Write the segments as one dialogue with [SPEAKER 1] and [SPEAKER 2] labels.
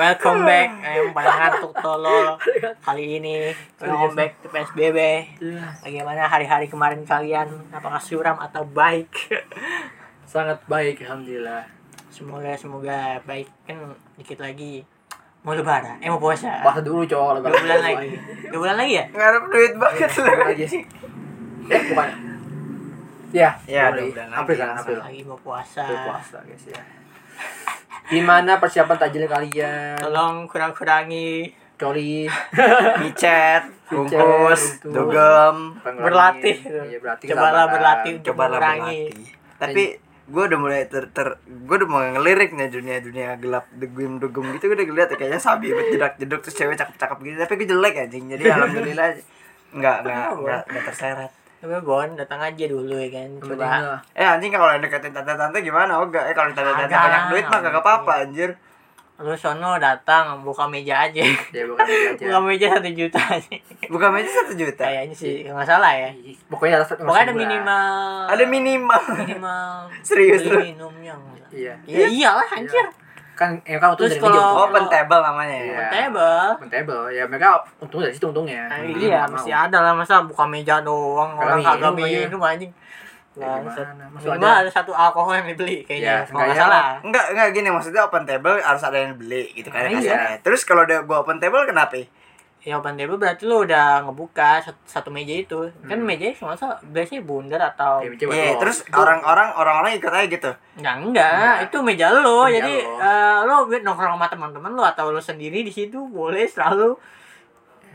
[SPEAKER 1] Welcome back, ayam pada ngantuk tolol. Kali ini welcome back to PSBB.
[SPEAKER 2] Iya,
[SPEAKER 1] Bagaimana hari-hari kemarin kalian? Apakah suram atau baik?
[SPEAKER 2] sangat baik alhamdulillah
[SPEAKER 1] Semoga semoga baik kan dikit lagi mau lebaran, eh mau puasa.
[SPEAKER 2] puasa dulu cowok
[SPEAKER 1] Dua bulan lagi, dua bulan lagi ya?
[SPEAKER 3] ngarep duit banget lu
[SPEAKER 2] lagi sih eh bukan ya
[SPEAKER 3] Ya,
[SPEAKER 2] Juli.
[SPEAKER 3] dua bulan
[SPEAKER 2] April
[SPEAKER 3] lagi.
[SPEAKER 2] kan April
[SPEAKER 1] Iya, Lagi Ah. mau puasa.
[SPEAKER 2] April puasa guys ya gimana persiapan tajil kalian
[SPEAKER 1] Tolong kurang-kurangi
[SPEAKER 2] coli
[SPEAKER 3] micet bungkus
[SPEAKER 2] bungkus.
[SPEAKER 3] dugem
[SPEAKER 1] Berlatih.
[SPEAKER 2] iya berlatih
[SPEAKER 1] Cobalah berlatih untuk
[SPEAKER 3] cobalah
[SPEAKER 1] mengurangi.
[SPEAKER 3] berlatih tapi gue udah mulai ter, ter gue udah mulai ngelirik nih dunia dunia gelap dugem dugem gitu gue udah ngeliat kayaknya sabi jedak jeduk terus cewek cakep cakep gitu tapi gue jelek anjing jadi alhamdulillah nggak nggak nggak nggak terseret
[SPEAKER 1] Tapi Bon, datang aja dulu ya kan. Coba.
[SPEAKER 2] coba
[SPEAKER 3] eh anjing kalau yang deketin tante tante gimana oh enggak eh kalau tante tante
[SPEAKER 1] Kagak.
[SPEAKER 3] banyak duit mah kagak apa apa anjir
[SPEAKER 1] Lu sono datang buka meja aja.
[SPEAKER 2] ya bukan aja
[SPEAKER 1] Buka meja satu juta sih.
[SPEAKER 3] buka meja satu juta
[SPEAKER 1] Kayaknya sih nggak salah ya.
[SPEAKER 2] pokoknya ada satu
[SPEAKER 1] Pokoknya ada
[SPEAKER 2] sebulan.
[SPEAKER 1] minimal.
[SPEAKER 3] ada minimal
[SPEAKER 1] minimal.
[SPEAKER 3] Serius
[SPEAKER 1] beli
[SPEAKER 3] lu?
[SPEAKER 1] minumnya. nggak salah.
[SPEAKER 2] iya
[SPEAKER 1] Ya iyalah anjir.
[SPEAKER 2] kan eh kan untung
[SPEAKER 1] Terus
[SPEAKER 2] dari meja
[SPEAKER 1] kalau-
[SPEAKER 3] oh pentable namanya ya
[SPEAKER 2] Iya.
[SPEAKER 1] Table.
[SPEAKER 2] Pentable ya mereka untung dari situ untungnya
[SPEAKER 1] Nah,
[SPEAKER 2] Jadi
[SPEAKER 1] iya,
[SPEAKER 2] nggak mau.
[SPEAKER 1] mesti ada lah masa buka meja doang orang
[SPEAKER 2] Kagak
[SPEAKER 1] kagak
[SPEAKER 2] minum,
[SPEAKER 1] minum anjing.
[SPEAKER 2] Ya,
[SPEAKER 1] Bangsat.
[SPEAKER 2] gimana maksud
[SPEAKER 1] Minimal
[SPEAKER 2] ada
[SPEAKER 1] ada satu alkohol yang dibeli kayaknya. Kalau
[SPEAKER 2] Ya,
[SPEAKER 1] nggak
[SPEAKER 2] seenggaknya
[SPEAKER 1] salah.
[SPEAKER 3] Enggak, enggak gini maksudnya open table harus ada yang beli gitu kan
[SPEAKER 2] Nah,
[SPEAKER 3] kasarnya. Terus kalau udah gua open table kenapa?
[SPEAKER 1] Ya open table berarti lu udah ngebuka sat- satu, meja itu. Kan mejanya cuma so- biasanya bundar atau
[SPEAKER 2] Ya,
[SPEAKER 1] enggak
[SPEAKER 2] meja buat
[SPEAKER 3] Iya,
[SPEAKER 2] lo.
[SPEAKER 3] terus
[SPEAKER 2] Itu-
[SPEAKER 3] orang-orang orang-orang ikut aja gitu.
[SPEAKER 1] enggak,
[SPEAKER 2] Enggak.
[SPEAKER 1] itu meja lu.
[SPEAKER 2] Meja
[SPEAKER 1] Jadi
[SPEAKER 2] lu.
[SPEAKER 1] eh, lu nongkrong sama teman-teman lu atau lu sendiri di situ boleh selalu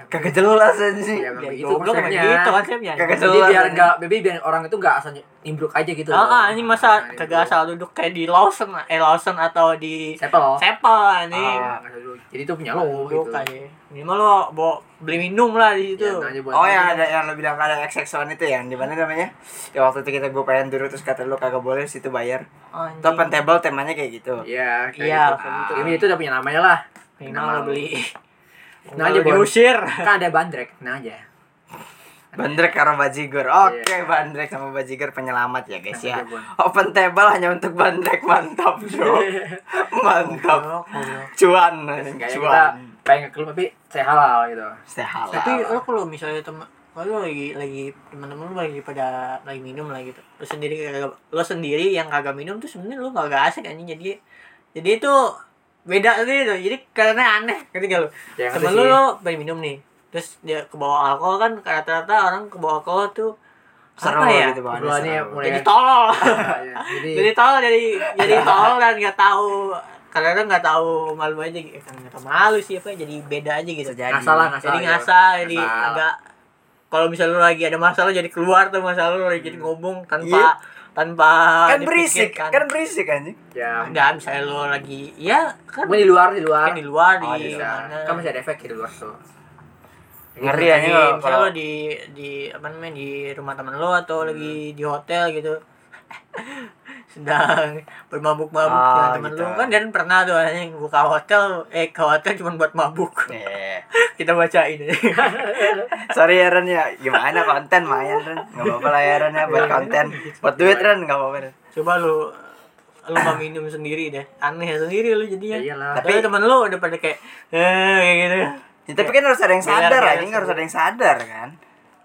[SPEAKER 3] Kagak jelas sih.
[SPEAKER 2] ya
[SPEAKER 1] Ya,
[SPEAKER 2] memang begitu
[SPEAKER 1] goblok emang
[SPEAKER 2] konsepnya
[SPEAKER 1] gitu konsepnya.
[SPEAKER 3] Kagak
[SPEAKER 2] jadi
[SPEAKER 3] jelas,
[SPEAKER 2] biar
[SPEAKER 3] anjing.
[SPEAKER 2] nggak jadi biar orang itu nggak asal nimbruk aja gitu
[SPEAKER 1] Ah, ah, anjing masa
[SPEAKER 2] Nah,
[SPEAKER 1] kagak
[SPEAKER 2] itu.
[SPEAKER 1] asal duduk kayak di Lawson, eh Lawson atau di
[SPEAKER 2] Sepel.
[SPEAKER 1] Sepel anjing.
[SPEAKER 2] Ah, nggak dulu. jadi itu punya lo gitu
[SPEAKER 1] Duduk aja. Minimal lo bawa beli minum lah di situ.
[SPEAKER 2] Ya, nanya buat
[SPEAKER 3] Oh
[SPEAKER 1] iya,
[SPEAKER 2] lo.
[SPEAKER 3] yang ada yang lo bilang ada XX1 itu ya, di mana namanya? Ya waktu itu kita gue pengen dulu terus kata lu kagak boleh situ bayar.
[SPEAKER 1] Anjing.
[SPEAKER 3] Itu open table temanya kayak gitu.
[SPEAKER 2] iya kayak
[SPEAKER 1] Iya,
[SPEAKER 2] gitu.
[SPEAKER 1] kayak gitu.
[SPEAKER 2] ini itu udah punya namanya lah
[SPEAKER 1] Minimal lo beli.
[SPEAKER 2] Nah, aja,
[SPEAKER 1] Kalau
[SPEAKER 2] Bon.
[SPEAKER 1] diusir.
[SPEAKER 2] kan ada bandrek nah aja
[SPEAKER 3] Bandrek sama Bajigor. Oke,
[SPEAKER 2] Iya.
[SPEAKER 3] Bandrek sama Bajigor penyelamat ya guys ya.
[SPEAKER 2] Iya, Bun.
[SPEAKER 3] Open table hanya untuk Bandrek mantap, Bro.
[SPEAKER 2] Iya. Oh,
[SPEAKER 3] mantap.
[SPEAKER 1] Goblok, goblok.
[SPEAKER 3] Cuan,
[SPEAKER 2] kayak ya, kita
[SPEAKER 3] cuan.
[SPEAKER 2] pengen ke klub tapi saya halal gitu
[SPEAKER 3] Sehat.
[SPEAKER 1] Tapi lo kalau misalnya teman lo lagi lagi teman-teman lo lagi pada lagi minum lah gitu. Lo sendiri kagak lo sendiri yang kagak minum tuh sebenarnya lo kagak asik anjing jadi jadi itu beda gitu. Jadi karena aneh ngerti gak lo?
[SPEAKER 2] Ya, ngerti
[SPEAKER 1] Temen
[SPEAKER 2] sih.
[SPEAKER 1] lo lo pengen minum nih. Terus dia ke bawah alkohol kan rata-rata orang ke bawah alkohol tuh
[SPEAKER 3] seru
[SPEAKER 1] apa ya?
[SPEAKER 3] gitu bawaannya,
[SPEAKER 2] Obrolannya
[SPEAKER 3] seru.
[SPEAKER 2] mulai-
[SPEAKER 1] Jadi tolol.
[SPEAKER 2] Iya,
[SPEAKER 1] jadi
[SPEAKER 2] jadi
[SPEAKER 1] tolol jadi jadi tolol dan nggak tahu karena nggak tahu malu aja gitu kan nggak tahu malu sih apa jadi beda aja gitu
[SPEAKER 3] Sejadi.
[SPEAKER 2] ngasal lah ngasal
[SPEAKER 1] jadi
[SPEAKER 2] gitu.
[SPEAKER 1] ngasal jadi
[SPEAKER 3] Ngasal.
[SPEAKER 1] agak kalau misalnya lu lagi ada masalah jadi keluar tuh masalah lu lagi jadi ngomong
[SPEAKER 3] Iya.
[SPEAKER 1] tanpa tanpa
[SPEAKER 3] kan berisik
[SPEAKER 1] dipikirkan.
[SPEAKER 3] kan berisik anjing
[SPEAKER 2] ya
[SPEAKER 1] enggak misalnya lu lagi ya kan
[SPEAKER 2] gue di luar di luar
[SPEAKER 1] kan di luar
[SPEAKER 2] Oh,
[SPEAKER 1] di
[SPEAKER 2] bisa.
[SPEAKER 1] mana
[SPEAKER 2] kan masih ada efek di luar tuh Gitu.
[SPEAKER 3] ngeri
[SPEAKER 1] Lagi,
[SPEAKER 3] anjing kalau
[SPEAKER 1] misalnya
[SPEAKER 3] kalau
[SPEAKER 1] lu
[SPEAKER 3] Hmm.
[SPEAKER 1] Nah, di di apa namanya di rumah teman lu atau lagi di hotel gitu sedang bermabuk-mabuk
[SPEAKER 3] Ah,
[SPEAKER 1] dengan teman
[SPEAKER 3] gitu.
[SPEAKER 1] lu kan dan pernah tuh yang buka hotel eh ke hotel cuma buat mabuk
[SPEAKER 3] Eh,
[SPEAKER 1] kita bacain
[SPEAKER 3] sorry ya Ren ya gimana konten main Ren nggak apa-apa lah ya Ren ya buat konten buat duit Ren nggak apa-apa Ren.
[SPEAKER 1] coba lu lu mau minum sendiri deh aneh sendiri lu
[SPEAKER 2] ya
[SPEAKER 1] jadinya
[SPEAKER 2] iyalah
[SPEAKER 1] tapi teman lu udah pada kayak eh kayak gitu
[SPEAKER 3] Ya, tapi kan harus ada yang
[SPEAKER 1] Biar-
[SPEAKER 3] sadar
[SPEAKER 1] biar
[SPEAKER 3] anjing harus
[SPEAKER 1] seru.
[SPEAKER 3] ada yang sadar kan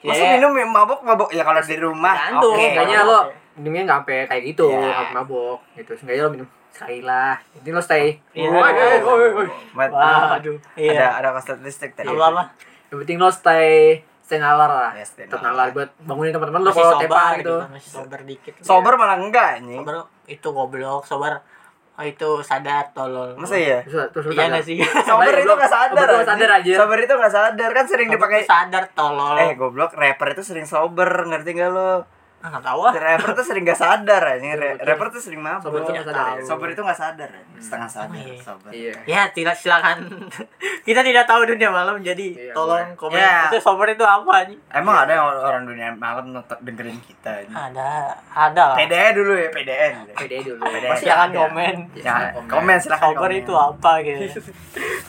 [SPEAKER 3] masa
[SPEAKER 1] Iya.
[SPEAKER 3] minum yang mabok mabok ya kalau di rumah
[SPEAKER 1] Tergantung.
[SPEAKER 3] oke
[SPEAKER 2] Seenggaknya
[SPEAKER 1] Oke.
[SPEAKER 2] lo minumnya nggak sampai kayak gitu,
[SPEAKER 3] Iya.
[SPEAKER 2] nggak sampai mabok gitu. Seenggaknya lo minum sekali lah. Ini lo stay. Oh,
[SPEAKER 1] Iya.
[SPEAKER 2] Woi, woi, woi, woi.
[SPEAKER 3] Mat-
[SPEAKER 1] waduh
[SPEAKER 3] ada
[SPEAKER 1] iya
[SPEAKER 3] ada kostet listrik tadi
[SPEAKER 1] apa apa
[SPEAKER 2] Yang penting lo stay stay nalar lah.
[SPEAKER 3] Iya, stay
[SPEAKER 2] Tetap
[SPEAKER 3] nalar.
[SPEAKER 2] nalar buat bangunin teman-teman lo
[SPEAKER 1] masih
[SPEAKER 2] kalau
[SPEAKER 1] sober
[SPEAKER 2] tepa
[SPEAKER 1] gitu
[SPEAKER 2] gitu.
[SPEAKER 1] masih sober dikit
[SPEAKER 3] sober malah enggak anjing
[SPEAKER 1] sober itu goblok sober oh, itu sadar tolol
[SPEAKER 3] masa ya
[SPEAKER 2] Terus terus lo
[SPEAKER 1] iya
[SPEAKER 2] sadar.
[SPEAKER 1] nggak sih
[SPEAKER 3] sober
[SPEAKER 2] Sober
[SPEAKER 3] itu nggak sadar
[SPEAKER 2] nggak
[SPEAKER 3] anjing.
[SPEAKER 2] sadar aja.
[SPEAKER 3] sober itu nggak sadar kan sering
[SPEAKER 1] Sober
[SPEAKER 3] dipakai
[SPEAKER 1] tuh sadar tolol
[SPEAKER 3] eh goblok rapper itu sering sober ngerti gak lo
[SPEAKER 1] Ah, nggak tahu ah
[SPEAKER 3] rapper tuh sering gak sadar anjing Ra-
[SPEAKER 2] Iya, Betul.
[SPEAKER 3] rapper tuh sering mabuk
[SPEAKER 2] Sober
[SPEAKER 3] sober,
[SPEAKER 2] tuh nggak sadar. ya?
[SPEAKER 3] itu gak sadar anjing. setengah sadar
[SPEAKER 1] Iya.
[SPEAKER 3] sober
[SPEAKER 2] Iya.
[SPEAKER 1] ya tidak silakan kita tidak tahu dunia malam jadi
[SPEAKER 2] Iya,
[SPEAKER 1] tolong komen
[SPEAKER 3] Iya.
[SPEAKER 1] itu sober itu apa nih
[SPEAKER 3] emang ada yang or- orang dunia malam nonton- dengerin kita
[SPEAKER 2] Ah.
[SPEAKER 3] anjing?
[SPEAKER 1] ada ada lah
[SPEAKER 3] PDE dulu ya PDN
[SPEAKER 2] Pede dulu.
[SPEAKER 3] Pede.
[SPEAKER 1] Pasti silakan
[SPEAKER 3] Ada.
[SPEAKER 1] komen
[SPEAKER 3] ya, komen silahkan
[SPEAKER 1] sober
[SPEAKER 3] komen.
[SPEAKER 1] itu apa gitu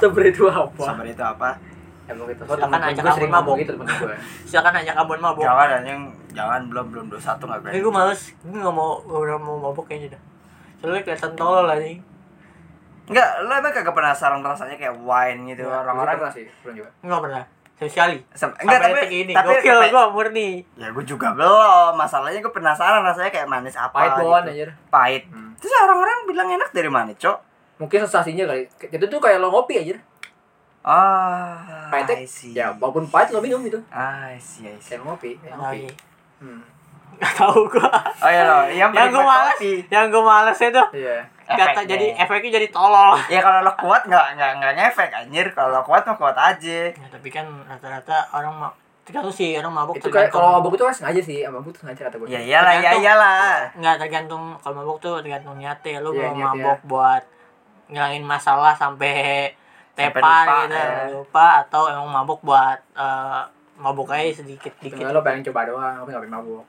[SPEAKER 2] Sober itu apa?
[SPEAKER 3] sober itu apa
[SPEAKER 2] Emang gitu.
[SPEAKER 1] Ya, Silakan
[SPEAKER 2] Temen
[SPEAKER 1] ajak
[SPEAKER 2] gue sering
[SPEAKER 1] aku mabok.
[SPEAKER 2] ngomong gitu temen gue.
[SPEAKER 1] silakan ajak abon mabok
[SPEAKER 3] jangan anjing jangan belum belum 21 satu nggak
[SPEAKER 1] tapi
[SPEAKER 3] berani
[SPEAKER 1] gue males gue nggak mau gue nggak mau mabok kayaknya dah soalnya kelihatan tolol lah nih
[SPEAKER 3] Enggak, lo emang kagak penasaran rasanya kayak wine gitu orang-orang
[SPEAKER 2] pernah Iya, sih belum juga
[SPEAKER 1] Enggak pernah. Sama sekali.
[SPEAKER 3] Sam-
[SPEAKER 1] Enggak,
[SPEAKER 3] enggak
[SPEAKER 1] sampai
[SPEAKER 3] tapi
[SPEAKER 1] detik ini.
[SPEAKER 3] tapi
[SPEAKER 1] Gokil
[SPEAKER 3] sampai-
[SPEAKER 1] gua murni.
[SPEAKER 3] ya gue juga belum masalahnya gue penasaran rasanya kayak manis apa
[SPEAKER 2] pahit
[SPEAKER 3] gitu.
[SPEAKER 2] pohon anjir
[SPEAKER 3] pahit
[SPEAKER 2] Hmm.
[SPEAKER 3] terus orang-orang bilang enak dari mana cok
[SPEAKER 2] mungkin sensasinya kali itu tuh kayak lo ngopi anjir
[SPEAKER 3] ah
[SPEAKER 2] Pahitnya-
[SPEAKER 3] I see
[SPEAKER 2] ya walaupun pahit lo minum gitu
[SPEAKER 3] ah I see I see
[SPEAKER 2] kayak ngopi
[SPEAKER 3] Ya,
[SPEAKER 2] kayak ngopi
[SPEAKER 1] Lagi.
[SPEAKER 2] Hmm.
[SPEAKER 1] Enggak tahu gua.
[SPEAKER 3] oh ya lo yang
[SPEAKER 1] yang gua
[SPEAKER 3] penikmat
[SPEAKER 1] malas,
[SPEAKER 3] kopi.
[SPEAKER 1] yang gua malas itu
[SPEAKER 2] iya
[SPEAKER 1] kata
[SPEAKER 3] Efeknya.
[SPEAKER 1] jadi efeknya jadi tolol.
[SPEAKER 3] ya kalau lo kuat nggak nggak nggak ngefek anjir kalau lo kuat mah kuat aja
[SPEAKER 1] Ya, tapi kan rata-rata orang mau tergantung sih orang mabuk
[SPEAKER 2] itu kayak kalau
[SPEAKER 1] tergantung-
[SPEAKER 2] mabuk itu kan sengaja sih mabuk tuh sengaja kata gue
[SPEAKER 3] ya iyalah ya
[SPEAKER 1] Tergantung.
[SPEAKER 3] iyalah
[SPEAKER 1] nggak tergantung kalau mabuk tuh tergantung niatnya lu
[SPEAKER 2] Iya,
[SPEAKER 1] mau
[SPEAKER 2] niat
[SPEAKER 1] mabuk buat ngilangin masalah sampai
[SPEAKER 3] Sampai
[SPEAKER 1] tepar
[SPEAKER 3] lupa,
[SPEAKER 1] gitu
[SPEAKER 3] ya.
[SPEAKER 1] lupa atau emang mabuk buat eh, mabuk aja sedikit
[SPEAKER 3] iya,
[SPEAKER 1] dikit
[SPEAKER 2] Enggak lo pengen coba doang, tapi gak pengen mabuk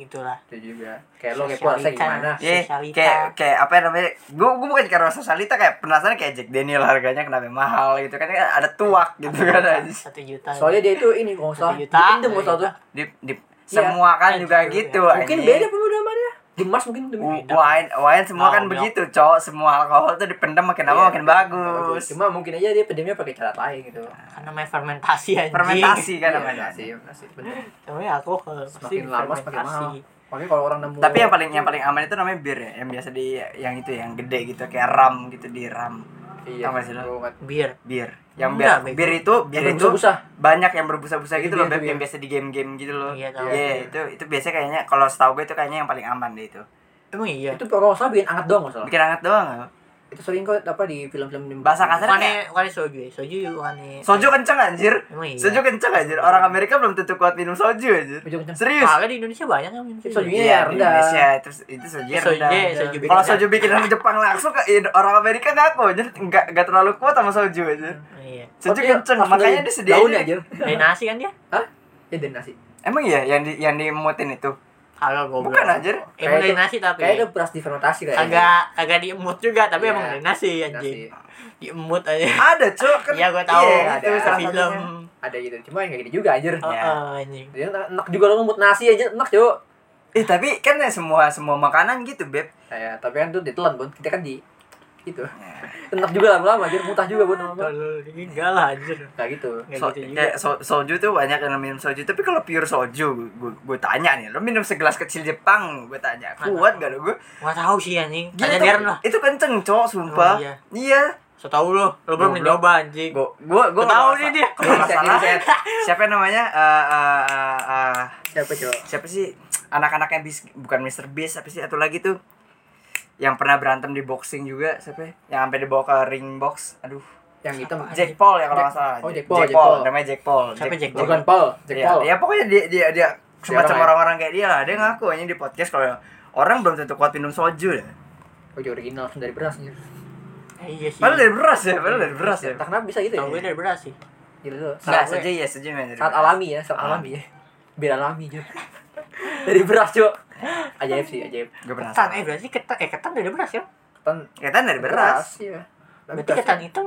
[SPEAKER 1] gitulah
[SPEAKER 2] Itu juga Kayak
[SPEAKER 3] Iya,
[SPEAKER 2] lo kepo rasanya
[SPEAKER 1] Sosialita.
[SPEAKER 2] gimana
[SPEAKER 3] Ya,
[SPEAKER 1] Sosialita.
[SPEAKER 3] kayak kayak apa ya namanya? Gue gue bukan karena sosialita kayak penasaran kayak Jack Daniel harganya kenapa mahal gitu kan Kan ada tuak gitu
[SPEAKER 2] Iya.
[SPEAKER 3] kan anjir.
[SPEAKER 1] satu juta
[SPEAKER 2] Soalnya dia itu ini kalau nggak salah
[SPEAKER 1] Satu juta.
[SPEAKER 2] Itu nggak salah tuh
[SPEAKER 3] Di, di,
[SPEAKER 2] Iya.
[SPEAKER 3] semua kan
[SPEAKER 1] Eh,
[SPEAKER 3] juga
[SPEAKER 1] gitu,
[SPEAKER 3] gitu.
[SPEAKER 2] Mungkin
[SPEAKER 3] anjir.
[SPEAKER 2] beda pemadamannya Gemas mungkin demi
[SPEAKER 3] W- Wine, wine
[SPEAKER 1] Oh,
[SPEAKER 3] semua kan
[SPEAKER 1] milk.
[SPEAKER 3] begitu, cowok. Semua alkohol tuh dipendam makin
[SPEAKER 2] Iya,
[SPEAKER 3] lama makin bagus. Iya,
[SPEAKER 2] Cuma mungkin aja dia pedemnya pakai cara lain gitu
[SPEAKER 1] karena namanya fermentasi anjing
[SPEAKER 3] Fermentasi
[SPEAKER 2] Iya,
[SPEAKER 3] kan namanya.
[SPEAKER 2] sih, sih, bener.
[SPEAKER 1] namanya alkohol pasti
[SPEAKER 2] Semakin lama semakin
[SPEAKER 1] fermentasi.
[SPEAKER 2] mahal Makanya kalau orang nemu
[SPEAKER 3] Tapi yang paling yang paling aman itu namanya bir ya, yang biasa di yang itu yang gede gitu kayak ram gitu di ram
[SPEAKER 2] Iya,
[SPEAKER 3] Apa sih, lo?
[SPEAKER 2] gua nggak-
[SPEAKER 1] bir
[SPEAKER 3] bir. Yang
[SPEAKER 1] Enggak, Bego.
[SPEAKER 3] bir, bir itu bir
[SPEAKER 2] Yang
[SPEAKER 3] itu
[SPEAKER 2] berbusa-busa.
[SPEAKER 3] banyak yang berbusa-busa gitu
[SPEAKER 2] Iya,
[SPEAKER 3] loh, Beb,
[SPEAKER 2] iya.
[SPEAKER 3] yang biasa di game-game gitu loh.
[SPEAKER 1] Iya,
[SPEAKER 3] Iya,
[SPEAKER 1] tahu.
[SPEAKER 3] itu itu biasanya kayaknya kalau setahu gue itu kayaknya yang paling aman deh itu.
[SPEAKER 1] emang iya
[SPEAKER 2] Itu kalau nggak salah bikin anget doang nggak salah
[SPEAKER 3] Bikin hangat doang. nggak?
[SPEAKER 2] Itu sering kok apa di film-film di-
[SPEAKER 3] Bahasa kasar kayak
[SPEAKER 1] bukannya bukannya soju ya? soju bukannya
[SPEAKER 3] soju kan, kenceng anjir.
[SPEAKER 1] Emang iya.
[SPEAKER 3] Soju kenceng anjir. Orang Amerika belum tentu kuat minum soju anjir.
[SPEAKER 2] Soju kenceng.
[SPEAKER 3] Serius. Iya,
[SPEAKER 1] Soalnya di Indonesia banyak yang minum
[SPEAKER 2] Sojunya
[SPEAKER 1] soju.
[SPEAKER 2] ya
[SPEAKER 3] di
[SPEAKER 2] rendah.
[SPEAKER 3] Indonesia itu itu soju
[SPEAKER 1] Soju,
[SPEAKER 3] rendah.
[SPEAKER 1] soju bikin
[SPEAKER 3] Kalau soju bikinan Jepang langsung ke ya, orang Amerika ngaku jadi nggak nggak terlalu kuat sama soju aja.
[SPEAKER 1] Iya.
[SPEAKER 3] Soju
[SPEAKER 2] Tapi
[SPEAKER 3] kenceng
[SPEAKER 2] langsung
[SPEAKER 3] makanya
[SPEAKER 2] dari
[SPEAKER 3] disediain. ya. Iya.
[SPEAKER 2] daun aja.
[SPEAKER 1] Dari nasi kan dia?
[SPEAKER 2] Hah? Ya dari nasi.
[SPEAKER 3] Emang iya yang di yang dimutin itu.
[SPEAKER 1] Kagak goblok.
[SPEAKER 3] Bukan anjir.
[SPEAKER 1] Emang
[SPEAKER 2] Kayak
[SPEAKER 1] dari
[SPEAKER 2] itu-
[SPEAKER 1] nasi tapi.
[SPEAKER 2] Kayaknya itu beras difermentasi kayaknya.
[SPEAKER 1] Kagak kagak diemut juga tapi
[SPEAKER 2] Iya.
[SPEAKER 1] emang dari nasi
[SPEAKER 2] Nasi.
[SPEAKER 1] anjing. Diemut aja.
[SPEAKER 3] Ada cuk. kan-
[SPEAKER 1] Iya gua tahu.
[SPEAKER 3] Iya, itu
[SPEAKER 2] ada.
[SPEAKER 3] salah
[SPEAKER 1] film.
[SPEAKER 3] satunya.
[SPEAKER 2] Ada gitu. Cuma yang kayak gitu juga anjir.
[SPEAKER 1] Oh,
[SPEAKER 3] Iya.
[SPEAKER 1] oh, anjing.
[SPEAKER 2] Dia enak juga lo ngemut nasi aja enak, Cuk.
[SPEAKER 3] Eh tapi kan ya semua semua makanan gitu beb.
[SPEAKER 2] Ya, tapi kan tuh ditelan, Bun. Kita kan di gitu. Enak juga lama-lama anjir, mutah juga, Bun. lama-lama.
[SPEAKER 1] Tolol, enggak lah anjir.
[SPEAKER 2] Kayak gitu.
[SPEAKER 1] Enggak
[SPEAKER 3] So,
[SPEAKER 1] gitu juga.
[SPEAKER 3] kayak so- soju tuh banyak yang minum soju tapi kalau pure soju gue tanya nih lo minum segelas kecil Jepang gue tanya kuat gak lo gue
[SPEAKER 1] Gua tahu sih anjing.
[SPEAKER 3] Gila,
[SPEAKER 1] Tanya
[SPEAKER 3] itu-
[SPEAKER 1] Darren lah.
[SPEAKER 3] Itu kenceng, cowok, sumpah.
[SPEAKER 1] Oh, iya.
[SPEAKER 3] iya.
[SPEAKER 1] So tau lu, lu belum
[SPEAKER 3] Goblok.
[SPEAKER 1] dicoba anjing.
[SPEAKER 3] Gua gua gua
[SPEAKER 1] Tahu nih
[SPEAKER 3] nggak masa-
[SPEAKER 1] dia.
[SPEAKER 3] kalau nggak
[SPEAKER 2] Riset,
[SPEAKER 3] salah,
[SPEAKER 2] riset.
[SPEAKER 3] Siapa namanya? Eh, eh, eh, eh,
[SPEAKER 2] Siapa, Cuk?
[SPEAKER 3] siapa sih anak-anaknya bis bukan Mr Beast tapi sih satu lagi tuh yang pernah berantem di boxing juga siapa ya? yang sampai dibawa ke ring box aduh
[SPEAKER 2] Yang hitam.
[SPEAKER 3] Jack Paul ya kalau nggak
[SPEAKER 2] Jack-
[SPEAKER 3] salah
[SPEAKER 2] oh, Jack Paul, Jack Paul.
[SPEAKER 3] namanya Jack Paul
[SPEAKER 1] Siapa Jack Paul?
[SPEAKER 2] Bukan Paul, Jack
[SPEAKER 3] ya,
[SPEAKER 2] Paul.
[SPEAKER 3] ya pokoknya dia dia dia semacam
[SPEAKER 2] orang ya?
[SPEAKER 3] orang-orang kayak dia lah dia ngaku hanya di podcast kalau orang belum tentu kuat minum soju ya
[SPEAKER 2] Oh, Jack original langsung dari beras anjir.
[SPEAKER 1] Eh, Iya sih.
[SPEAKER 3] padahal dari beras ya padahal dari beras ya
[SPEAKER 2] Tak kenapa bisa gitu ya.
[SPEAKER 1] Tahu gue dari beras sih.
[SPEAKER 2] Gila tuh.
[SPEAKER 3] Enggak,
[SPEAKER 2] Saat-
[SPEAKER 3] saja ya, saja men.
[SPEAKER 2] iya. Saat alami ya, saat alami ya. Biar alami, Cuk. Dari beras, Cuk. Ajaib sih, ajaib.
[SPEAKER 3] Gue
[SPEAKER 1] Ketan eh
[SPEAKER 3] penasaran.
[SPEAKER 1] berarti ketan eh ketan dari beras ya.
[SPEAKER 2] Ketan
[SPEAKER 3] Ketan dari beras.
[SPEAKER 2] Iya.
[SPEAKER 1] Berarti ketan hitam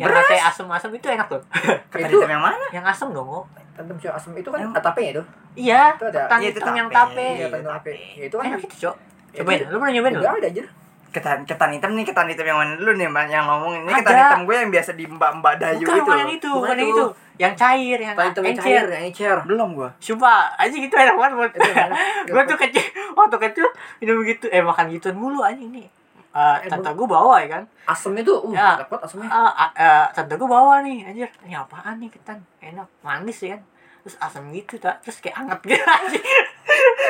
[SPEAKER 1] yang
[SPEAKER 3] ya? Beras.
[SPEAKER 1] katanya asam-asam itu enak loh.
[SPEAKER 3] Ketan
[SPEAKER 2] Itu-
[SPEAKER 3] hitam yang mana?
[SPEAKER 1] yang asam dong, Ngo.
[SPEAKER 2] Tantum Cok asam itu kan
[SPEAKER 3] Yang-
[SPEAKER 2] atape ya itu.
[SPEAKER 1] Iya,
[SPEAKER 2] Itu ada-
[SPEAKER 1] ketan
[SPEAKER 3] iya, itu
[SPEAKER 1] hitam yang
[SPEAKER 3] tape.
[SPEAKER 1] tape.
[SPEAKER 2] Iya,
[SPEAKER 3] Iya,
[SPEAKER 2] tantum
[SPEAKER 3] atape.
[SPEAKER 2] atape. Ya itu kan
[SPEAKER 1] Enak itu, Cok.
[SPEAKER 2] Ya,
[SPEAKER 1] Cobain,
[SPEAKER 2] itu-
[SPEAKER 1] lu pernah nyobain lu?
[SPEAKER 2] Enggak ada anjir.
[SPEAKER 3] Ketan ketan hitam nih, ketan hitam yang mana dulu nih Mbak, yang ngomong ini ketan
[SPEAKER 1] Ada.
[SPEAKER 3] hitam gue yang biasa di mbak-mbak dayu
[SPEAKER 1] Bukan,
[SPEAKER 3] gitu.
[SPEAKER 1] bukan yang
[SPEAKER 3] loh.
[SPEAKER 1] itu,
[SPEAKER 2] Bukan
[SPEAKER 1] bukan yang
[SPEAKER 2] itu.
[SPEAKER 1] itu. Yang cair, yang
[SPEAKER 2] Tantum yang
[SPEAKER 1] encer.
[SPEAKER 2] cair, yang encer.
[SPEAKER 3] Belum gue.
[SPEAKER 1] Sumpah, anjing itu enak banget.
[SPEAKER 2] Itu enak.
[SPEAKER 1] gue tuh kecil, waktu kecil minum gitu, eh makan gituan mulu anjing nih. Eh, tante gue bawa ya kan
[SPEAKER 2] Asamnya tuh uh,
[SPEAKER 1] Ya.
[SPEAKER 2] dapat asamnya.
[SPEAKER 1] Eh, a- eh, tante gue bawa nih anjir ini apaan nih ketan enak manis ya kan terus asam gitu tak terus kayak anget gitu anjing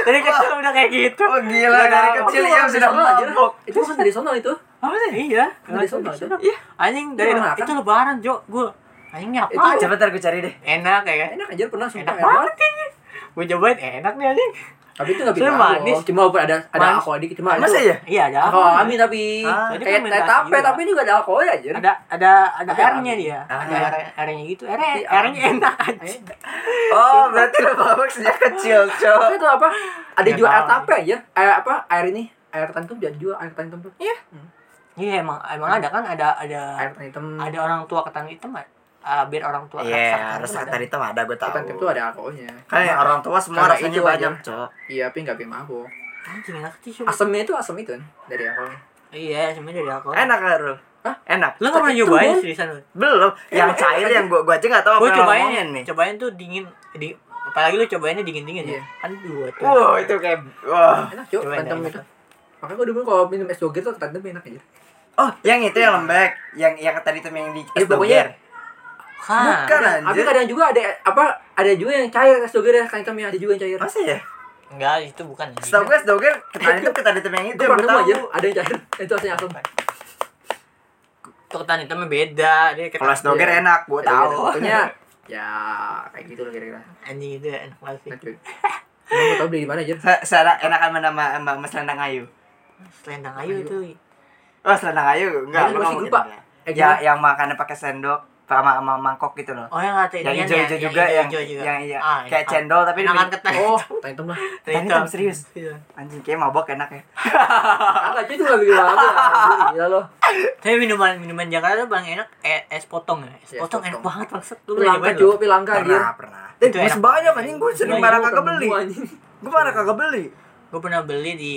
[SPEAKER 1] dari kecil udah kayak gitu
[SPEAKER 3] Oh gila,
[SPEAKER 1] Udah
[SPEAKER 3] dari
[SPEAKER 1] tahu.
[SPEAKER 3] kecil
[SPEAKER 2] Itu kan
[SPEAKER 3] ya sudah
[SPEAKER 2] dari sono, anjir.
[SPEAKER 3] mabok.
[SPEAKER 2] Itu kan dari sono itu.
[SPEAKER 1] apa sih iya
[SPEAKER 2] Dari sono,
[SPEAKER 1] Dari
[SPEAKER 2] Cok.
[SPEAKER 1] sono.
[SPEAKER 3] Iya.
[SPEAKER 1] anjing dari
[SPEAKER 2] Itu
[SPEAKER 1] itu lebaran jo gue anjingnya
[SPEAKER 2] Itu
[SPEAKER 1] apa
[SPEAKER 3] Eh, Coba ntar gue cari deh.
[SPEAKER 1] enak ya kan
[SPEAKER 2] Enak anjir pernah sumpah
[SPEAKER 1] enak
[SPEAKER 2] enak banget.
[SPEAKER 1] banget kayaknya gue cobain enak nih anjing
[SPEAKER 2] Tapi itu enggak bikin
[SPEAKER 1] Soalnya manis.
[SPEAKER 2] manis. Cuma walaupun ada ada
[SPEAKER 1] Manis.
[SPEAKER 2] alkohol dikit cuma itu.
[SPEAKER 3] Masa ya?
[SPEAKER 1] iya ada
[SPEAKER 2] Alkohol
[SPEAKER 1] apa?
[SPEAKER 2] alami tapi
[SPEAKER 3] Ah,
[SPEAKER 1] jadi
[SPEAKER 2] kayak
[SPEAKER 1] fermentasi
[SPEAKER 2] tape
[SPEAKER 1] juga.
[SPEAKER 2] tapi ini enggak ada alkohol ya anjir.
[SPEAKER 1] ada ada ada
[SPEAKER 2] Ada
[SPEAKER 1] R-nya
[SPEAKER 2] alami.
[SPEAKER 1] dia
[SPEAKER 3] Ah. Iya,
[SPEAKER 1] ada R- R-nya gitu R
[SPEAKER 2] Tapi
[SPEAKER 1] R-nya
[SPEAKER 2] alami.
[SPEAKER 1] enak anjing
[SPEAKER 3] Oh, berarti lo mabok sejak kecil,
[SPEAKER 2] Tapi
[SPEAKER 3] cok.
[SPEAKER 2] itu apa? Ada
[SPEAKER 1] Nggak
[SPEAKER 2] juga air
[SPEAKER 1] tahu.
[SPEAKER 2] tape anjir. Eh apa? Air ini air tantum dan juga air tantum tuh. Iya.
[SPEAKER 1] iya emang emang ada kan ada ada
[SPEAKER 2] Air tantum.
[SPEAKER 1] ada orang tua ketan hitam kan Ah, biar orang tua
[SPEAKER 3] Iya, harus
[SPEAKER 1] ketan hitam ada.
[SPEAKER 3] ketan hitam ada gue tahu.
[SPEAKER 2] Ketan tantum tuh ada alkoholnya.
[SPEAKER 3] Kan yang orang tua semua
[SPEAKER 2] Karena
[SPEAKER 3] rasanya
[SPEAKER 2] itu aja.
[SPEAKER 3] banyak, cok.
[SPEAKER 2] Iya, tapi enggak bikin mabuk.
[SPEAKER 1] anjing enak sih cuma
[SPEAKER 2] Asamnya itu asam itu kan, dari alkohol.
[SPEAKER 1] iya sebenarnya dari alkohol
[SPEAKER 3] Enak kan, Rul?
[SPEAKER 2] Hah?
[SPEAKER 3] enak
[SPEAKER 1] Lo nggak pernah
[SPEAKER 2] Itu,
[SPEAKER 1] nyobain
[SPEAKER 2] Bon.
[SPEAKER 1] seriusan lo?
[SPEAKER 3] belum yang cair yang gua gua aja nggak tahu apa
[SPEAKER 1] Gue
[SPEAKER 3] yang
[SPEAKER 1] cobain,
[SPEAKER 3] ngomongin nih
[SPEAKER 1] cobain tuh dingin, di, apalagi lu cobainnya dingin-dingin
[SPEAKER 2] Iya.
[SPEAKER 1] ya. Aduh, tuh.
[SPEAKER 3] wow itu kayak wah
[SPEAKER 2] Enak cuy,
[SPEAKER 1] Cobain,
[SPEAKER 2] kentem
[SPEAKER 1] enak.
[SPEAKER 2] itu. Makanya gue dulu kalau minum es doger tuh kentem enak aja.
[SPEAKER 3] oh yang itu yang lembek yang yang tadi tuh yang di
[SPEAKER 2] Ya, pokoknya-
[SPEAKER 1] Hah.
[SPEAKER 3] Bukan
[SPEAKER 2] Tapi
[SPEAKER 3] anjir
[SPEAKER 2] kadang juga ada apa ada juga yang cair es doger yang kentemnya Kan ada juga yang cair.
[SPEAKER 3] masa ya
[SPEAKER 1] Enggak, itu bukan. anjing.
[SPEAKER 3] setahu gue doger ketan itu ketan hitam yang itu
[SPEAKER 2] Gue
[SPEAKER 3] yang
[SPEAKER 2] pernah
[SPEAKER 3] gue
[SPEAKER 2] nemu
[SPEAKER 3] tahu
[SPEAKER 2] aja ada yang cair. Itu rasanya asam.
[SPEAKER 1] Tuh ketan hitamnya beda. Dia
[SPEAKER 3] kalau
[SPEAKER 1] ketan
[SPEAKER 3] doger
[SPEAKER 2] Iya.
[SPEAKER 3] enak gua tahu
[SPEAKER 2] Pokoknya ya kayak gitu loh kira-kira.
[SPEAKER 1] anjing itu enak banget sih.
[SPEAKER 2] Enak cuy. Emang Mau tau beli di mana aja?
[SPEAKER 3] Se- secara enakan mana sama sama Mas Lendang Ayu
[SPEAKER 1] Selendang ayu
[SPEAKER 2] Ayu.
[SPEAKER 1] itu.
[SPEAKER 3] oh selendang ayu enggak
[SPEAKER 2] Ayu
[SPEAKER 3] lu
[SPEAKER 2] masih
[SPEAKER 3] nggak
[SPEAKER 2] lupa.
[SPEAKER 3] mungkin.
[SPEAKER 2] Eh,
[SPEAKER 3] ya
[SPEAKER 2] gimana?
[SPEAKER 3] yang makannya pakai sendok sama sama mangkok gitu loh
[SPEAKER 1] Oh yang kata inian
[SPEAKER 3] yang hijau
[SPEAKER 1] ya,
[SPEAKER 3] hijau juga yang
[SPEAKER 1] hijau juga.
[SPEAKER 3] yang iya
[SPEAKER 1] Ah,
[SPEAKER 3] kayak
[SPEAKER 1] enak.
[SPEAKER 3] cendol tapi
[SPEAKER 1] Enakan
[SPEAKER 3] dibikin-
[SPEAKER 1] ketan.
[SPEAKER 2] Oh, kentem lah.
[SPEAKER 3] ketan hitam, serius.
[SPEAKER 1] Iya.
[SPEAKER 3] anjing kayak mabok enak ya
[SPEAKER 2] Kakak cuy itu gak bikin apa Gila loh.
[SPEAKER 1] Tapi minuman minuman Jakarta tuh paling enak eh, es potong ya. Es
[SPEAKER 2] Iya, es
[SPEAKER 1] potong enak
[SPEAKER 2] potong.
[SPEAKER 1] banget maksud lu
[SPEAKER 2] Itu langka
[SPEAKER 1] nyobain
[SPEAKER 2] cuy,
[SPEAKER 1] lu?
[SPEAKER 2] tapi langka anjir.
[SPEAKER 3] pernah pernah eh
[SPEAKER 1] Itu
[SPEAKER 3] gue
[SPEAKER 1] enak.
[SPEAKER 3] sebanyak anjing gue sering
[SPEAKER 2] Gua
[SPEAKER 3] marah
[SPEAKER 2] juga
[SPEAKER 3] kagak
[SPEAKER 2] pernah
[SPEAKER 3] beli
[SPEAKER 2] nemu, anjing.
[SPEAKER 3] gue marah kagak beli
[SPEAKER 1] Gue pernah beli di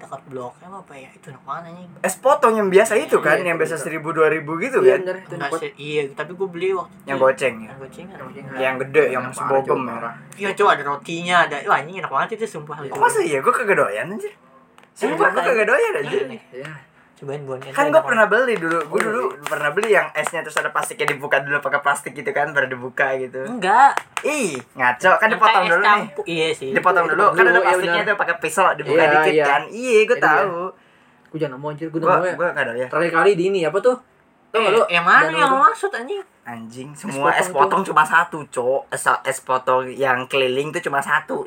[SPEAKER 1] dekat blok M apa ya? Itu enak banget anjing.
[SPEAKER 3] es potong yang biasa itu kan
[SPEAKER 2] Iya,
[SPEAKER 3] yang biasa
[SPEAKER 2] itu.
[SPEAKER 3] seribu dua ribu gitu
[SPEAKER 2] Iya
[SPEAKER 3] kan
[SPEAKER 2] bener itu
[SPEAKER 1] Enggak
[SPEAKER 2] nempot.
[SPEAKER 1] sih. Iya, tapi gue beli waktu itu
[SPEAKER 3] yang goceng ya
[SPEAKER 1] Yang goceng.
[SPEAKER 3] yang gede yang
[SPEAKER 2] Parah,
[SPEAKER 3] sebogem
[SPEAKER 2] cuy,
[SPEAKER 3] ya
[SPEAKER 2] parah.
[SPEAKER 1] Iya, coba ada rotinya, ada Wah, anjing enak banget itu sumpah.
[SPEAKER 3] Oh, masa iya gue kagak doyan anjir Sumpah
[SPEAKER 1] Enak,
[SPEAKER 3] gue kagak doyan anjir
[SPEAKER 1] Iya,
[SPEAKER 2] Iya.
[SPEAKER 1] Cobain buan
[SPEAKER 3] kan gue pernah beli dulu
[SPEAKER 2] Oh,
[SPEAKER 3] gue dulu pernah beli yang esnya terus ada plastiknya dibuka dulu pakai plastik gitu kan baru dibuka
[SPEAKER 2] Hmm.
[SPEAKER 3] gitu
[SPEAKER 1] Enggak.
[SPEAKER 3] ih ngaco kan
[SPEAKER 1] Yang
[SPEAKER 3] dipotong
[SPEAKER 1] kayak es
[SPEAKER 3] dulu nih
[SPEAKER 1] campur. Iya sih.
[SPEAKER 3] dipotong
[SPEAKER 2] Itu
[SPEAKER 3] dulu
[SPEAKER 2] dipotong
[SPEAKER 3] kan ada
[SPEAKER 2] dulu, iya
[SPEAKER 3] plastiknya
[SPEAKER 2] benar.
[SPEAKER 3] tuh pakai pisau dibuka
[SPEAKER 2] Iya,
[SPEAKER 3] dikit
[SPEAKER 2] iya.
[SPEAKER 3] kan iya gue
[SPEAKER 2] Jadi,
[SPEAKER 3] tahu
[SPEAKER 2] Gue jangan nemu anjir, gue
[SPEAKER 3] gue
[SPEAKER 2] nemu ya.
[SPEAKER 3] gue kagak doyan
[SPEAKER 2] Terakhir kali di ini apa tuh? Tuh
[SPEAKER 1] Eh,
[SPEAKER 2] lu
[SPEAKER 1] yang mana
[SPEAKER 2] Jangan
[SPEAKER 1] yang
[SPEAKER 2] lu-
[SPEAKER 1] lo maksud anjing?
[SPEAKER 3] anjing semua es
[SPEAKER 2] potong
[SPEAKER 3] potong cuma satu cok es, es potong yang keliling tuh cuma satu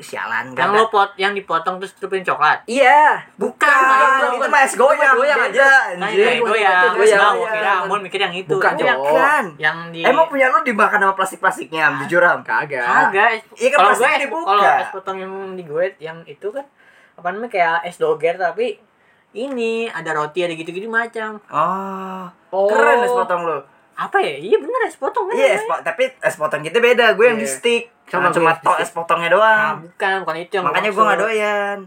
[SPEAKER 1] Yang
[SPEAKER 3] sialan gak ada.
[SPEAKER 1] lo pot yang dipotong terus terupin coklat.
[SPEAKER 2] Iya.
[SPEAKER 3] bukan
[SPEAKER 2] bukan,
[SPEAKER 3] itu
[SPEAKER 2] bukan.
[SPEAKER 3] mah es goyang
[SPEAKER 2] Itu mah goyang iya,
[SPEAKER 3] beda
[SPEAKER 1] Nah,
[SPEAKER 3] anjing
[SPEAKER 1] itu
[SPEAKER 2] goyang.
[SPEAKER 1] ya,
[SPEAKER 2] Itu goyang.
[SPEAKER 1] gua kira Ambon mikir yang itu. kan.
[SPEAKER 2] Bukan,
[SPEAKER 1] Itu yang,
[SPEAKER 2] Cok.
[SPEAKER 3] Oh, iya. bukan
[SPEAKER 1] yang di
[SPEAKER 3] emang punya lu dimakan sama plastik plastiknya Am, jujur am
[SPEAKER 2] Kagak.
[SPEAKER 1] kagak.
[SPEAKER 3] Iya kan
[SPEAKER 1] Ah, Kalau
[SPEAKER 3] plastik
[SPEAKER 1] gue es-
[SPEAKER 3] dibuka.
[SPEAKER 1] kalau es potong yang di gue yang itu kan apa namanya kayak es doger tapi ini ada roti ada gitu-gitu macam.
[SPEAKER 3] oh
[SPEAKER 2] Oh.
[SPEAKER 3] keren es potong lu
[SPEAKER 1] Apa ya? Iya bener es potong kan
[SPEAKER 3] Iya, es
[SPEAKER 1] namanya?
[SPEAKER 3] po- tapi es potong kita beda. Gue yang di
[SPEAKER 2] Iya.
[SPEAKER 3] stick.
[SPEAKER 2] Sama gue
[SPEAKER 3] Cuma cuma
[SPEAKER 2] yang di
[SPEAKER 3] to
[SPEAKER 2] stick.
[SPEAKER 3] es potongnya
[SPEAKER 1] Ah,
[SPEAKER 3] doang.
[SPEAKER 1] bukan, bukan itu yang gua
[SPEAKER 3] Makanya gue nggak
[SPEAKER 1] maksud.
[SPEAKER 3] doyan.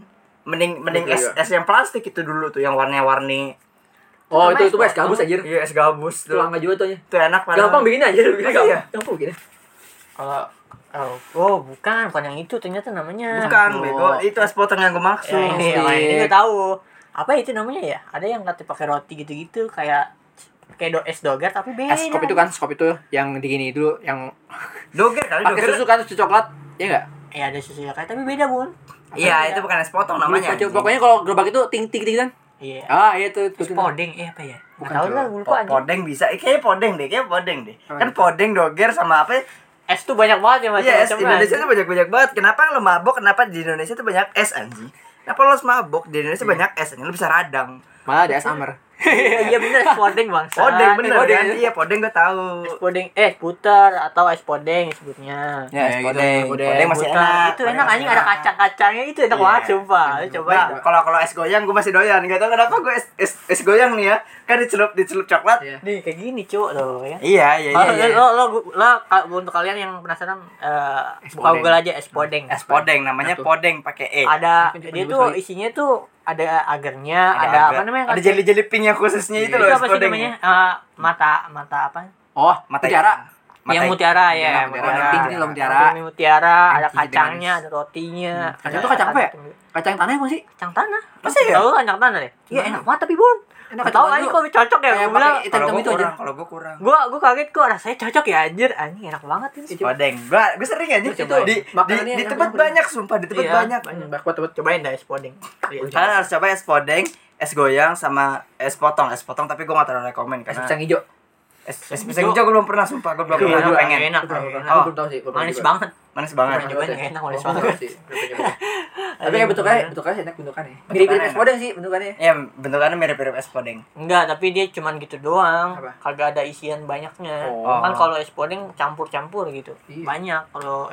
[SPEAKER 3] Mending mending
[SPEAKER 2] Betul
[SPEAKER 3] es
[SPEAKER 2] juga.
[SPEAKER 3] es yang plastik itu dulu tuh yang warna-warni.
[SPEAKER 2] Oh,
[SPEAKER 1] Sama
[SPEAKER 2] itu
[SPEAKER 1] es
[SPEAKER 2] itu es gabus anjir.
[SPEAKER 3] Iya, es gabus
[SPEAKER 2] Itu
[SPEAKER 3] tuh.
[SPEAKER 2] langka juga tuh anjir.
[SPEAKER 3] Itu enak padahal.
[SPEAKER 2] Gampang bikin aja, bikin
[SPEAKER 3] Iya.
[SPEAKER 2] gampang. Gampang bikin.
[SPEAKER 1] Kalau oh, oh, bukan, bukan yang itu ternyata namanya.
[SPEAKER 3] Bukan,
[SPEAKER 1] Oh.
[SPEAKER 3] bego. Itu es potong yang gue maksud.
[SPEAKER 1] Ya,
[SPEAKER 2] Iya,
[SPEAKER 1] ini, yang lain ini
[SPEAKER 2] Stick.
[SPEAKER 1] gue tahu. Apa itu namanya ya? Ada yang katanya pakai roti gitu-gitu kayak kayak do es doger tapi beda.
[SPEAKER 2] Es kopi itu kan, es kopi itu yang digini dulu yang
[SPEAKER 3] Doger kali
[SPEAKER 2] pakai
[SPEAKER 3] doger.
[SPEAKER 2] susu kan susu coklat. Iya enggak?
[SPEAKER 1] Ya ada susu kayak tapi beda, Bun.
[SPEAKER 3] Iya, itu bukan es potong namanya.
[SPEAKER 2] Lupa, cuy.
[SPEAKER 3] anjing.
[SPEAKER 2] Pokoknya kalau gerobak itu ting ting ting kan.
[SPEAKER 1] Iya.
[SPEAKER 2] Ah, iya tuh.
[SPEAKER 1] Es
[SPEAKER 2] tuh, tuh.
[SPEAKER 1] podeng, eh apa ya? Enggak
[SPEAKER 2] Bukan,
[SPEAKER 1] tahu
[SPEAKER 2] Cok.
[SPEAKER 1] lah, gue lupa
[SPEAKER 3] Po-
[SPEAKER 1] anjing.
[SPEAKER 3] podeng bisa. Eh, kayaknya podeng deh, kayaknya podeng deh.
[SPEAKER 2] Apa
[SPEAKER 3] Kan
[SPEAKER 2] itu?
[SPEAKER 3] podeng, doger sama apa? ya?
[SPEAKER 1] Es tuh banyak banget ya
[SPEAKER 3] Iya, es
[SPEAKER 1] macam-macam.
[SPEAKER 3] Indonesia tuh banyak-banyak banget. Kenapa lo mabok? Kenapa di Indonesia tuh banyak es anjing? Kenapa lo harus mabok? Di Indonesia
[SPEAKER 2] Iya.
[SPEAKER 3] banyak es, anjing. lo bisa radang.
[SPEAKER 2] Malah ada es amber.
[SPEAKER 1] Iya bener es podeng, Bang.
[SPEAKER 3] Podeng bener
[SPEAKER 2] podeng.
[SPEAKER 3] kan? Iya podeng gue tahu.
[SPEAKER 1] Es podeng, eh putar atau es podeng sebutnya.
[SPEAKER 3] Ya, es
[SPEAKER 2] Kayak
[SPEAKER 3] podeng.
[SPEAKER 2] gitu,
[SPEAKER 3] Podeng masih
[SPEAKER 1] Putar.
[SPEAKER 3] enak.
[SPEAKER 1] Itu enak anjing ada kacang-kacangnya itu enak
[SPEAKER 3] Iya.
[SPEAKER 1] banget sumpah. Lu coba.
[SPEAKER 3] Coba kalau kalau es goyang gue masih doyan. Gak tau kenapa gue es, es es goyang nih ya. Kan dicelup dicelup coklat.
[SPEAKER 2] Iya.
[SPEAKER 1] Nih kayak gini, Cuk, loh ya.
[SPEAKER 3] Iya iya
[SPEAKER 1] Oh,
[SPEAKER 3] iya. iya.
[SPEAKER 1] lo, lo, lo, lo, ka- untuk kalian yang penasaran, eh buka
[SPEAKER 3] podeng.
[SPEAKER 1] Google aja es podeng.
[SPEAKER 3] Es podeng namanya
[SPEAKER 2] Apa tuh?
[SPEAKER 3] podeng pakai e.
[SPEAKER 1] Ada,
[SPEAKER 2] Mungkin
[SPEAKER 1] dia
[SPEAKER 2] penyebut
[SPEAKER 1] tuh
[SPEAKER 2] kali.
[SPEAKER 1] isinya tuh ada agarnya, ada, apa
[SPEAKER 3] agar.
[SPEAKER 1] namanya? Iya.
[SPEAKER 3] Ada jeli jeli pink yang khususnya itu
[SPEAKER 1] itu
[SPEAKER 3] loh es
[SPEAKER 1] apa sih
[SPEAKER 3] podeng.
[SPEAKER 1] namanya? Eh, mata, mata apa?
[SPEAKER 2] Oh,
[SPEAKER 3] Mata
[SPEAKER 2] mutiara.
[SPEAKER 1] yang mutiara ya,
[SPEAKER 2] Mutiara, mutiara. Yang pink nih loh, mutiara.
[SPEAKER 1] Yang mutiara, ada
[SPEAKER 2] Yang hijau
[SPEAKER 1] kacangnya,
[SPEAKER 2] manis.
[SPEAKER 1] ada rotinya.
[SPEAKER 2] Hmm. Kacang tuh kacang apa ya?
[SPEAKER 1] Kacang-
[SPEAKER 2] Kacang tanah emang sih?
[SPEAKER 1] Kacang tanah.
[SPEAKER 3] Masa ya?
[SPEAKER 1] Tahu kacang tanah deh? Iya
[SPEAKER 2] Gimana?
[SPEAKER 1] enak banget tapi bun.
[SPEAKER 2] Enak,
[SPEAKER 1] Nggak tahu
[SPEAKER 2] cuman
[SPEAKER 1] aja
[SPEAKER 2] lu
[SPEAKER 1] kok cocok ya?
[SPEAKER 2] kayak
[SPEAKER 1] Gue bilang,
[SPEAKER 2] pakai hitam
[SPEAKER 3] Kalau
[SPEAKER 2] hitam
[SPEAKER 3] gue
[SPEAKER 2] itu aja.
[SPEAKER 3] kurang, kalau gue kurang.
[SPEAKER 1] gue gue kaget kok rasanya cocok ya anjir, anjing enak banget ini.
[SPEAKER 3] Podeng. Gue gue sering aja
[SPEAKER 2] Lu
[SPEAKER 3] itu
[SPEAKER 2] cobain.
[SPEAKER 3] di di,
[SPEAKER 2] Makanannya
[SPEAKER 3] di
[SPEAKER 2] enak
[SPEAKER 3] tempat
[SPEAKER 2] banget.
[SPEAKER 3] banyak sumpah di tempat
[SPEAKER 1] Iya,
[SPEAKER 3] banyak.
[SPEAKER 2] Banyak buat buat
[SPEAKER 1] Cobain dah es podeng.
[SPEAKER 2] Iya,
[SPEAKER 1] Ah,
[SPEAKER 3] Kalian harus coba es podeng, es goyang sama es potong. Es potong tapi gue gak terlalu rekomen
[SPEAKER 2] es
[SPEAKER 3] karena
[SPEAKER 2] pisang hijau.
[SPEAKER 3] es, es pisang hijau gue belum pernah sumpah, gue belum
[SPEAKER 1] Iya,
[SPEAKER 3] pernah gue
[SPEAKER 1] enak,
[SPEAKER 3] pengen.
[SPEAKER 1] enak.
[SPEAKER 2] Aku belum tahu sih. gua belum
[SPEAKER 1] Manis
[SPEAKER 2] coba.
[SPEAKER 1] banget.
[SPEAKER 3] Manis
[SPEAKER 2] Pernah
[SPEAKER 3] banget.
[SPEAKER 1] Cobain,
[SPEAKER 2] coba
[SPEAKER 1] enak, manis
[SPEAKER 2] Oh,
[SPEAKER 1] banget.
[SPEAKER 2] belum sih, belum coba. Tapi kayak bentuknya bentuknya sih enak bentukannya. Mirip-mirip es podeng sih bentukannya.
[SPEAKER 3] Ya bentukannya mirip-mirip es podeng.
[SPEAKER 1] Enggak, tapi dia cuman gitu doang.
[SPEAKER 2] Apa?
[SPEAKER 1] Kagak ada isian banyaknya.
[SPEAKER 2] Oh.
[SPEAKER 1] Kan kalau es podeng campur-campur gitu.
[SPEAKER 2] Iya.
[SPEAKER 1] Banyak kalau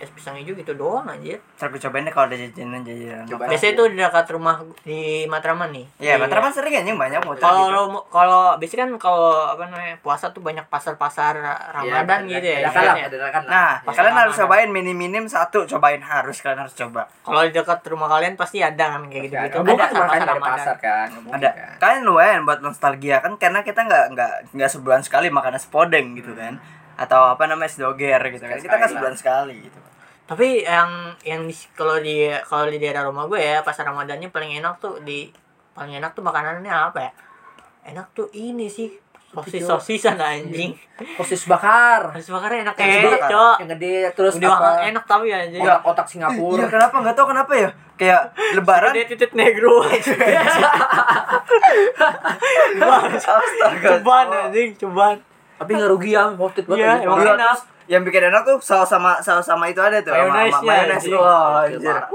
[SPEAKER 1] es pisangnya juga gitu doang anjir
[SPEAKER 3] Ntar gue cobain deh kalau ada jajanan jajanan.
[SPEAKER 2] Coba.
[SPEAKER 3] lokal.
[SPEAKER 1] biasanya tuh di dekat rumah di Matraman nih
[SPEAKER 3] Iya,
[SPEAKER 1] Di-
[SPEAKER 3] Matraman sering anjing banyak motor
[SPEAKER 1] kalau
[SPEAKER 3] gitu.
[SPEAKER 1] mau- kalau biasanya kan kalau apa namanya puasa tuh banyak pasar-pasar
[SPEAKER 4] Iya,
[SPEAKER 1] Ramadan gitu ya
[SPEAKER 4] Ada
[SPEAKER 1] ibaratnya.
[SPEAKER 4] kalap, ada kalap.
[SPEAKER 3] Nah,
[SPEAKER 1] Pasar
[SPEAKER 3] kalian harus
[SPEAKER 1] Ramadan.
[SPEAKER 3] cobain minim-minim satu, cobain harus kalian harus coba.
[SPEAKER 1] kalau di dekat rumah kalian pasti ada kan kayak gitu gitu
[SPEAKER 2] Kamu kan
[SPEAKER 1] pasar-pasar
[SPEAKER 2] makan dari
[SPEAKER 1] Ramadan.
[SPEAKER 2] pasar kan? Nggak mungkin
[SPEAKER 3] ada
[SPEAKER 2] kan?
[SPEAKER 3] kalian lumayan buat nostalgia kan karena kita nggak nggak nggak sebulan sekali makan es podeng gitu kan atau apa namanya es doger gitu kan kita nggak
[SPEAKER 2] Sekali-sekali
[SPEAKER 3] sebulan sekali gitu
[SPEAKER 1] tapi yang yang di, kalau di kalau di daerah rumah gue ya pasar Ramadannya paling enak tuh di paling enak tuh makanannya apa ya enak tuh ini sih sosis sosisan anjing
[SPEAKER 4] Sosis bakar.
[SPEAKER 1] harus makannya enak
[SPEAKER 3] Sosis
[SPEAKER 1] kayak
[SPEAKER 3] bakar.
[SPEAKER 1] cok
[SPEAKER 4] Yang gede terus
[SPEAKER 1] udah
[SPEAKER 4] apa?
[SPEAKER 1] makan Iya. enak tapi anjing
[SPEAKER 4] Kotak, kotak
[SPEAKER 3] Iya
[SPEAKER 4] Singapura.
[SPEAKER 3] kenapa nggak tahu kenapa ya kayak lebaran
[SPEAKER 1] dia titik negro Cobaan,
[SPEAKER 3] astaga
[SPEAKER 1] cobaan anjing cobaan
[SPEAKER 4] Tapi nggak rugi ya, worth it banget.
[SPEAKER 1] Iya,
[SPEAKER 4] anjing.
[SPEAKER 1] emang
[SPEAKER 3] Dulu
[SPEAKER 1] enak.
[SPEAKER 3] terus yang bikin enak tuh saus sama saus sama itu ada tuh sama-
[SPEAKER 1] Mayonesnya,
[SPEAKER 3] sama mayones
[SPEAKER 1] anjing.
[SPEAKER 3] wah
[SPEAKER 2] Gokil
[SPEAKER 3] anjir
[SPEAKER 2] banget.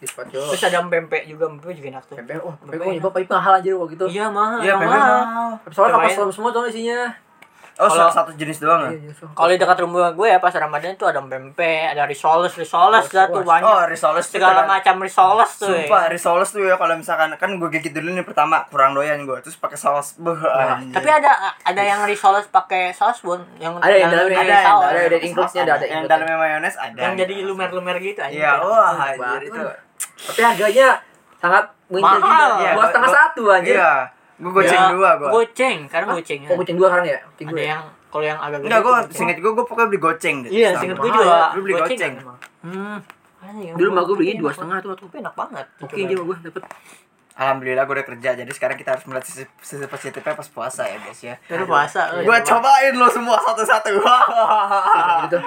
[SPEAKER 2] Di spot, Jo.
[SPEAKER 1] terus ada pempek juga pempek juga enak tuh
[SPEAKER 2] Tempe, oh,
[SPEAKER 4] Tapi kok nyebab pahit mahal anjir waktu itu.
[SPEAKER 1] iya mahal
[SPEAKER 3] Iya,
[SPEAKER 1] emang
[SPEAKER 3] pempek
[SPEAKER 1] mahal.
[SPEAKER 3] mahal.
[SPEAKER 4] Soalnya
[SPEAKER 1] Cobain. Iya,
[SPEAKER 4] kapas selam semua soalnya isinya. Iya,
[SPEAKER 3] Oh,
[SPEAKER 1] Kalau-
[SPEAKER 3] satu jenis doang. ya?
[SPEAKER 1] kalau di dekat rumah gue ya pas ramadan tuh ada pempek ada risoles risoles dah tuh banyak
[SPEAKER 3] Oh, risoles tuh
[SPEAKER 1] segala
[SPEAKER 3] kadang-
[SPEAKER 1] macam risoles tuh ya.
[SPEAKER 3] Sumpah, risoles tuh ya kalau misalkan kan gue gigit dulu nih pertama kurang doyan gue terus pakai saus beh. anjir.
[SPEAKER 1] Nah, tapi ada ada yang risoles pakai saus bun yang
[SPEAKER 4] Ada yang dalamnya,
[SPEAKER 1] dalamnya ada
[SPEAKER 4] yang
[SPEAKER 1] saus.
[SPEAKER 4] dalamnya ada yang include-nya, ada- ada
[SPEAKER 3] yang
[SPEAKER 4] include-nya.
[SPEAKER 3] dalamnya mayones ada.
[SPEAKER 1] yang jadi lumer-lumer gitu aja
[SPEAKER 3] Iya, wah
[SPEAKER 4] Wah,
[SPEAKER 3] anjir itu.
[SPEAKER 4] Tapi harganya sangat mengincar
[SPEAKER 1] Mahal.
[SPEAKER 4] kita.
[SPEAKER 1] Iya,
[SPEAKER 4] Dua setengah
[SPEAKER 3] gua-
[SPEAKER 4] satu anjir.
[SPEAKER 3] Iya, gue goceng dua gue.
[SPEAKER 1] Ya, goceng karena goceng
[SPEAKER 4] Kok kucing dua sekarang ya? Kucing
[SPEAKER 1] ada
[SPEAKER 4] dua. ya?
[SPEAKER 1] yang kalau yang agak
[SPEAKER 3] Enggak,
[SPEAKER 1] gede
[SPEAKER 3] gue
[SPEAKER 1] tuh goceng.
[SPEAKER 3] singkat gue gue pokoknya beli goceng deh.
[SPEAKER 1] iya
[SPEAKER 3] Sama.
[SPEAKER 1] singkat gue
[SPEAKER 3] Mahal
[SPEAKER 1] juga
[SPEAKER 3] ya, Lu beli goceng.
[SPEAKER 1] emang. hmm Anjing,
[SPEAKER 4] Dulu mah gue belinya
[SPEAKER 1] goceng
[SPEAKER 4] dua
[SPEAKER 1] enak
[SPEAKER 4] setengah tuh waktu
[SPEAKER 1] banget. enak banget
[SPEAKER 4] Oke
[SPEAKER 1] Coba.
[SPEAKER 4] dia gue dapet
[SPEAKER 3] Alhamdulillah gue udah kerja, jadi sekarang kita harus melihat sisi, sisi positifnya pas puasa ya guys ya.
[SPEAKER 1] Baru puasa lu
[SPEAKER 3] Gue
[SPEAKER 1] ya.
[SPEAKER 3] cobain lo semua satu-satu.
[SPEAKER 4] gitu.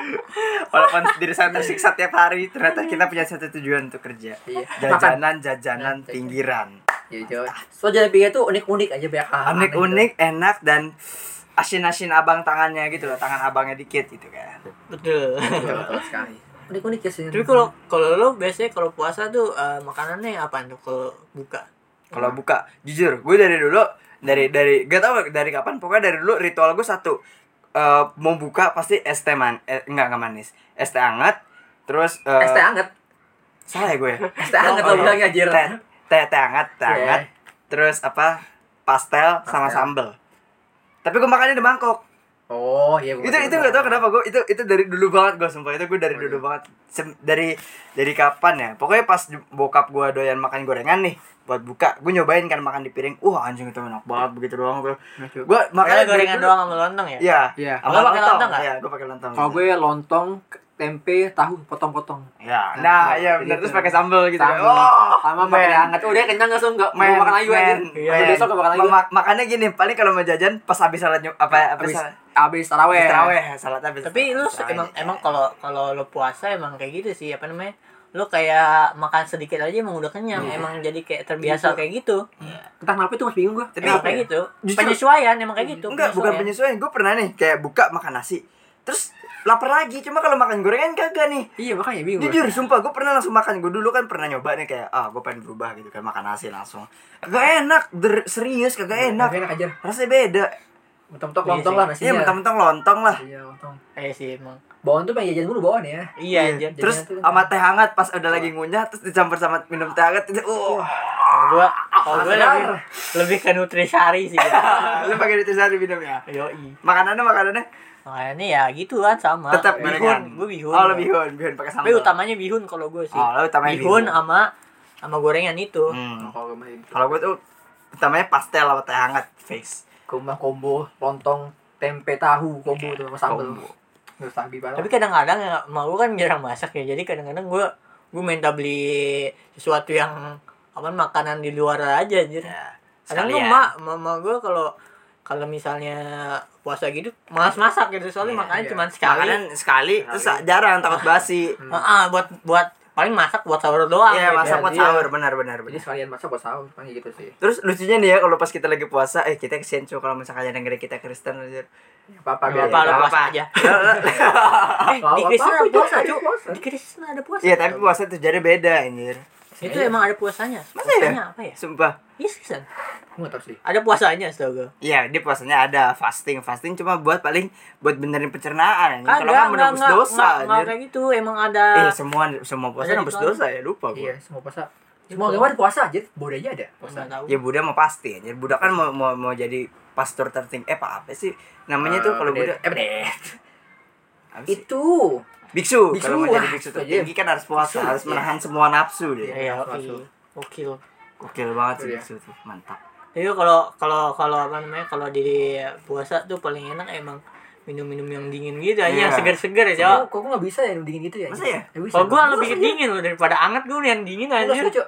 [SPEAKER 3] Walaupun diri saya tersiksa tiap hari, ternyata kita punya satu tujuan untuk kerja.
[SPEAKER 2] Iya.
[SPEAKER 3] Jajanan, jajanan pinggiran.
[SPEAKER 2] Iya, Jo.
[SPEAKER 4] Soalnya jalan pinggirnya tuh unik-unik aja Ah, banyak hal.
[SPEAKER 3] Unik-unik, enak dan asin-asin abang tangannya gitu loh, tangan abangnya dikit gitu kan.
[SPEAKER 1] betul
[SPEAKER 4] Iya.
[SPEAKER 2] Betul, betul sekali.
[SPEAKER 4] Unik-unik ya sih.
[SPEAKER 1] tapi kalau kalau lu biasanya kalau puasa tuh eh, makanannya apa tuh kalau buka
[SPEAKER 3] Kalau buka, jujur, gue dari dulu dari dari gak tau dari kapan pokoknya dari dulu ritual gue satu Eh, mau buka pasti es teh man eh, enggak enggak manis es teh hangat terus eh,
[SPEAKER 4] es teh anget.
[SPEAKER 3] salah ya gue ya?
[SPEAKER 4] Es teh anget lo
[SPEAKER 3] Oh, iya.
[SPEAKER 4] bilangnya anjir.
[SPEAKER 3] teh teh teh hangat teh
[SPEAKER 4] Iya.
[SPEAKER 3] hangat terus apa pastel, sama
[SPEAKER 2] Pastel.
[SPEAKER 3] sambel tapi gue makannya di mangkok
[SPEAKER 2] Oh, iya. gua
[SPEAKER 3] itu
[SPEAKER 2] ngerti,
[SPEAKER 3] itu
[SPEAKER 2] gua
[SPEAKER 3] nggak tau
[SPEAKER 2] ngerti.
[SPEAKER 3] kenapa gue itu itu dari dulu banget gue sumpah itu gue dari dulu banget Sem- dari dari kapan ya pokoknya pas ju- bokap gue doyan makan gorengan nih buat buka gue nyobain kan makan di piring wah anjing itu enak banget begitu doang gue gue
[SPEAKER 1] makanya
[SPEAKER 3] makan
[SPEAKER 1] gorengan doang sama lontong ya
[SPEAKER 3] Iya,
[SPEAKER 2] Iya.
[SPEAKER 3] Sama
[SPEAKER 1] Lo pakai
[SPEAKER 3] lontong.
[SPEAKER 1] lontong nggak?
[SPEAKER 3] Iya, gue pakai lontong.
[SPEAKER 4] Kalau gue lontong, tempe, tahu potong-potong.
[SPEAKER 3] Iya. Nah, iya
[SPEAKER 4] Jadi
[SPEAKER 3] benar
[SPEAKER 4] itu.
[SPEAKER 3] terus pakai sambal gitu.
[SPEAKER 4] Sama,
[SPEAKER 3] Oh,
[SPEAKER 4] sama
[SPEAKER 3] men.
[SPEAKER 4] makan anget. Udah kenyang langsung enggak mau
[SPEAKER 3] Men,
[SPEAKER 4] makan lagi gue
[SPEAKER 3] men,
[SPEAKER 4] anjir.
[SPEAKER 3] men.
[SPEAKER 4] Udah Besok gak makan lagi. gue.
[SPEAKER 3] Ma- makannya gini, paling kalau mau jajan pas habis salat nyum- apa apa
[SPEAKER 4] Abis
[SPEAKER 3] salat
[SPEAKER 4] abis taraweh.
[SPEAKER 3] habis taraweh, salat habis.
[SPEAKER 1] tapi lu
[SPEAKER 3] habis taraweh.
[SPEAKER 1] emang emang kalau kalau lu puasa emang kayak gitu sih apa namanya lu kayak makan sedikit aja emang udah kenyang
[SPEAKER 3] Iya.
[SPEAKER 1] emang jadi kayak terbiasa kayak gitu
[SPEAKER 4] Entah kenapa itu masih bingung gue.
[SPEAKER 3] Tapi-
[SPEAKER 1] emang kayak gitu
[SPEAKER 3] Justru-
[SPEAKER 1] penyesuaian emang kayak gitu
[SPEAKER 3] enggak bukan penyesuaian. Gue pernah nih kayak buka makan nasi, terus lapar lagi. Cuma kalau makan gorengan kagak nih.
[SPEAKER 4] Iya makanya bingung. gue.
[SPEAKER 3] Jujur, sumpah gue pernah langsung makan. Gue dulu kan pernah nyoba nih kayak ah gue pengen berubah gitu kan makan nasi langsung. Kagak enak, der- serius kagak
[SPEAKER 4] Enak
[SPEAKER 3] enak.
[SPEAKER 4] enak aja.
[SPEAKER 3] Rasanya beda.
[SPEAKER 4] Mentok-mentok
[SPEAKER 1] Iya
[SPEAKER 4] lontong
[SPEAKER 1] sih.
[SPEAKER 4] lah
[SPEAKER 3] Iya,
[SPEAKER 4] nasinya.
[SPEAKER 3] mentang-mentang lontong lah.
[SPEAKER 4] Iya, lontong.
[SPEAKER 1] Iya sih emang
[SPEAKER 4] Bawaan tuh pengen jajan mulu bawaan ya.
[SPEAKER 1] iya anjir
[SPEAKER 4] Jadi-
[SPEAKER 3] Terus sama teh hangat pas udah lagi ngunyah terus dicampur sama minum teh hangat itu uh.
[SPEAKER 1] Kalau gua kalau
[SPEAKER 3] Ah,
[SPEAKER 1] gua
[SPEAKER 4] Sadar.
[SPEAKER 1] lebih lebih ke nutrisari sih ya.
[SPEAKER 3] Lu pakai nutrisari minum ya.
[SPEAKER 1] Yoi.
[SPEAKER 3] Makanannya makanannya
[SPEAKER 1] Makanya ya gitu kan sama.
[SPEAKER 3] tetap
[SPEAKER 1] bihun,
[SPEAKER 3] gorengan.
[SPEAKER 1] gua bihun.
[SPEAKER 3] Oh, lu bihun, bihun pakai
[SPEAKER 1] Tapi
[SPEAKER 3] sambal.
[SPEAKER 1] utamanya bihun kalau gua sih.
[SPEAKER 3] Oh, lu utamanya
[SPEAKER 1] bihun
[SPEAKER 3] bihun.
[SPEAKER 1] sama sama gorengan itu.
[SPEAKER 2] Nah,
[SPEAKER 3] Hmm.
[SPEAKER 2] Kalau gue masih
[SPEAKER 3] Kalau gue tuh utamanya pastel sama teh hangat face.
[SPEAKER 4] Kumah combo lontong tempe tahu combo tuh sama sambal.
[SPEAKER 2] nostalgia banget.
[SPEAKER 1] Tapi kadang-kadang ya, mau gua kan jarang masak ya. Jadi kadang-kadang gua gua minta beli sesuatu yang apa makanan di luar aja anjir.
[SPEAKER 3] Ya.
[SPEAKER 1] Kadang tuh
[SPEAKER 3] sekalian.
[SPEAKER 1] mak mama gua kalau kalau misalnya puasa gitu malas masak gitu soalnya
[SPEAKER 3] Iya,
[SPEAKER 1] makannya
[SPEAKER 2] iya.
[SPEAKER 1] cuma sekali.
[SPEAKER 3] Makanan sekali terus jarang takut basi.
[SPEAKER 1] Ah, ah, buat buat paling masak buat sahur doang.
[SPEAKER 3] Iya,
[SPEAKER 1] gitu.
[SPEAKER 3] masak buat
[SPEAKER 4] Iya.
[SPEAKER 3] sahur benar-benar
[SPEAKER 2] Jadi
[SPEAKER 3] benar.
[SPEAKER 1] Nah.
[SPEAKER 2] sekalian masak buat sahur kan gitu sih.
[SPEAKER 3] Terus lucunya nih ya kalau pas kita lagi puasa, eh kita kesian cuy kalau misalkan ada negeri kita Kristen anjir.
[SPEAKER 1] Gak
[SPEAKER 2] Apa-apa biar
[SPEAKER 1] apa-apa, lu
[SPEAKER 3] Gak
[SPEAKER 1] puasa
[SPEAKER 3] apa-apa.
[SPEAKER 1] aja. Eh,
[SPEAKER 4] Gak
[SPEAKER 1] di
[SPEAKER 4] apa-apa,
[SPEAKER 1] Kristen ada
[SPEAKER 4] itu
[SPEAKER 1] puasa,
[SPEAKER 4] ada
[SPEAKER 1] Cuk.
[SPEAKER 4] puasa.
[SPEAKER 1] Di Kristen ada puasa.
[SPEAKER 3] Iya, tapi puasa tujuannya beda anjir.
[SPEAKER 1] Itu emang ada puasanya.
[SPEAKER 3] Masa ya?
[SPEAKER 1] puasanya apa ya?
[SPEAKER 3] Sumpah.
[SPEAKER 1] Iya sih, San.
[SPEAKER 2] Gue nggak tahu sih.
[SPEAKER 1] Ada puasanya setahu gue.
[SPEAKER 3] Iya, dia puasanya ada fasting. Fasting cuma buat paling buat benerin pencernaan. anjing.
[SPEAKER 1] Kagak,
[SPEAKER 3] Kalau nggak
[SPEAKER 1] enggak,
[SPEAKER 3] menebus
[SPEAKER 1] enggak,
[SPEAKER 3] dosa.
[SPEAKER 1] enggak, enggak
[SPEAKER 3] anjir.
[SPEAKER 1] kayak gitu. Emang ada
[SPEAKER 3] Eh,
[SPEAKER 2] Nah,
[SPEAKER 3] semua semua puasa
[SPEAKER 1] Ada di
[SPEAKER 3] nembus
[SPEAKER 1] Quran.
[SPEAKER 3] dosa ya, lupa gue.
[SPEAKER 2] Iya, semua puasa. Semua agama ada puasa aja, bodoh aja ada puasa.
[SPEAKER 1] Nggak tahu.
[SPEAKER 3] Ya Buddha mau pasti anjir. Buddha kan mau mau, mau jadi pastor tertinggi. Eh, apa, apa sih namanya tuh
[SPEAKER 2] Eh,
[SPEAKER 3] kalau
[SPEAKER 2] bener.
[SPEAKER 3] Buddha?
[SPEAKER 2] eh bener.
[SPEAKER 3] Apa sih?
[SPEAKER 2] Itu.
[SPEAKER 3] Biksu.
[SPEAKER 2] Biksu,
[SPEAKER 3] Kalau mau jadi
[SPEAKER 2] wah,
[SPEAKER 3] biksu
[SPEAKER 2] itu aja.
[SPEAKER 3] tertinggi kan harus puasa,
[SPEAKER 2] Biksu,
[SPEAKER 3] harus
[SPEAKER 2] iya.
[SPEAKER 3] menahan semua nafsu dia.
[SPEAKER 1] Iya,
[SPEAKER 2] Masuk,
[SPEAKER 1] iya.
[SPEAKER 2] masuk.
[SPEAKER 1] Oke loh.
[SPEAKER 3] Gokil banget sih
[SPEAKER 2] Iya.
[SPEAKER 3] biksu tuh. Mantap.
[SPEAKER 1] Jadi kalau kalau kalau apa namanya kalau di puasa tuh paling enak emang minum-minum yang dingin gitu aja,
[SPEAKER 3] Iya.
[SPEAKER 1] yang segar-segar ya,
[SPEAKER 2] Kok
[SPEAKER 1] Cok.
[SPEAKER 2] kok nggak bisa ya dingin gitu ya?
[SPEAKER 3] Masa ya?
[SPEAKER 2] bisa. iya?
[SPEAKER 1] Kalau gua
[SPEAKER 2] Bisa,
[SPEAKER 1] lebih dingin loh daripada anget gua yang dingin
[SPEAKER 2] Bisa,
[SPEAKER 1] anjir.
[SPEAKER 2] Cok.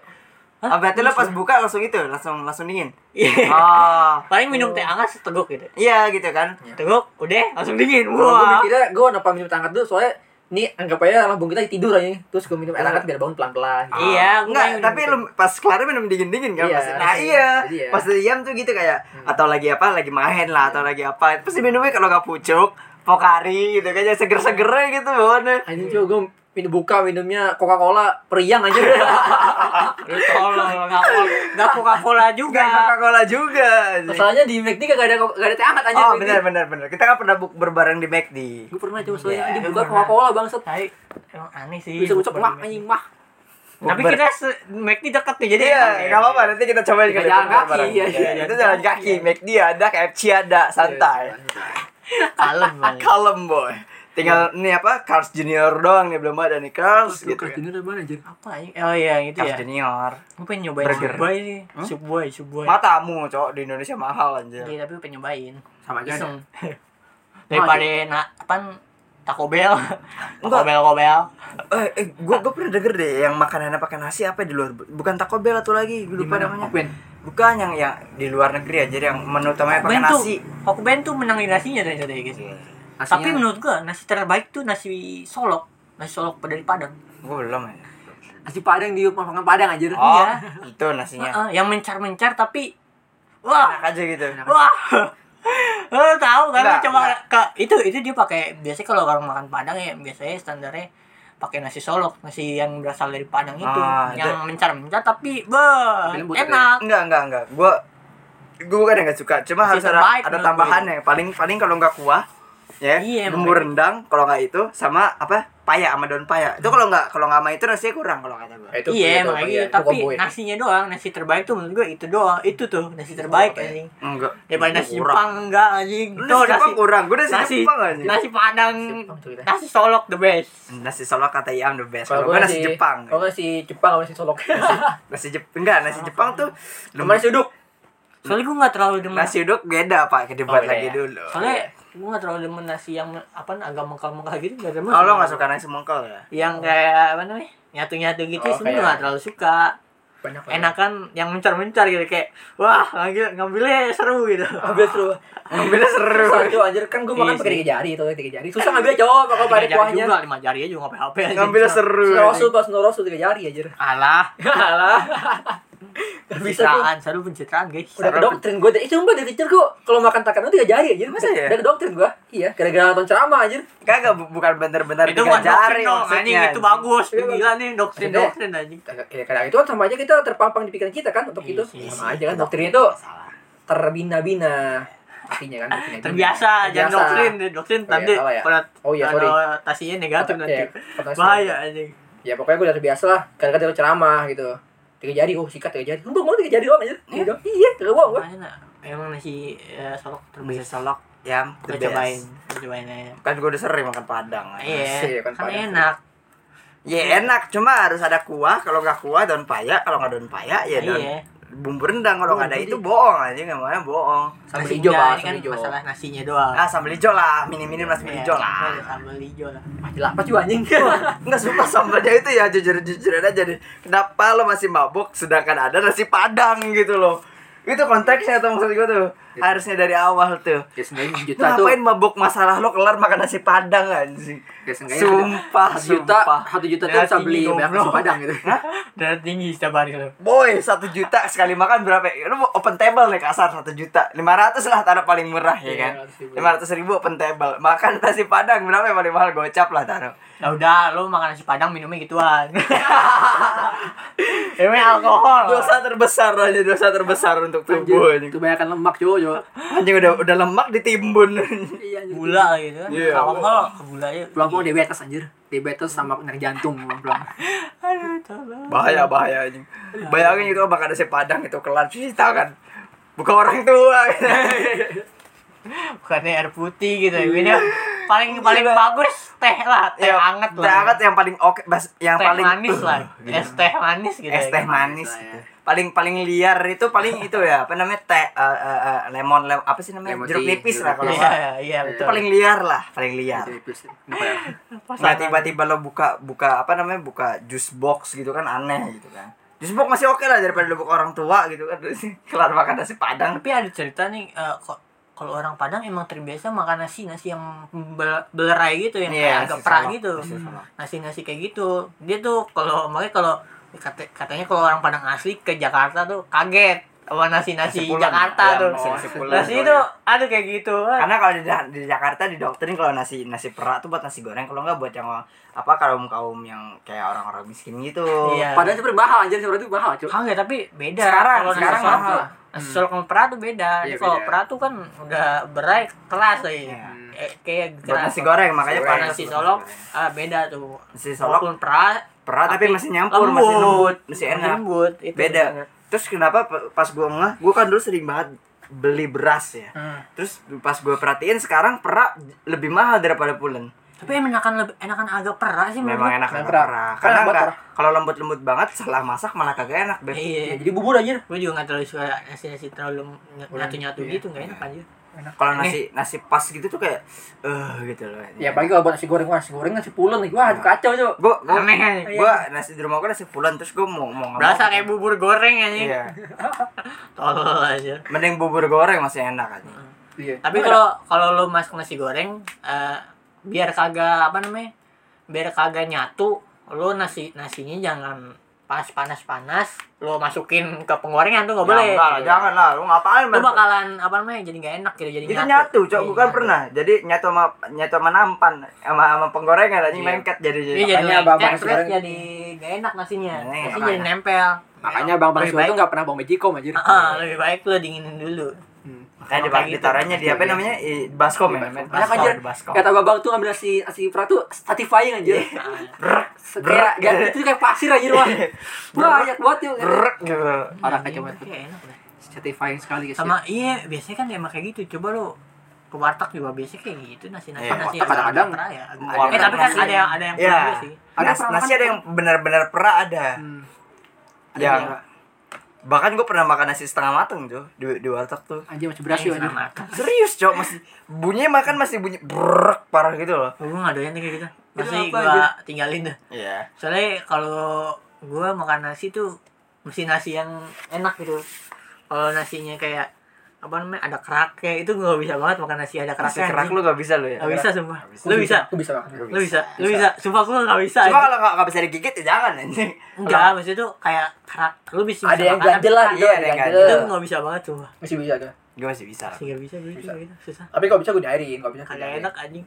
[SPEAKER 1] Hah?
[SPEAKER 3] Ah, berarti lo pas buka langsung itu, langsung langsung dingin.
[SPEAKER 1] Iya.
[SPEAKER 3] Oh.
[SPEAKER 1] Paling minum teh anget seteguk gitu.
[SPEAKER 3] Iya gitu kan.
[SPEAKER 1] Teguk, udah langsung dingin.
[SPEAKER 2] Kalau gue
[SPEAKER 1] Wah.
[SPEAKER 2] mikirnya gue kenapa minum teh hangat dulu soalnya ini anggap aja lambung kita lagi tidur aja terus gue minum air hangat biar bangun pelan pelan.
[SPEAKER 1] Iya, gua
[SPEAKER 3] Ah, Enggak,
[SPEAKER 1] minum
[SPEAKER 3] tapi
[SPEAKER 1] teh.
[SPEAKER 3] lu pas kelar minum dingin-dingin kan
[SPEAKER 2] Iya,
[SPEAKER 3] pasti. Nah,
[SPEAKER 2] iya.
[SPEAKER 3] iya.
[SPEAKER 2] Iya.
[SPEAKER 3] Pas diam tuh gitu kayak atau lagi apa? Lagi main lah atau lagi apa. Pasti minumnya kalau nggak pucuk, pokari gitu kan ya seger-seger gitu bawaannya.
[SPEAKER 2] Anjing
[SPEAKER 1] Iya.
[SPEAKER 2] cuy gue minum buka minumnya Coca Cola periang aja.
[SPEAKER 1] Iya. Lu tolong enggak enggak Coca-Cola juga.
[SPEAKER 3] Enggak Coca-Cola juga. anjing.
[SPEAKER 2] Masalahnya di McD kagak ada kagak ada teh hangat aja.
[SPEAKER 3] Oh, benar benar benar. Kita kan pernah bu- berbareng di McD.
[SPEAKER 2] Gue pernah coba soalnya
[SPEAKER 1] Iya,
[SPEAKER 2] ini
[SPEAKER 1] gua
[SPEAKER 2] buka
[SPEAKER 1] pernah. Iya,
[SPEAKER 2] Coca Cola bangsat.
[SPEAKER 1] Tapi emang aneh sih.
[SPEAKER 2] Bisa ucap
[SPEAKER 1] bukber
[SPEAKER 2] mah
[SPEAKER 1] di
[SPEAKER 2] anjing mah.
[SPEAKER 1] Tapi
[SPEAKER 3] Bukber.
[SPEAKER 1] kita se- McD deket nih jadi
[SPEAKER 3] Iya,
[SPEAKER 1] enak ya.
[SPEAKER 3] nggak apa-apa nanti kita cobain
[SPEAKER 2] Kita
[SPEAKER 3] kali
[SPEAKER 2] jalan
[SPEAKER 3] berbareng.
[SPEAKER 2] kaki, iya,
[SPEAKER 3] Iya,
[SPEAKER 2] iya.
[SPEAKER 3] Kita jalan kaki, McD ada, KFC ada, santai.
[SPEAKER 1] kalem banget.
[SPEAKER 3] Kalem boy. Tinggal nih apa? Cars Junior doang nih belum ada nih Cars gitu.
[SPEAKER 2] Gitu. Ini dari mana anjir?
[SPEAKER 1] Apa anjing? Oh iya yang itu
[SPEAKER 3] Cars
[SPEAKER 1] ya.
[SPEAKER 3] Junior.
[SPEAKER 1] Gue pengen nyobain
[SPEAKER 3] Burger.
[SPEAKER 1] Subway sih. Subway, Subway.
[SPEAKER 3] Matamu, cowok di Indonesia mahal anjir.
[SPEAKER 1] Iya, tapi gue pengen nyobain.
[SPEAKER 2] Sama aja.
[SPEAKER 1] Iseng. Daripada na apa Taco Bell. Taco
[SPEAKER 3] ya. Enggak.
[SPEAKER 1] Bell, Taco Bell.
[SPEAKER 3] Eh, eh gua gua pernah denger deh yang makanannya pakai nasi apa ya di luar bukan Taco Bell tuh lagi, gua lupa namanya.
[SPEAKER 2] Open.
[SPEAKER 3] Bukan yang yang di luar negeri aja yang menu utamanya pakai
[SPEAKER 1] Ben tuh,
[SPEAKER 3] nasi. Iya.
[SPEAKER 1] Taco Bell tuh menang di nasinya dari tadi guys. Tapi menurut gua nasi terbaik tuh nasi solok. Nasi solok dari Padang.
[SPEAKER 3] Gua belum ya.
[SPEAKER 2] Nasi Padang di makan Padang anjir.
[SPEAKER 3] Oh,
[SPEAKER 1] Iya.
[SPEAKER 3] itu nasinya.
[SPEAKER 1] Heeh, ah, yang mencar-mencar tapi wah,
[SPEAKER 3] Enak aja gitu.
[SPEAKER 1] wah. Lo tahu kan lo
[SPEAKER 3] Enggak,
[SPEAKER 1] coba ke- itu itu dia pakai biasanya kalau orang makan Padang ya biasanya standarnya pakai nasi solok, nasi yang berasal dari Padang itu,
[SPEAKER 3] Ah,
[SPEAKER 1] yang mencar-mencar tapi be
[SPEAKER 2] lembut ya.
[SPEAKER 1] enak.
[SPEAKER 3] Enggak, enggak, enggak. Gua gua bukan yang gak suka, cuma
[SPEAKER 1] Nasi
[SPEAKER 3] harus ada
[SPEAKER 1] terbaik
[SPEAKER 3] ada
[SPEAKER 1] menurut ya.
[SPEAKER 3] tambahannya. Paling paling kalau nggak kuah, ya,
[SPEAKER 1] Iya,
[SPEAKER 3] bumbu
[SPEAKER 1] makanya.
[SPEAKER 3] rendang kalau nggak itu sama apa? Paya sama daun paya. Itu kalau nggak kalau nggak sama itu nasinya kurang kalau kata gua.
[SPEAKER 1] iya makanya gitu. tapi nasinya doang nasi terbaik tuh menurut gue itu doang itu tuh nasi terbaik
[SPEAKER 2] apa ya?
[SPEAKER 1] anjing
[SPEAKER 3] Enggak.
[SPEAKER 1] daripada eh, nasi
[SPEAKER 3] Kurang.
[SPEAKER 1] Jepang enggak anjing
[SPEAKER 3] Lu
[SPEAKER 1] Tuh,
[SPEAKER 3] Nasi Jepang kurang. Gua nasi,
[SPEAKER 1] nasi
[SPEAKER 3] Jepang aja.
[SPEAKER 1] nasi padang
[SPEAKER 2] Jepang tuh kita.
[SPEAKER 1] nasi solok the best
[SPEAKER 3] Nasi Solo kata Iam the best.
[SPEAKER 2] Kalau
[SPEAKER 3] Kalau
[SPEAKER 2] gue
[SPEAKER 3] gua nasi Jepang.
[SPEAKER 2] Kalau gue nasi Jepang sama nasi Solok.
[SPEAKER 3] Nasi Jepang enggak, nasi Jepang tuh
[SPEAKER 2] Sama nasi uduk.
[SPEAKER 1] soalnya gue nggak terlalu demen
[SPEAKER 3] nasi iya. uduk beda Pak, dibuat
[SPEAKER 2] beda
[SPEAKER 3] lagi
[SPEAKER 2] ya.
[SPEAKER 3] dulu.
[SPEAKER 1] soalnya gue nggak terlalu demen nasi yang apa agak mengkal mengkal gitu nggak demen
[SPEAKER 3] Oh, lo nggak suka nasi mongkol ya?
[SPEAKER 1] yang kayak apa namanya nyatu nyatu gitu
[SPEAKER 2] Oh,
[SPEAKER 1] sebenarnya
[SPEAKER 2] kayak- Oh, iya.
[SPEAKER 1] nggak terlalu suka
[SPEAKER 2] Banyak banget.
[SPEAKER 1] enakan yang mencar mencar gitu kayak wah ngambil ngambilnya seru gitu
[SPEAKER 2] Ambil seru.
[SPEAKER 3] Ngambilnya seru.
[SPEAKER 2] Susah tuh anjir kan gue
[SPEAKER 1] Iya
[SPEAKER 2] makan
[SPEAKER 1] sih.
[SPEAKER 2] pakai tiga jari itu tiga jari. Susah ngambil coba kalau
[SPEAKER 1] lima
[SPEAKER 2] pada
[SPEAKER 1] jari
[SPEAKER 2] kuahnya.
[SPEAKER 1] juga lima jari aja nggak apa-apa anjing.
[SPEAKER 3] Ngambilnya seru.
[SPEAKER 2] Snow pas snow rosul tiga jari anjir.
[SPEAKER 1] alah
[SPEAKER 2] Alah. Gak bisa tuh.
[SPEAKER 1] pencitraan selalu pencitraan guys
[SPEAKER 2] Udah ke doktrin gue itu sumpah dari kecil gue kalau makan takar tiga jari anjir.
[SPEAKER 3] Masa ya?
[SPEAKER 2] Udah ke doktrin gue. Iya, gara-gara nonton ceramah anjir.
[SPEAKER 3] Kagak bu- bukan bener-bener
[SPEAKER 1] itu
[SPEAKER 3] tiga
[SPEAKER 1] bukan
[SPEAKER 3] jari
[SPEAKER 1] doktrin dong
[SPEAKER 3] maksudnya.
[SPEAKER 1] anjing itu bagus
[SPEAKER 2] Iya,
[SPEAKER 1] gila nih doktrin
[SPEAKER 2] Maksudnya-
[SPEAKER 1] doktrin anjing
[SPEAKER 2] Ya, kadang itu kan sama aja kita terpampang di pikiran kita kan untuk
[SPEAKER 1] Iya
[SPEAKER 2] itu
[SPEAKER 1] sih.
[SPEAKER 2] sama aja kan doktrin itu
[SPEAKER 3] Salah.
[SPEAKER 2] terbina-bina artinya kan terbina-bina.
[SPEAKER 1] terbiasa jangan
[SPEAKER 2] Terbiasa.
[SPEAKER 1] doktrin doktrin
[SPEAKER 2] Oh, iya,
[SPEAKER 1] nanti
[SPEAKER 2] salah ya?
[SPEAKER 1] konot-
[SPEAKER 2] Oh, iya, sorry.
[SPEAKER 1] konotasinya negatif
[SPEAKER 2] Iya,
[SPEAKER 1] nanti
[SPEAKER 2] konotasi
[SPEAKER 1] bahaya anjing
[SPEAKER 2] ya pokoknya gue udah terbiasa lah kadang-kadang dia ceramah gitu tiga jari oh sikat tiga jari lu mau tiga jari doang anjir Tiga doang. iya tiga doang gue
[SPEAKER 1] Makanya, emang nasi eh, solok
[SPEAKER 3] Bisa
[SPEAKER 1] terbisa
[SPEAKER 3] solok ya,
[SPEAKER 1] Gua
[SPEAKER 3] the best.
[SPEAKER 1] cobain gua cobain aja
[SPEAKER 3] Kan gue udah sering makan padang. Ya
[SPEAKER 1] iya
[SPEAKER 2] Asik,
[SPEAKER 1] kan
[SPEAKER 2] kan panas.
[SPEAKER 1] enak
[SPEAKER 3] Ya, enak, cuma harus ada kuah. Kalau nggak kuah daun paya, kalau nggak daun paya ya daun
[SPEAKER 1] iya
[SPEAKER 3] bumbu rendang. Kalau nggak ada
[SPEAKER 2] Bumbu
[SPEAKER 3] itu bohong aja namanya bohong.
[SPEAKER 2] sambil
[SPEAKER 1] Nasi
[SPEAKER 2] hijau
[SPEAKER 1] enggak,
[SPEAKER 2] pak
[SPEAKER 1] ini kan
[SPEAKER 2] sambil hijau
[SPEAKER 1] masalah nasinya doang
[SPEAKER 3] Ah sambal hijau lah, minim-minim lah sambal
[SPEAKER 1] Iya,
[SPEAKER 3] hijau lah.
[SPEAKER 1] ada sambal hijau lah
[SPEAKER 2] masih lapar juga anjing
[SPEAKER 1] Iya.
[SPEAKER 3] Enggak suka sambalnya itu ya jujur-jujuran aja deh. Kenapa lo masih mabuk sedangkan ada nasi padang gitu loh. Itu konteksnya tuh maksud gue tuh. harusnya dari awal tuh
[SPEAKER 4] ya sebenarnya
[SPEAKER 3] Lu
[SPEAKER 4] sejuta tuh
[SPEAKER 3] ngapain mabuk masalah lo kelar makan nasi padang anjing
[SPEAKER 4] ya seenggaknya
[SPEAKER 3] sumpah
[SPEAKER 4] satu juta
[SPEAKER 3] sumpah.
[SPEAKER 4] satu juta tuh
[SPEAKER 3] Ya,
[SPEAKER 4] bisa beli
[SPEAKER 3] tinggi,
[SPEAKER 4] banyak nasi
[SPEAKER 3] goblok.
[SPEAKER 4] padang gitu
[SPEAKER 1] darah tinggi setiap hari lo
[SPEAKER 3] boy satu juta sekali makan berapa ya? lu mau open table nih kasar satu juta lima ratus lah taruh paling murah ya kan lima ratus ribu open table makan nasi padang berapa yang paling mahal gocap lah taruh
[SPEAKER 1] ya udah lo makan nasi padang minumnya gituan Emang alkohol
[SPEAKER 3] dosa terbesar aja dosa terbesar untuk tubuh anjing
[SPEAKER 4] itu banyak lemak cuy cuy
[SPEAKER 3] anjing udah udah lemak ditimbun
[SPEAKER 4] iya anjing.
[SPEAKER 1] gula gitu kan
[SPEAKER 3] Iya.
[SPEAKER 1] alkohol ke gula ya
[SPEAKER 4] pulang pulang diabetes anjir diabetes sama penyakit jantung pulang pulang
[SPEAKER 1] Iya, aduh tolong
[SPEAKER 3] bahaya bahaya anjing bayangin itu makan nasi padang itu kelar cuci tangan bukan orang tua
[SPEAKER 1] bukannya air putih gitu ya ini paling paling bagus teh lah teh anget lah
[SPEAKER 3] Iya. teh Eh, anget yang paling oke bas- yang
[SPEAKER 1] teh
[SPEAKER 3] paling
[SPEAKER 1] manis lah
[SPEAKER 3] Gitu.
[SPEAKER 1] es teh manis gitu ya.
[SPEAKER 3] es teh manis gitu. paling paling liar itu paling itu ya apa namanya teh eh, eh, eh, lemon lem- apa sih namanya
[SPEAKER 4] Lemon
[SPEAKER 3] jeruk
[SPEAKER 4] tea,
[SPEAKER 3] nipis
[SPEAKER 4] jeruk
[SPEAKER 3] lah kalau
[SPEAKER 4] nipis.
[SPEAKER 3] nggak.
[SPEAKER 1] iya iya
[SPEAKER 3] itu
[SPEAKER 1] betul
[SPEAKER 3] paling liar lah paling liar
[SPEAKER 2] Gitu.
[SPEAKER 4] diabetes Kenapa ya?
[SPEAKER 3] nah tiba-tiba lo buka buka apa namanya buka juice box gitu kan aneh gitu kan juice box masih oke lah daripada lo buka orang tua gitu kan Terus kelar makan nasi padang
[SPEAKER 1] tapi ada cerita nih eh, kok kalau orang Padang emang terbiasa makan nasi nasi yang bel- belerai gitu yang
[SPEAKER 3] Iya,
[SPEAKER 1] kayak agak
[SPEAKER 3] nasi
[SPEAKER 1] perah
[SPEAKER 3] salak,
[SPEAKER 1] gitu
[SPEAKER 3] nasi salak.
[SPEAKER 1] nasi nasi kayak gitu dia tuh kalau makanya kalau kata- katanya kalau orang Padang asli ke Jakarta tuh kaget sama nasi nasi
[SPEAKER 3] Nasi pulen.
[SPEAKER 1] Jakarta
[SPEAKER 3] Iya,
[SPEAKER 1] tuh
[SPEAKER 3] nasi- nasi pulen. Kan
[SPEAKER 1] nasi itu aduh kayak gitu
[SPEAKER 3] karena kalau di, di Jakarta di doktrin kalau nasi nasi perak tuh buat nasi goreng kalau nggak buat yang apa kaum kaum yang kayak orang-orang miskin gitu
[SPEAKER 1] Iya.
[SPEAKER 4] padahal sebenarnya mahal anjir sebenarnya itu mahal cuy
[SPEAKER 1] Kagak tapi beda.
[SPEAKER 3] Sekarang,
[SPEAKER 1] kalau nasi
[SPEAKER 3] sekarang
[SPEAKER 1] solok
[SPEAKER 3] mahal. Hmm.
[SPEAKER 1] tuh- Nasi solok sama perah tuh beda.
[SPEAKER 4] Iya,
[SPEAKER 1] Jadi kalau
[SPEAKER 4] beda.
[SPEAKER 1] perah tuh kan udah berai keras lagi.
[SPEAKER 3] Iya.
[SPEAKER 1] Eh, kayak
[SPEAKER 3] buat
[SPEAKER 1] keras.
[SPEAKER 3] nasi goreng makanya
[SPEAKER 1] Kalau
[SPEAKER 3] panas
[SPEAKER 1] nasi
[SPEAKER 3] buat
[SPEAKER 1] solok
[SPEAKER 3] goreng.
[SPEAKER 1] ah, beda tuh.
[SPEAKER 3] nasi solok
[SPEAKER 1] Walaupun perah
[SPEAKER 3] perak tapi, masih nyampur masih lembut masih enak
[SPEAKER 1] lembut. Itu
[SPEAKER 3] beda
[SPEAKER 1] bener.
[SPEAKER 3] terus kenapa pe- pas gua ngeh gua kan dulu sering banget beli beras ya
[SPEAKER 1] Hmm.
[SPEAKER 3] terus pas gua perhatiin sekarang perak lebih mahal daripada pulen
[SPEAKER 1] Tapi emang enakan lebih enakan agak perah sih
[SPEAKER 3] memang
[SPEAKER 1] menurut
[SPEAKER 3] enak
[SPEAKER 2] Memang
[SPEAKER 3] enak
[SPEAKER 2] perak.
[SPEAKER 3] perak
[SPEAKER 2] Enak banget
[SPEAKER 3] karena enggak
[SPEAKER 2] perak.
[SPEAKER 3] kalau lembut-lembut banget setelah masak malah kagak enak
[SPEAKER 1] gua.
[SPEAKER 3] beb
[SPEAKER 1] Iya.
[SPEAKER 2] Ya, jadi bubur anjir.
[SPEAKER 1] Gue juga gak terlalu suka nasi-nasi terlalu ny- nyatu-nyatu gitu gak enak aja
[SPEAKER 3] kalau
[SPEAKER 1] Eh.
[SPEAKER 3] nasi nasi pas gitu tuh kayak eh gitu loh
[SPEAKER 1] Iya.
[SPEAKER 2] Ya apalagi kalau buat nasi goreng, wah nasi goreng nasi pulen nih. Wah, aduh kacau cuy.
[SPEAKER 3] gue gue
[SPEAKER 1] Aneh aja.
[SPEAKER 3] gue nasi di rumah gue nasi pulen terus gue mau mau nggak
[SPEAKER 1] Berasa
[SPEAKER 3] mau-
[SPEAKER 1] kayak bubur goreng aja
[SPEAKER 3] iya
[SPEAKER 1] Tolol aja
[SPEAKER 3] mending bubur goreng masih enak aja
[SPEAKER 2] Iya.
[SPEAKER 1] Tapi kalau kalau lu masak nasi goreng eh, biar kagak apa namanya? Biar kagak nyatu, lu nasi nasinya jangan pas panas-panas lu masukin ke penggorengan tuh nggak boleh.
[SPEAKER 3] Ya, enggak lah, jangan lah lu ngapain
[SPEAKER 1] Lu
[SPEAKER 3] man?
[SPEAKER 1] bakalan apa namanya? Jadi nggak enak gitu jadi
[SPEAKER 3] itu nyatu cok
[SPEAKER 1] Iya,
[SPEAKER 3] gue kan
[SPEAKER 1] nyatu.
[SPEAKER 3] pernah jadi nyatu sama nyatu sama nampan sama sama penggorengan anjing
[SPEAKER 4] Iya.
[SPEAKER 3] lengket jadi jadi Nah,
[SPEAKER 1] Iya jadi
[SPEAKER 2] Makanya
[SPEAKER 1] lengket,
[SPEAKER 2] abang-abang nasi
[SPEAKER 1] terus
[SPEAKER 2] goreng-
[SPEAKER 1] jadi nggak enak nasinya.
[SPEAKER 3] Iya,
[SPEAKER 1] Nasi
[SPEAKER 3] makanya.
[SPEAKER 1] jadi nempel.
[SPEAKER 4] makanya bang bang
[SPEAKER 1] Lebih
[SPEAKER 4] itu
[SPEAKER 1] baik-
[SPEAKER 4] nggak pernah bawa mejikom anjir
[SPEAKER 1] Ah, lebih baik lu dinginin dulu.
[SPEAKER 4] Hmm.
[SPEAKER 3] makanya
[SPEAKER 1] Makanya
[SPEAKER 3] dipak-
[SPEAKER 1] gitu.
[SPEAKER 3] ditaruhnya di apa namanya I- baskom ya men
[SPEAKER 4] Enak anjir.
[SPEAKER 3] di baskom
[SPEAKER 4] Kata babang tuh ambil nasi nasi perak tuh satisfying anjir.
[SPEAKER 1] Iya.
[SPEAKER 4] Kayak
[SPEAKER 3] Brrrr.
[SPEAKER 4] kayak- itu kayak pasir anjir wah. Banyak banget yuk.
[SPEAKER 3] Brrrr, gitu
[SPEAKER 4] Parah kacau banget.
[SPEAKER 1] Iya, enak. deh.
[SPEAKER 4] Satisfying sekali
[SPEAKER 2] ya.
[SPEAKER 4] guys.
[SPEAKER 1] Sama iya biasanya kan emang kayak gitu. Coba lu ke warteg juga biasanya kayak gitu nasi nasi
[SPEAKER 3] Iya,
[SPEAKER 1] nasi
[SPEAKER 4] warteg kadang-kadang-
[SPEAKER 1] agak ya. agak-
[SPEAKER 3] warteg
[SPEAKER 1] eh tapi kan
[SPEAKER 3] nasi-
[SPEAKER 1] ada yang ada kan? yang
[SPEAKER 3] ya
[SPEAKER 1] pernah sih
[SPEAKER 4] Ada
[SPEAKER 3] Nas-
[SPEAKER 4] pernah
[SPEAKER 3] nasi
[SPEAKER 4] makan-
[SPEAKER 3] ada yang benar-benar perak ada
[SPEAKER 4] Hmm.
[SPEAKER 3] yang bahkan gue pernah makan nasi setengah mateng cok di di warteg tuh
[SPEAKER 4] Anjir masih berhasil
[SPEAKER 1] Yang
[SPEAKER 4] anjir.
[SPEAKER 1] Iya, sama makan.
[SPEAKER 3] Serius cok masih bunyinya makan masih bunyi brrrr parah gitu loh.
[SPEAKER 1] Oh, gue nggak doyan tuh kayak gitu masih
[SPEAKER 4] apa
[SPEAKER 1] gue tinggalin dah
[SPEAKER 3] Iya.
[SPEAKER 1] soalnya kalau gue makan nasi tuh mesti nasi yang enak gitu kalau nasinya kayak apa namanya ada keraknya itu gue bisa banget makan nasi ada
[SPEAKER 3] Nasi
[SPEAKER 1] keraknya
[SPEAKER 3] kerak
[SPEAKER 1] anjing.
[SPEAKER 3] lu gak bisa lu ya.
[SPEAKER 1] nggak bisa sumpah
[SPEAKER 3] Nggak bisa.
[SPEAKER 1] lu bisa
[SPEAKER 2] Aku bisa makan.
[SPEAKER 1] lu bisa lu bisa sumpah gue nggak bisa
[SPEAKER 3] Cuma
[SPEAKER 1] anjing.
[SPEAKER 3] kalau gak, gak bisa digigit ya jangan anjing.
[SPEAKER 1] enggak maksudnya tuh kayak kerak lu bisa
[SPEAKER 2] Ada
[SPEAKER 1] bisa
[SPEAKER 2] yang
[SPEAKER 1] makan,
[SPEAKER 2] ganjel lah
[SPEAKER 1] tapi
[SPEAKER 2] gitu,
[SPEAKER 3] Iya,
[SPEAKER 2] ada
[SPEAKER 3] ada
[SPEAKER 2] yang
[SPEAKER 3] yang
[SPEAKER 1] itu
[SPEAKER 2] ganjel.
[SPEAKER 1] nggak bisa banget sumpah
[SPEAKER 2] Masih bisa tuh.
[SPEAKER 3] Gue masih bisa.
[SPEAKER 1] sih nggak bisa gue juga gitu susah
[SPEAKER 2] Tapi kalau bisa gue diairin, kalau bisa. gue
[SPEAKER 1] kagak
[SPEAKER 2] diairin.
[SPEAKER 1] enak anjing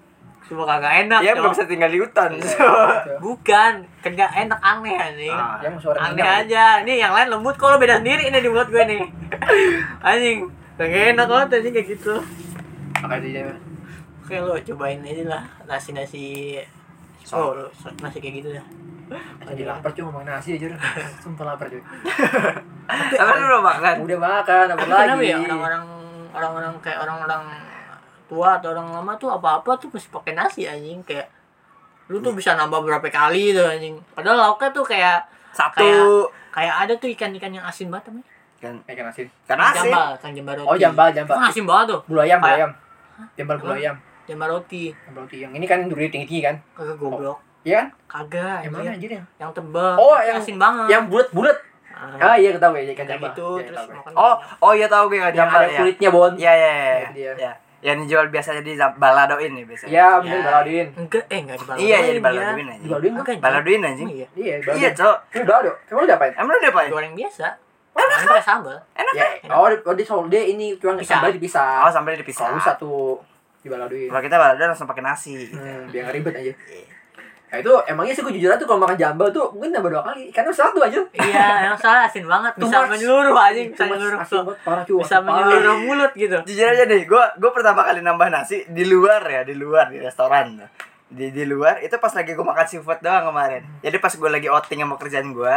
[SPEAKER 1] sumpah kagak enak
[SPEAKER 3] Ya gak
[SPEAKER 1] cowok.
[SPEAKER 3] bisa tinggal di hutan.
[SPEAKER 2] Iya,
[SPEAKER 3] cok.
[SPEAKER 2] gitu.
[SPEAKER 1] bukan kagak enak aneh anjing
[SPEAKER 3] Ah.
[SPEAKER 2] Yang suara
[SPEAKER 1] aneh
[SPEAKER 2] minyak.
[SPEAKER 1] aja nih yang lain lembut kalau beda sendiri ini di mulut gue nih anjing gak enak banget anjing kayak gitu
[SPEAKER 2] Makanya dia.
[SPEAKER 1] oke lo cobain aja lah nasi nasi oh lo so- nasi kayak gitu dah
[SPEAKER 2] Jadi lapar cuy ngomong nasi aja. Sumpah lapar cuy.
[SPEAKER 3] Tapi lu udah makan.
[SPEAKER 2] Udah makan apa
[SPEAKER 1] Tapi Kan? kenapa
[SPEAKER 2] lagi?
[SPEAKER 1] ya orang-orang orang-orang kayak orang-orang tua atau orang lama tuh apa-apa tuh mesti pakai nasi anjing kayak lu tuh bisa nambah berapa kali tuh anjing padahal lauknya tuh kayak
[SPEAKER 3] Satu.
[SPEAKER 1] kayak ada tuh ikan-ikan yang asin banget namanya
[SPEAKER 3] Kan
[SPEAKER 2] Kayak nasi.
[SPEAKER 3] kan
[SPEAKER 1] Ikan
[SPEAKER 3] asin.
[SPEAKER 1] jambal kan jambal roti
[SPEAKER 2] Oh jambal
[SPEAKER 1] itu
[SPEAKER 2] jambal.
[SPEAKER 1] asin banget tuh
[SPEAKER 2] Bulu ayam, bulu
[SPEAKER 1] Kayak-
[SPEAKER 2] ayam. Jambal bulu
[SPEAKER 1] Emang?
[SPEAKER 2] ayam.
[SPEAKER 1] jambal roti
[SPEAKER 2] Jambal roti yang ini kan durinya tinggi-tinggi kan?
[SPEAKER 1] kagak goblok
[SPEAKER 2] Iya kan?
[SPEAKER 1] kagak
[SPEAKER 2] Yang
[SPEAKER 1] anjing
[SPEAKER 2] mana anjir yang?
[SPEAKER 1] yang tebal
[SPEAKER 2] Oh,
[SPEAKER 1] tapi
[SPEAKER 2] yang-
[SPEAKER 1] asin banget
[SPEAKER 2] Yang bulat-bulat. ah iya ketahu ya ikan
[SPEAKER 1] Ah. kayak
[SPEAKER 2] jambal
[SPEAKER 1] gitu
[SPEAKER 2] Iya,
[SPEAKER 1] terus
[SPEAKER 2] tahu gue.
[SPEAKER 1] makan
[SPEAKER 3] Oh, oh ya tahu gue nggak
[SPEAKER 2] yang
[SPEAKER 3] jambal
[SPEAKER 2] ada
[SPEAKER 3] ya.
[SPEAKER 2] kulitnya bon
[SPEAKER 3] Iya, iya,
[SPEAKER 2] Iya,
[SPEAKER 3] iya.
[SPEAKER 2] dia.
[SPEAKER 3] Ya. Yang dijual biasanya di Zam- baladoin nih biasanya.
[SPEAKER 2] iya bener baladuin
[SPEAKER 1] enggak eh enggak dibalas
[SPEAKER 3] Iya, iya di baladoin aja.
[SPEAKER 2] baladuin mah
[SPEAKER 1] Enggak,
[SPEAKER 3] Baladoin
[SPEAKER 1] anjing.
[SPEAKER 3] aja.
[SPEAKER 1] Iya.
[SPEAKER 2] iya
[SPEAKER 3] Iya,
[SPEAKER 2] baladuin
[SPEAKER 3] Cok.
[SPEAKER 2] ini balado emang lu diapain
[SPEAKER 3] Emang lu diapain?
[SPEAKER 1] goreng biasa Orang pakai sambal
[SPEAKER 3] Enak
[SPEAKER 2] ya
[SPEAKER 3] kan?
[SPEAKER 2] oh di- oh, di soal dia ini cuma
[SPEAKER 1] Pisah.
[SPEAKER 2] sambal dipisah
[SPEAKER 3] Oh, sampai dipisah.
[SPEAKER 2] kalau lu satu dibaladuin
[SPEAKER 3] Kalau kita balado langsung pakai nasi.
[SPEAKER 2] hmm, biar nggak ribet aja
[SPEAKER 3] Iya.
[SPEAKER 2] nah itu emangnya sih gue jujur aja tuh kalau makan jambal tuh mungkin nambah dua kali karena satu aja
[SPEAKER 1] iya yang salah asin banget
[SPEAKER 2] Too
[SPEAKER 1] bisa
[SPEAKER 2] much.
[SPEAKER 1] menyeluruh aja bisa
[SPEAKER 2] Cuma
[SPEAKER 1] menyeluruh
[SPEAKER 2] asin banget, parah cuy
[SPEAKER 1] bisa
[SPEAKER 2] asin parah.
[SPEAKER 1] menyeluruh mulut gitu
[SPEAKER 2] Iya.
[SPEAKER 3] Jujur aja deh, gue gue pertama kali nambah nasi di luar ya, di luar di restoran. Di, di luar itu pas lagi gue makan seafood doang kemarin jadi pas gue lagi outing sama kerjaan gue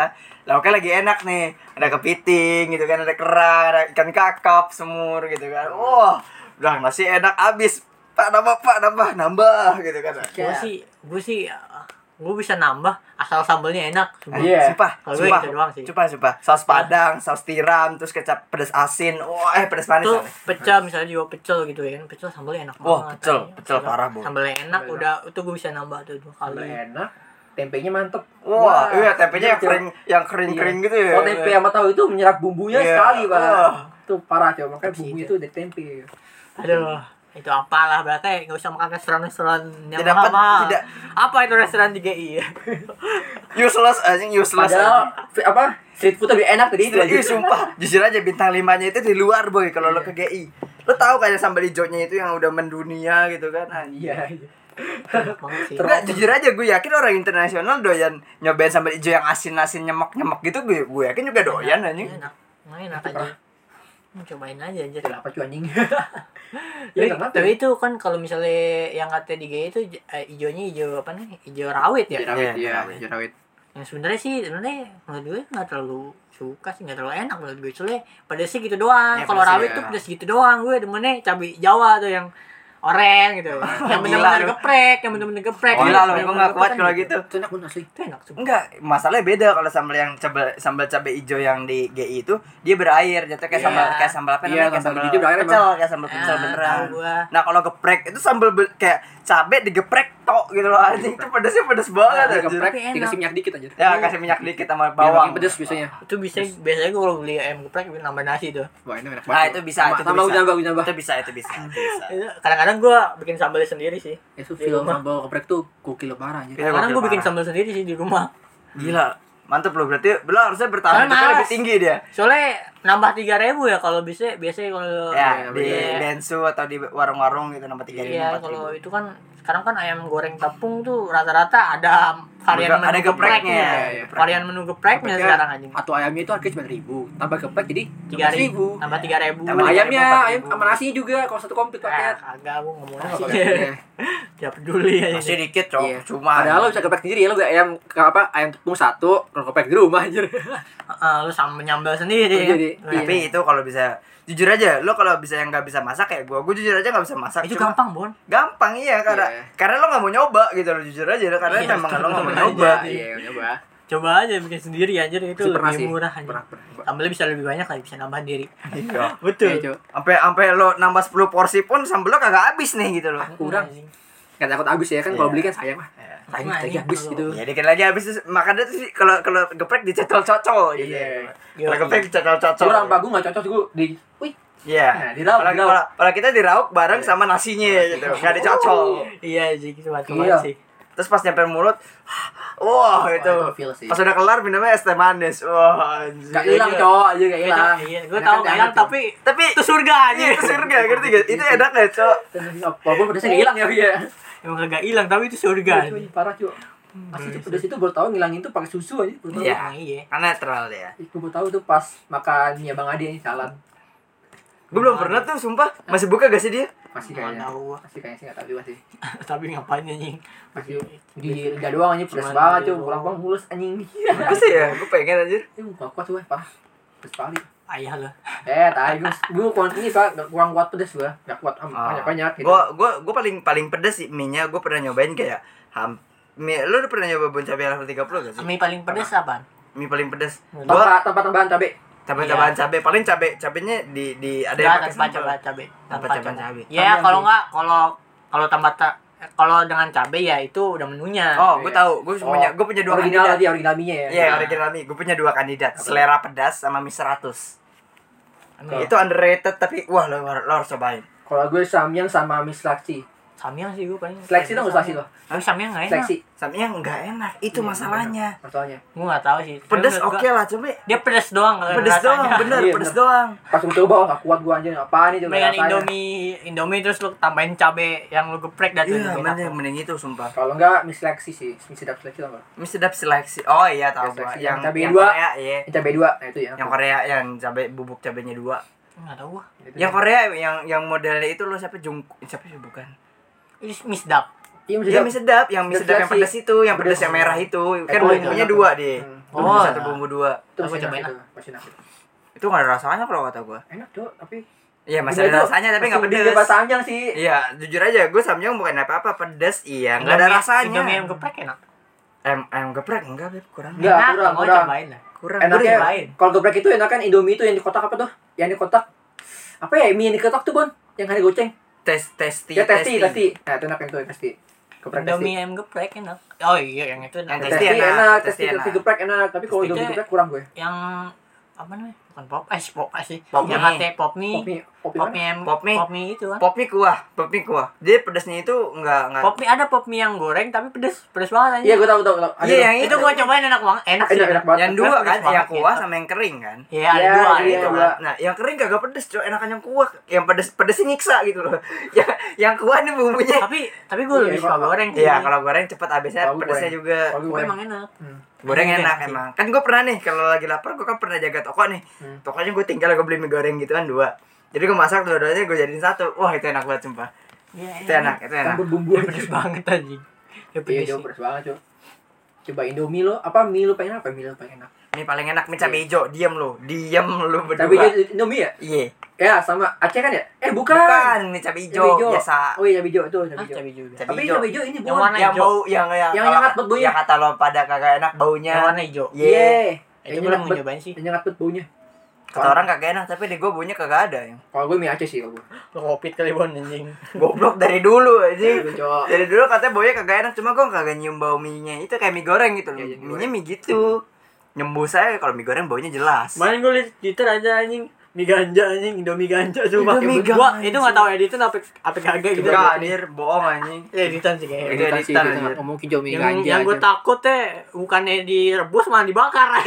[SPEAKER 3] lauknya lagi enak nih ada kepiting gitu kan ada kerang ada ikan kakap semur gitu kan wah udah nasi enak abis pak nambah pak nambah nambah gitu kan
[SPEAKER 1] gue sih gue sih gue bisa nambah asal sambalnya enak
[SPEAKER 2] Iya.
[SPEAKER 3] Sumpah,
[SPEAKER 1] Kalau gue
[SPEAKER 3] sumpah,
[SPEAKER 1] gitu doang sih.
[SPEAKER 3] sumpah, sumpah. Saus padang, saus tiram, terus kecap pedas asin. Wah, eh pedas manis.
[SPEAKER 1] tuh
[SPEAKER 3] sorry.
[SPEAKER 1] pecel misalnya juga pecel gitu ya kan pecel sambalnya enak
[SPEAKER 2] Oh,
[SPEAKER 3] Wah,
[SPEAKER 1] banget
[SPEAKER 3] pecel,
[SPEAKER 1] anjing.
[SPEAKER 3] pecel parah, Bo.
[SPEAKER 1] sambalnya enak
[SPEAKER 2] Sambal
[SPEAKER 1] udah itu gue bisa nambah tuh dua
[SPEAKER 2] Sambal
[SPEAKER 1] kali
[SPEAKER 2] enak tempenya mantep
[SPEAKER 3] Wah, iya tempenya yang
[SPEAKER 2] Iya,
[SPEAKER 3] kering, yang kering-kering gitu ya.
[SPEAKER 2] Kalau tempe sama tahu itu menyerap bumbunya
[SPEAKER 3] Iya.
[SPEAKER 2] sekali, Pak.
[SPEAKER 3] Wah.
[SPEAKER 2] Itu parah coba makanya
[SPEAKER 1] Tapi
[SPEAKER 2] bumbu
[SPEAKER 1] itu-
[SPEAKER 2] itu dari tempe.
[SPEAKER 1] aduh itu apalah berarti nggak usah makan restoran-restoran yang
[SPEAKER 3] Tidak pen-
[SPEAKER 1] mahal
[SPEAKER 3] tidak-
[SPEAKER 1] apa itu restoran 3i ya
[SPEAKER 3] Useless anjing, useless.
[SPEAKER 2] Padahal fi- apa? Street food lebih enak dari itu.
[SPEAKER 3] Iya,
[SPEAKER 2] aja. Iya.
[SPEAKER 3] sumpah. Jujur aja bintang limanya itu di luar, boy. Kalau lo ke GI, lo tahu kan yang sambal hijaunya itu yang udah mendunia gitu kan? Anjing.
[SPEAKER 2] Iya. iya.
[SPEAKER 1] Enak banget sih
[SPEAKER 3] Enggak, jujur aja gue yakin orang internasional doyan nyobain sambal hijau yang asin-asin nyemek-nyemek gitu gue, gue yakin juga doyan
[SPEAKER 2] Iya.
[SPEAKER 3] anjing.
[SPEAKER 1] enak Nah, enak aja Hmm, cobain aja aja
[SPEAKER 2] Kenapa cuy anjing?
[SPEAKER 1] Tapi-
[SPEAKER 3] Iya,
[SPEAKER 2] Ya kenapa?
[SPEAKER 1] tapi itu kan kalau misalnya yang kata di GI itu eh, hijaunya hijau apa nih hijau rawit ya
[SPEAKER 2] Jerawit,
[SPEAKER 3] Iya,
[SPEAKER 2] iya,
[SPEAKER 3] jerawit.
[SPEAKER 2] jerawit.
[SPEAKER 1] yang sebenarnya sih sebenarnya menurut gue nggak terlalu suka sih nggak terlalu enak menurut gue soalnya pedasnya gitu doang
[SPEAKER 3] Ya,
[SPEAKER 1] kalau
[SPEAKER 3] pedas
[SPEAKER 1] rawit
[SPEAKER 3] ya.
[SPEAKER 1] tuh pedas gitu doang gue demennya cabai jawa tuh yang oren gitu yang bener-bener
[SPEAKER 3] lu.
[SPEAKER 1] geprek yang bener-bener
[SPEAKER 2] Iya.
[SPEAKER 1] geprek
[SPEAKER 3] Oh, Gila
[SPEAKER 1] Yang
[SPEAKER 3] lo,
[SPEAKER 1] bener-bener
[SPEAKER 3] gue gak
[SPEAKER 1] geprek
[SPEAKER 3] kuat
[SPEAKER 1] kan
[SPEAKER 3] kalau gitu.
[SPEAKER 2] Itu enak banget asli.
[SPEAKER 1] itu enak sumpah.
[SPEAKER 3] Enggak, masalahnya beda kalau sambal yang cabe, sambal cabe hijau yang di GI itu dia berair, jatuh kayak
[SPEAKER 2] Iya.
[SPEAKER 3] sambal kayak sambal apa
[SPEAKER 2] Iya,
[SPEAKER 3] namanya? kayak
[SPEAKER 2] sambal
[SPEAKER 3] sambal
[SPEAKER 2] hijau berair
[SPEAKER 3] pecel, kayak sambal
[SPEAKER 1] Ah,
[SPEAKER 3] pecel beneran.
[SPEAKER 1] tahu gua.
[SPEAKER 3] Nah, kalau geprek itu sambal be- kayak cabe digeprek tok gitu loh anjing. Itu pedasnya pedes banget
[SPEAKER 2] Ada
[SPEAKER 3] anjir.
[SPEAKER 2] geprek,
[SPEAKER 1] Tapi enak.
[SPEAKER 2] dikasih minyak dikit aja.
[SPEAKER 3] Ya, kasih minyak dikit sama
[SPEAKER 2] Bawang
[SPEAKER 3] bawang.
[SPEAKER 2] pedes biasanya.
[SPEAKER 1] itu bisa biasanya gue kalau beli ayam geprek gue nambah nasi tuh
[SPEAKER 2] Wah, ini enak banget.
[SPEAKER 3] Nah, itu bisa, itu
[SPEAKER 2] Tambah
[SPEAKER 3] bisa.
[SPEAKER 2] nambah, nambah.
[SPEAKER 3] Itu bisa, itu bisa. itu bisa.
[SPEAKER 1] Itu kadang-kadang gue bikin sambalnya sendiri sih
[SPEAKER 2] Itu
[SPEAKER 1] Di
[SPEAKER 2] film
[SPEAKER 1] rumah.
[SPEAKER 2] sambal geprek tuh gokil parah ya. aja.
[SPEAKER 3] Iya,
[SPEAKER 1] kadang
[SPEAKER 3] gokil
[SPEAKER 1] gue bikin
[SPEAKER 3] parah.
[SPEAKER 1] sambal sendiri sih di rumah
[SPEAKER 3] Gila, Hmm. mantep loh berarti lo harusnya bertahan
[SPEAKER 1] Soalnya
[SPEAKER 3] hidupnya
[SPEAKER 1] malas.
[SPEAKER 3] lebih tinggi dia
[SPEAKER 1] soalnya nambah tiga ribu ya kalau bisa biasanya kalau
[SPEAKER 3] ya di
[SPEAKER 1] Iya.
[SPEAKER 3] bensu atau di warung-warung gitu nambah tiga ribu
[SPEAKER 1] Iya,
[SPEAKER 3] empat
[SPEAKER 1] kalau
[SPEAKER 3] ribu.
[SPEAKER 1] itu kan sekarang kan ayam goreng tepung tuh rata-rata ada varian
[SPEAKER 3] Ada
[SPEAKER 1] menu
[SPEAKER 3] gepreknya. Iya, iya,
[SPEAKER 1] Varian menu gepreknya
[SPEAKER 2] Gepreknya.
[SPEAKER 1] sekarang anjing.
[SPEAKER 2] Atau ayamnya itu harganya cuma ribu, tambah geprek jadi
[SPEAKER 1] Tiga ribu,
[SPEAKER 2] ribu.
[SPEAKER 1] tambah tiga ribu.
[SPEAKER 3] Tambah
[SPEAKER 2] Sama
[SPEAKER 3] Sama
[SPEAKER 2] ayamnya,
[SPEAKER 3] ayam,
[SPEAKER 2] ayam
[SPEAKER 3] empat ribu.
[SPEAKER 2] sama nasinya juga kalau satu komplit
[SPEAKER 1] Ah, Iya.
[SPEAKER 2] paket.
[SPEAKER 1] kagak gua ngomong
[SPEAKER 2] Nasi
[SPEAKER 1] nasi.
[SPEAKER 2] paketnya.
[SPEAKER 1] Tidak peduli ya. aja.
[SPEAKER 3] masih dikit cok
[SPEAKER 2] Iya.
[SPEAKER 3] cuma
[SPEAKER 2] Padahal lo bisa geprek sendiri ya lo beli ayam ke apa ayam tepung satu, lo geprek di rumah anjir.
[SPEAKER 1] Heeh, lu sama nyambel sendiri.
[SPEAKER 2] Lu jadi-
[SPEAKER 1] Nah,
[SPEAKER 2] iya.
[SPEAKER 3] tapi itu kalau bisa jujur aja lo kalau bisa yang nggak bisa masak kayak gue gue jujur aja nggak bisa masak
[SPEAKER 1] Itu
[SPEAKER 3] cuma-
[SPEAKER 1] gampang, Bon.
[SPEAKER 3] gampang iya karena
[SPEAKER 2] Iya.
[SPEAKER 3] karena lo nggak mau nyoba gitu lo jujur aja karena
[SPEAKER 1] Iya,
[SPEAKER 3] memang lo nggak mau
[SPEAKER 1] betul.
[SPEAKER 3] nyoba
[SPEAKER 1] Iya.
[SPEAKER 2] Iya, coba.
[SPEAKER 1] Coba aja bikin sendiri anjir itu
[SPEAKER 2] Itu pernah sih.
[SPEAKER 1] lebih murah anjir.
[SPEAKER 2] Pernah, pernah.
[SPEAKER 1] Sambalnya bisa lebih banyak kali bisa nambah diri.
[SPEAKER 3] Iya.
[SPEAKER 2] Iya,
[SPEAKER 1] Betul.
[SPEAKER 2] coba.
[SPEAKER 3] sampai sampai lo nambah 10 porsi pun sambel lo kagak habis nih gitu loh
[SPEAKER 2] Kurang.
[SPEAKER 1] Iya, Anjing.
[SPEAKER 2] Gak takut habis ya kan kalau
[SPEAKER 1] Iya.
[SPEAKER 2] beli kan sayang lah. Sayang
[SPEAKER 1] Nah,
[SPEAKER 2] tadi
[SPEAKER 1] ini
[SPEAKER 2] habis
[SPEAKER 1] kalau-
[SPEAKER 2] gitu.
[SPEAKER 3] ya dikit lagi habis terus- makanya tuh sih kalau kalau geprek dicocol-cocol gitu
[SPEAKER 2] Iya.
[SPEAKER 3] kalau geprek dicocol-cocol
[SPEAKER 2] Kurang pak, gue gak cocok gue di. Wih, Nah, Iya.
[SPEAKER 3] Iya.
[SPEAKER 2] dirauk,
[SPEAKER 3] Kalau-
[SPEAKER 2] dirauk.
[SPEAKER 3] kalau- Kalau kita dirauk bareng sama nasinya gitu. Enggak
[SPEAKER 2] Oh.
[SPEAKER 3] dicocol.
[SPEAKER 1] Iya, jadi cuma
[SPEAKER 2] Iya.
[SPEAKER 1] sih.
[SPEAKER 3] Terus pas nyampe mulut, wah itu.
[SPEAKER 2] itu feel sih.
[SPEAKER 3] Pas udah kelar minumnya es teh manis. Wah, anjir.
[SPEAKER 2] gak hilang cowok aja gak hilang.
[SPEAKER 1] Iya, gue tahu
[SPEAKER 2] Enakan
[SPEAKER 1] nggak hilang
[SPEAKER 2] enak,
[SPEAKER 1] tapi
[SPEAKER 3] Tapi
[SPEAKER 1] itu surga aja.
[SPEAKER 3] Iya, itu surga, ngerti gak? Itu enak gak, Cok?
[SPEAKER 2] tuh. Walaupun pedasnya gak hilang ya Wi, ya.
[SPEAKER 1] Emang kagak hilang tapi itu surga.
[SPEAKER 2] Cuy, Parah cuy. Asli tuh pedas itu baru tau ngilangin tuh pakai susu aja. baru tahu.
[SPEAKER 3] Iya.
[SPEAKER 1] Emang Iya.
[SPEAKER 3] Kan netral dia.
[SPEAKER 2] Gue baru tahu tuh pas makan ya Bang Adi yang jalan.
[SPEAKER 3] Gue belum pernah tuh, sumpah. Masih buka gak sih dia?
[SPEAKER 2] Masih
[SPEAKER 1] Nggak
[SPEAKER 2] kayaknya.
[SPEAKER 1] tahu gua.
[SPEAKER 2] Masih kayaknya sih gak tau juga sih.
[SPEAKER 1] tapi ngapain anjing
[SPEAKER 2] Masih di lidah doang anjing pedas banget cuy. Pulang-pulang mulus anjing.
[SPEAKER 3] Apa sih ya? Gue pengen anjir.
[SPEAKER 2] Ini muka kuat cuy, parah. Pedas sekali.
[SPEAKER 1] ayah lo
[SPEAKER 2] Eh, tai gue gue kurang ini pak, gak kurang kuat pedes gue, gak kuat am
[SPEAKER 3] Ah.
[SPEAKER 2] banyak banyak gitu.
[SPEAKER 3] Gue gua, gua paling paling pedes sih mie-nya. Gue pernah nyobain kayak ham Mie, lu udah pernah nyoba bon cabe level 30 gak sih?
[SPEAKER 1] mie paling pedes apaan
[SPEAKER 3] Mie paling pedes. Gua
[SPEAKER 2] Tanpa tanpa tambahan cabe.
[SPEAKER 3] cabai
[SPEAKER 2] Iya.
[SPEAKER 3] tambahan cabai paling cabai cabainya di di ada yang
[SPEAKER 1] Nggak, tanpa
[SPEAKER 3] pakai sambal.
[SPEAKER 1] cabai cabe
[SPEAKER 3] Tanpa
[SPEAKER 1] tanpa
[SPEAKER 3] cabai.
[SPEAKER 1] cabai
[SPEAKER 3] Sambilan
[SPEAKER 1] ya kalau
[SPEAKER 3] sih.
[SPEAKER 1] nggak kalau kalau tambah ta- kalau dengan cabai ya itu udah menunya Iya.
[SPEAKER 3] Oh, gue tahu. Gue
[SPEAKER 2] Oh,
[SPEAKER 3] punya gue punya dua
[SPEAKER 2] original
[SPEAKER 3] kandidat.
[SPEAKER 2] tadi original mie ya.
[SPEAKER 3] Iya, original mie. Gue punya dua kandidat, selera pedas sama mie 100.
[SPEAKER 1] Aneh ya.
[SPEAKER 3] Itu underrated tapi wah lo, lo harus cobain.
[SPEAKER 2] Kalau gue samyang sama mie seleksi.
[SPEAKER 1] samyang sih gue paling
[SPEAKER 2] Seleksi tau gak selaksi tuh?
[SPEAKER 1] tapi samyang nggak enak
[SPEAKER 2] Seleksi
[SPEAKER 3] Samnya nggak enak, itu
[SPEAKER 2] Iya,
[SPEAKER 3] masalahnya.
[SPEAKER 2] masalahnya.
[SPEAKER 1] gue nggak tahu sih
[SPEAKER 3] Pedas
[SPEAKER 1] Tapi menurut
[SPEAKER 3] oke
[SPEAKER 1] gua-
[SPEAKER 3] lah, coba
[SPEAKER 1] dia pedas doang kalau
[SPEAKER 3] pedas
[SPEAKER 1] rasanya.
[SPEAKER 3] doang, bener,
[SPEAKER 2] Iya,
[SPEAKER 3] pedas
[SPEAKER 2] bener.
[SPEAKER 3] doang.
[SPEAKER 2] Pas gue coba oh, gak kuat gue anjir apaan itu
[SPEAKER 1] Mendingan
[SPEAKER 2] rasanya.
[SPEAKER 1] Indomie, Indomie terus lu tambahin cabe yang lu geprek dan
[SPEAKER 3] Iya, mending mending itu sumpah.
[SPEAKER 2] Kalau enggak mie seleksi sih, mie sedap seleksi tau gak?
[SPEAKER 3] Mie sedap seleksi. Oh iya
[SPEAKER 2] Iya,
[SPEAKER 3] tahu gua.
[SPEAKER 2] seleksi.
[SPEAKER 3] Yang,
[SPEAKER 2] Cabai
[SPEAKER 3] yang
[SPEAKER 2] dua.
[SPEAKER 3] Korea, iya.
[SPEAKER 2] Yang cabai dua, nah itu ya.
[SPEAKER 3] Yang Korea yang cabai bubuk cabainya dua.
[SPEAKER 1] Enggak tahu gua.
[SPEAKER 2] Itu
[SPEAKER 3] Yang Korea yang yang modelnya itu lo siapa Jung siapa sih bukan?
[SPEAKER 1] Ini misdap.
[SPEAKER 2] Iya mie
[SPEAKER 3] Iya
[SPEAKER 2] sedap.
[SPEAKER 3] mie sedap, yang mie sedap yang
[SPEAKER 2] Seleksi.
[SPEAKER 3] pedas itu, yang pedas
[SPEAKER 2] Pedas.
[SPEAKER 3] yang merah itu. Kan
[SPEAKER 2] Oh, iya,
[SPEAKER 3] bumbunya
[SPEAKER 2] enak
[SPEAKER 3] dua
[SPEAKER 2] tuh.
[SPEAKER 3] deh.
[SPEAKER 2] Hmm.
[SPEAKER 3] Lu bumbu
[SPEAKER 1] Oh,
[SPEAKER 3] satu
[SPEAKER 1] iya.
[SPEAKER 3] bumbu dua.
[SPEAKER 1] Aku
[SPEAKER 2] Itu masih enak
[SPEAKER 1] cobain
[SPEAKER 2] itu, masih ya, gitu, enak. itu.
[SPEAKER 3] Itu nggak ada rasanya kalau kata gua.
[SPEAKER 2] Enak tuh, tapi
[SPEAKER 3] Iya masih ada rasanya tapi nggak pedes.
[SPEAKER 2] Enggak panjang sih.
[SPEAKER 3] Iya jujur aja gue samyang bukan apa-apa pedes iya nggak ada
[SPEAKER 1] Indomie-
[SPEAKER 3] rasanya.
[SPEAKER 1] Indomie yang geprek enak.
[SPEAKER 3] Em em geprek enggak beb kurang
[SPEAKER 2] Nggak,
[SPEAKER 1] Enak,
[SPEAKER 2] kurang,
[SPEAKER 1] mau
[SPEAKER 2] kurang.
[SPEAKER 1] cobain lah.
[SPEAKER 3] kurang.
[SPEAKER 2] Enaknya
[SPEAKER 3] Gua udah-
[SPEAKER 1] cobain.
[SPEAKER 2] kalau geprek itu enak kan Indomie itu yang di kotak apa tuh? Yang di kotak apa ya mie yang di kotak tuh bon? Yang ada goceng?
[SPEAKER 3] tes testi
[SPEAKER 2] Ya testi, testi. Nah itu enak itu yang testi. Geprek testi.
[SPEAKER 1] Indomie yang geprek enak. Oh iya, yang itu enak.
[SPEAKER 3] Yang testi
[SPEAKER 2] Testi
[SPEAKER 3] enak,
[SPEAKER 2] enak,
[SPEAKER 3] testi
[SPEAKER 2] testi testi
[SPEAKER 3] enak.
[SPEAKER 2] geprek enak, tapi kalau
[SPEAKER 1] Testi
[SPEAKER 2] Indomie
[SPEAKER 1] kayak-
[SPEAKER 2] geprek kurang gue.
[SPEAKER 1] Yang apa namanya? Bukan pop ice, pop ice sih.
[SPEAKER 3] Pop
[SPEAKER 1] yang
[SPEAKER 3] mie.
[SPEAKER 1] latte pop mie.
[SPEAKER 2] Kopi, kopi
[SPEAKER 1] Pop mie, yang-
[SPEAKER 3] Pop mie.
[SPEAKER 1] pop mie itu kan.
[SPEAKER 3] Pop mie kuah, pop mie kuah. Jadi pedasnya itu enggak enggak.
[SPEAKER 1] Pop mie ada pop mie yang goreng tapi pedes, pedes banget aja.
[SPEAKER 2] Iya gue tahu tahu. tahu. Ada
[SPEAKER 3] Iya,
[SPEAKER 2] tuh.
[SPEAKER 3] yang
[SPEAKER 1] itu gua cobain enak banget, enak sih.
[SPEAKER 2] enak enak banget.
[SPEAKER 3] yang dua
[SPEAKER 1] Pedas
[SPEAKER 3] kan,
[SPEAKER 1] banget
[SPEAKER 3] yang kuah
[SPEAKER 1] gitu.
[SPEAKER 3] sama yang kering kan.
[SPEAKER 1] Iya, ada
[SPEAKER 2] Iya,
[SPEAKER 1] dua ada
[SPEAKER 2] iya,
[SPEAKER 1] itu.
[SPEAKER 2] dua.
[SPEAKER 1] kan.
[SPEAKER 3] Nah, yang kering kagak pedes, cuy. Enakan yang kuah. Yang pedes pedes nyiksa gitu loh. yang yang kuah nih bumbunya.
[SPEAKER 1] Tapi tapi gua
[SPEAKER 2] Iya,
[SPEAKER 1] lebih
[SPEAKER 2] kalau-
[SPEAKER 1] suka goreng sih.
[SPEAKER 3] Iya, kalau goreng cepet habisnya,
[SPEAKER 2] Kalau
[SPEAKER 3] pedesnya
[SPEAKER 2] goreng.
[SPEAKER 3] juga.
[SPEAKER 2] Kalau
[SPEAKER 1] Tapi
[SPEAKER 2] gue
[SPEAKER 1] emang enak.
[SPEAKER 2] Hmm.
[SPEAKER 3] Goreng
[SPEAKER 1] Iya,
[SPEAKER 3] enak
[SPEAKER 1] sih.
[SPEAKER 3] emang. Kan gue pernah nih kalau lagi lapar gue kan pernah jaga toko nih.
[SPEAKER 2] Hmm.
[SPEAKER 3] Tokonya gue tinggal gue beli mie goreng gitu kan dua. Jadi gue masak dua-duanya gue jadiin satu. Wah, itu enak banget sumpah.
[SPEAKER 1] Iya,
[SPEAKER 3] Itu enak, itu enak.
[SPEAKER 2] campur bumbu.
[SPEAKER 1] Dia pedes banget anjing. Dia
[SPEAKER 2] Iya
[SPEAKER 1] pedes.
[SPEAKER 2] jauh
[SPEAKER 1] sih.
[SPEAKER 2] pedes banget cuy. Coba Indomie lo, apa mie lo pengen apa mie lo pengen enak?
[SPEAKER 3] Ini paling enak mie cabe hijau. Diam lu, diam lu berdua.
[SPEAKER 2] Tapi jadi Indomie ya?
[SPEAKER 3] Iya.
[SPEAKER 2] Ya sama Aceh kan ya? Eh bukan.
[SPEAKER 3] Bukan mie cabe hijau
[SPEAKER 2] hijau.
[SPEAKER 3] biasa.
[SPEAKER 2] Oh iya cabai hijau itu
[SPEAKER 1] Ah,
[SPEAKER 2] cabai hijau.
[SPEAKER 1] cabai juga.
[SPEAKER 3] Cabe
[SPEAKER 2] Tapi
[SPEAKER 3] hijau.
[SPEAKER 2] cabai hijau ini
[SPEAKER 1] Yang
[SPEAKER 2] bukan.
[SPEAKER 1] warna
[SPEAKER 3] yang
[SPEAKER 1] hijau.
[SPEAKER 3] bau yang yang
[SPEAKER 2] Yang
[SPEAKER 3] kalau-
[SPEAKER 2] nyengat buat baunya.
[SPEAKER 3] yang kata lo pada kagak enak baunya
[SPEAKER 1] Yang warna hijau.
[SPEAKER 3] Iya.
[SPEAKER 1] Itu
[SPEAKER 2] Yang
[SPEAKER 1] belum
[SPEAKER 2] nyengat
[SPEAKER 1] mau
[SPEAKER 2] bet,
[SPEAKER 1] nyobain sih.
[SPEAKER 2] yang nyengat bet baunya.
[SPEAKER 3] kata orang kagak enak tapi di gue baunya kagak ada yang
[SPEAKER 2] Kalau gue mie Aceh sih kalau gue.
[SPEAKER 1] Lo covid kali bon anjing.
[SPEAKER 3] goblok dari dulu aja
[SPEAKER 2] Gue Iya, cowok.
[SPEAKER 3] dari dulu katanya baunya kagak enak cuma gue kagak nyium bau mie nya itu kayak mie goreng gitu loh
[SPEAKER 2] Iya, iya,
[SPEAKER 3] mie nya mie gitu nyembus saya kalau mie goreng baunya jelas
[SPEAKER 1] Main gue liat Twitter aja anjing mie ganja anjing Indomie ganja cuma
[SPEAKER 3] Indomie
[SPEAKER 1] gua
[SPEAKER 3] ganja.
[SPEAKER 1] itu nggak tahu editan apa apa kagak gitu
[SPEAKER 3] Enggak anjir bohong anjing
[SPEAKER 1] Ya, editan sih kayaknya
[SPEAKER 3] Editan sih, editan.
[SPEAKER 2] gitu. Ngomong hijau mie
[SPEAKER 1] yang,
[SPEAKER 2] ganja.
[SPEAKER 1] yang gue
[SPEAKER 2] aja.
[SPEAKER 1] takut teh bukannya direbus malah dibakar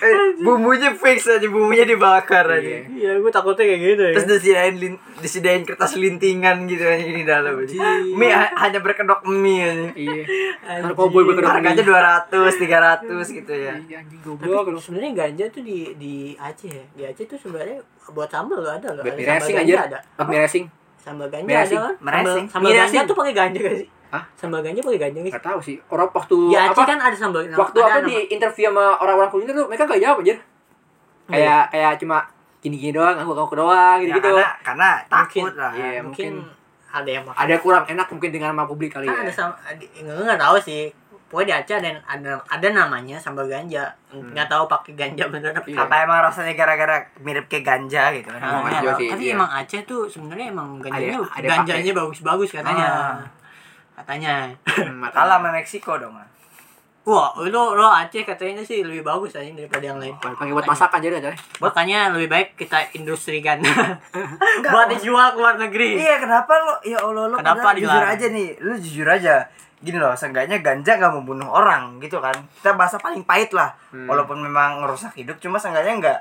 [SPEAKER 3] eh, bumbunya fix aja bumbunya dibakar aja
[SPEAKER 1] iya gue takutnya kayak gitu ya
[SPEAKER 3] terus disediain lin- disediain kertas lintingan gitu aja di dalam aja. mie ha- hanya berkedok mie aja.
[SPEAKER 2] Iya.
[SPEAKER 1] Anjing.
[SPEAKER 2] Narkoboy gue kedok
[SPEAKER 3] harganya
[SPEAKER 2] mie.
[SPEAKER 3] dua ratus tiga ratus gitu ya
[SPEAKER 2] Iya, Anjing
[SPEAKER 1] tapi
[SPEAKER 2] goblok. lu.
[SPEAKER 1] sebenarnya ganja tuh di di Aceh ya di Aceh tuh sebenarnya buat sambal lo ada loh
[SPEAKER 2] Buat
[SPEAKER 1] ada
[SPEAKER 2] mie
[SPEAKER 1] sambal
[SPEAKER 2] racing
[SPEAKER 1] ganja
[SPEAKER 2] aja.
[SPEAKER 1] ada
[SPEAKER 2] Apa mie racing?
[SPEAKER 1] sambal ganja
[SPEAKER 2] Mie
[SPEAKER 1] ada
[SPEAKER 2] racing.
[SPEAKER 1] kan
[SPEAKER 3] Mie
[SPEAKER 1] sambal,
[SPEAKER 3] racing.
[SPEAKER 1] sambal
[SPEAKER 3] Mie
[SPEAKER 1] ganja
[SPEAKER 3] racing.
[SPEAKER 1] tuh pakai ganja gak sih
[SPEAKER 2] Hah?
[SPEAKER 1] sambal ganja pakai ganja gak sih
[SPEAKER 2] Gak tahu sih. Orang waktu
[SPEAKER 1] di Aceh
[SPEAKER 2] apa?
[SPEAKER 1] kan ada sambal
[SPEAKER 2] waktu
[SPEAKER 1] ada
[SPEAKER 2] apa
[SPEAKER 1] nama-
[SPEAKER 2] di interview sama orang-orang kuliner tuh mereka gak jawab anjir kayak kayak cuma gini-gini doang aku aku doang
[SPEAKER 3] Ya,
[SPEAKER 2] gitu gitu
[SPEAKER 3] karena karena
[SPEAKER 1] Mungkin.
[SPEAKER 3] takut lah
[SPEAKER 2] Iya.
[SPEAKER 1] mungkin
[SPEAKER 2] mungkin-
[SPEAKER 1] ada yang makan
[SPEAKER 2] ada kurang enak mungkin dengan sama publik kali
[SPEAKER 1] kan ada
[SPEAKER 2] ya
[SPEAKER 1] sama ada- nggak nggak tahu sih pokoknya di Aceh ada ada, ada namanya sambal ganja nggak tahu pakai ganja bener apa
[SPEAKER 2] Hmm. Iya.
[SPEAKER 3] apa emang rasanya gara-gara mirip kayak ganja gitu kan
[SPEAKER 1] Nah,
[SPEAKER 2] Emang
[SPEAKER 1] iya,
[SPEAKER 2] juga
[SPEAKER 1] Bang.
[SPEAKER 2] sih,
[SPEAKER 1] tapi
[SPEAKER 2] iya.
[SPEAKER 1] emang Aceh tuh sebenarnya emang ganjanya
[SPEAKER 2] Ada- ada
[SPEAKER 1] ganjanya bagus-bagus katanya.
[SPEAKER 3] Ah.
[SPEAKER 1] Katanya.
[SPEAKER 2] Hmm,
[SPEAKER 3] kalah sama Meksiko dong lah.
[SPEAKER 1] Wah, lo lo Aceh katanya sih lebih bagus aja daripada yang lain.
[SPEAKER 2] pakai buat masakan jadi aja
[SPEAKER 1] Makanya lebih baik kita industrikan. Buat dijual ke luar negeri.
[SPEAKER 3] iya kenapa lo ya allah lo
[SPEAKER 1] Kenapa
[SPEAKER 3] padahal jujur
[SPEAKER 1] dilarang?
[SPEAKER 3] aja nih lo jujur aja gini loh seenggaknya ganja gak membunuh orang gitu kan kita bahasa paling pahit lah walaupun memang ngerusak hidup cuma seenggaknya nggak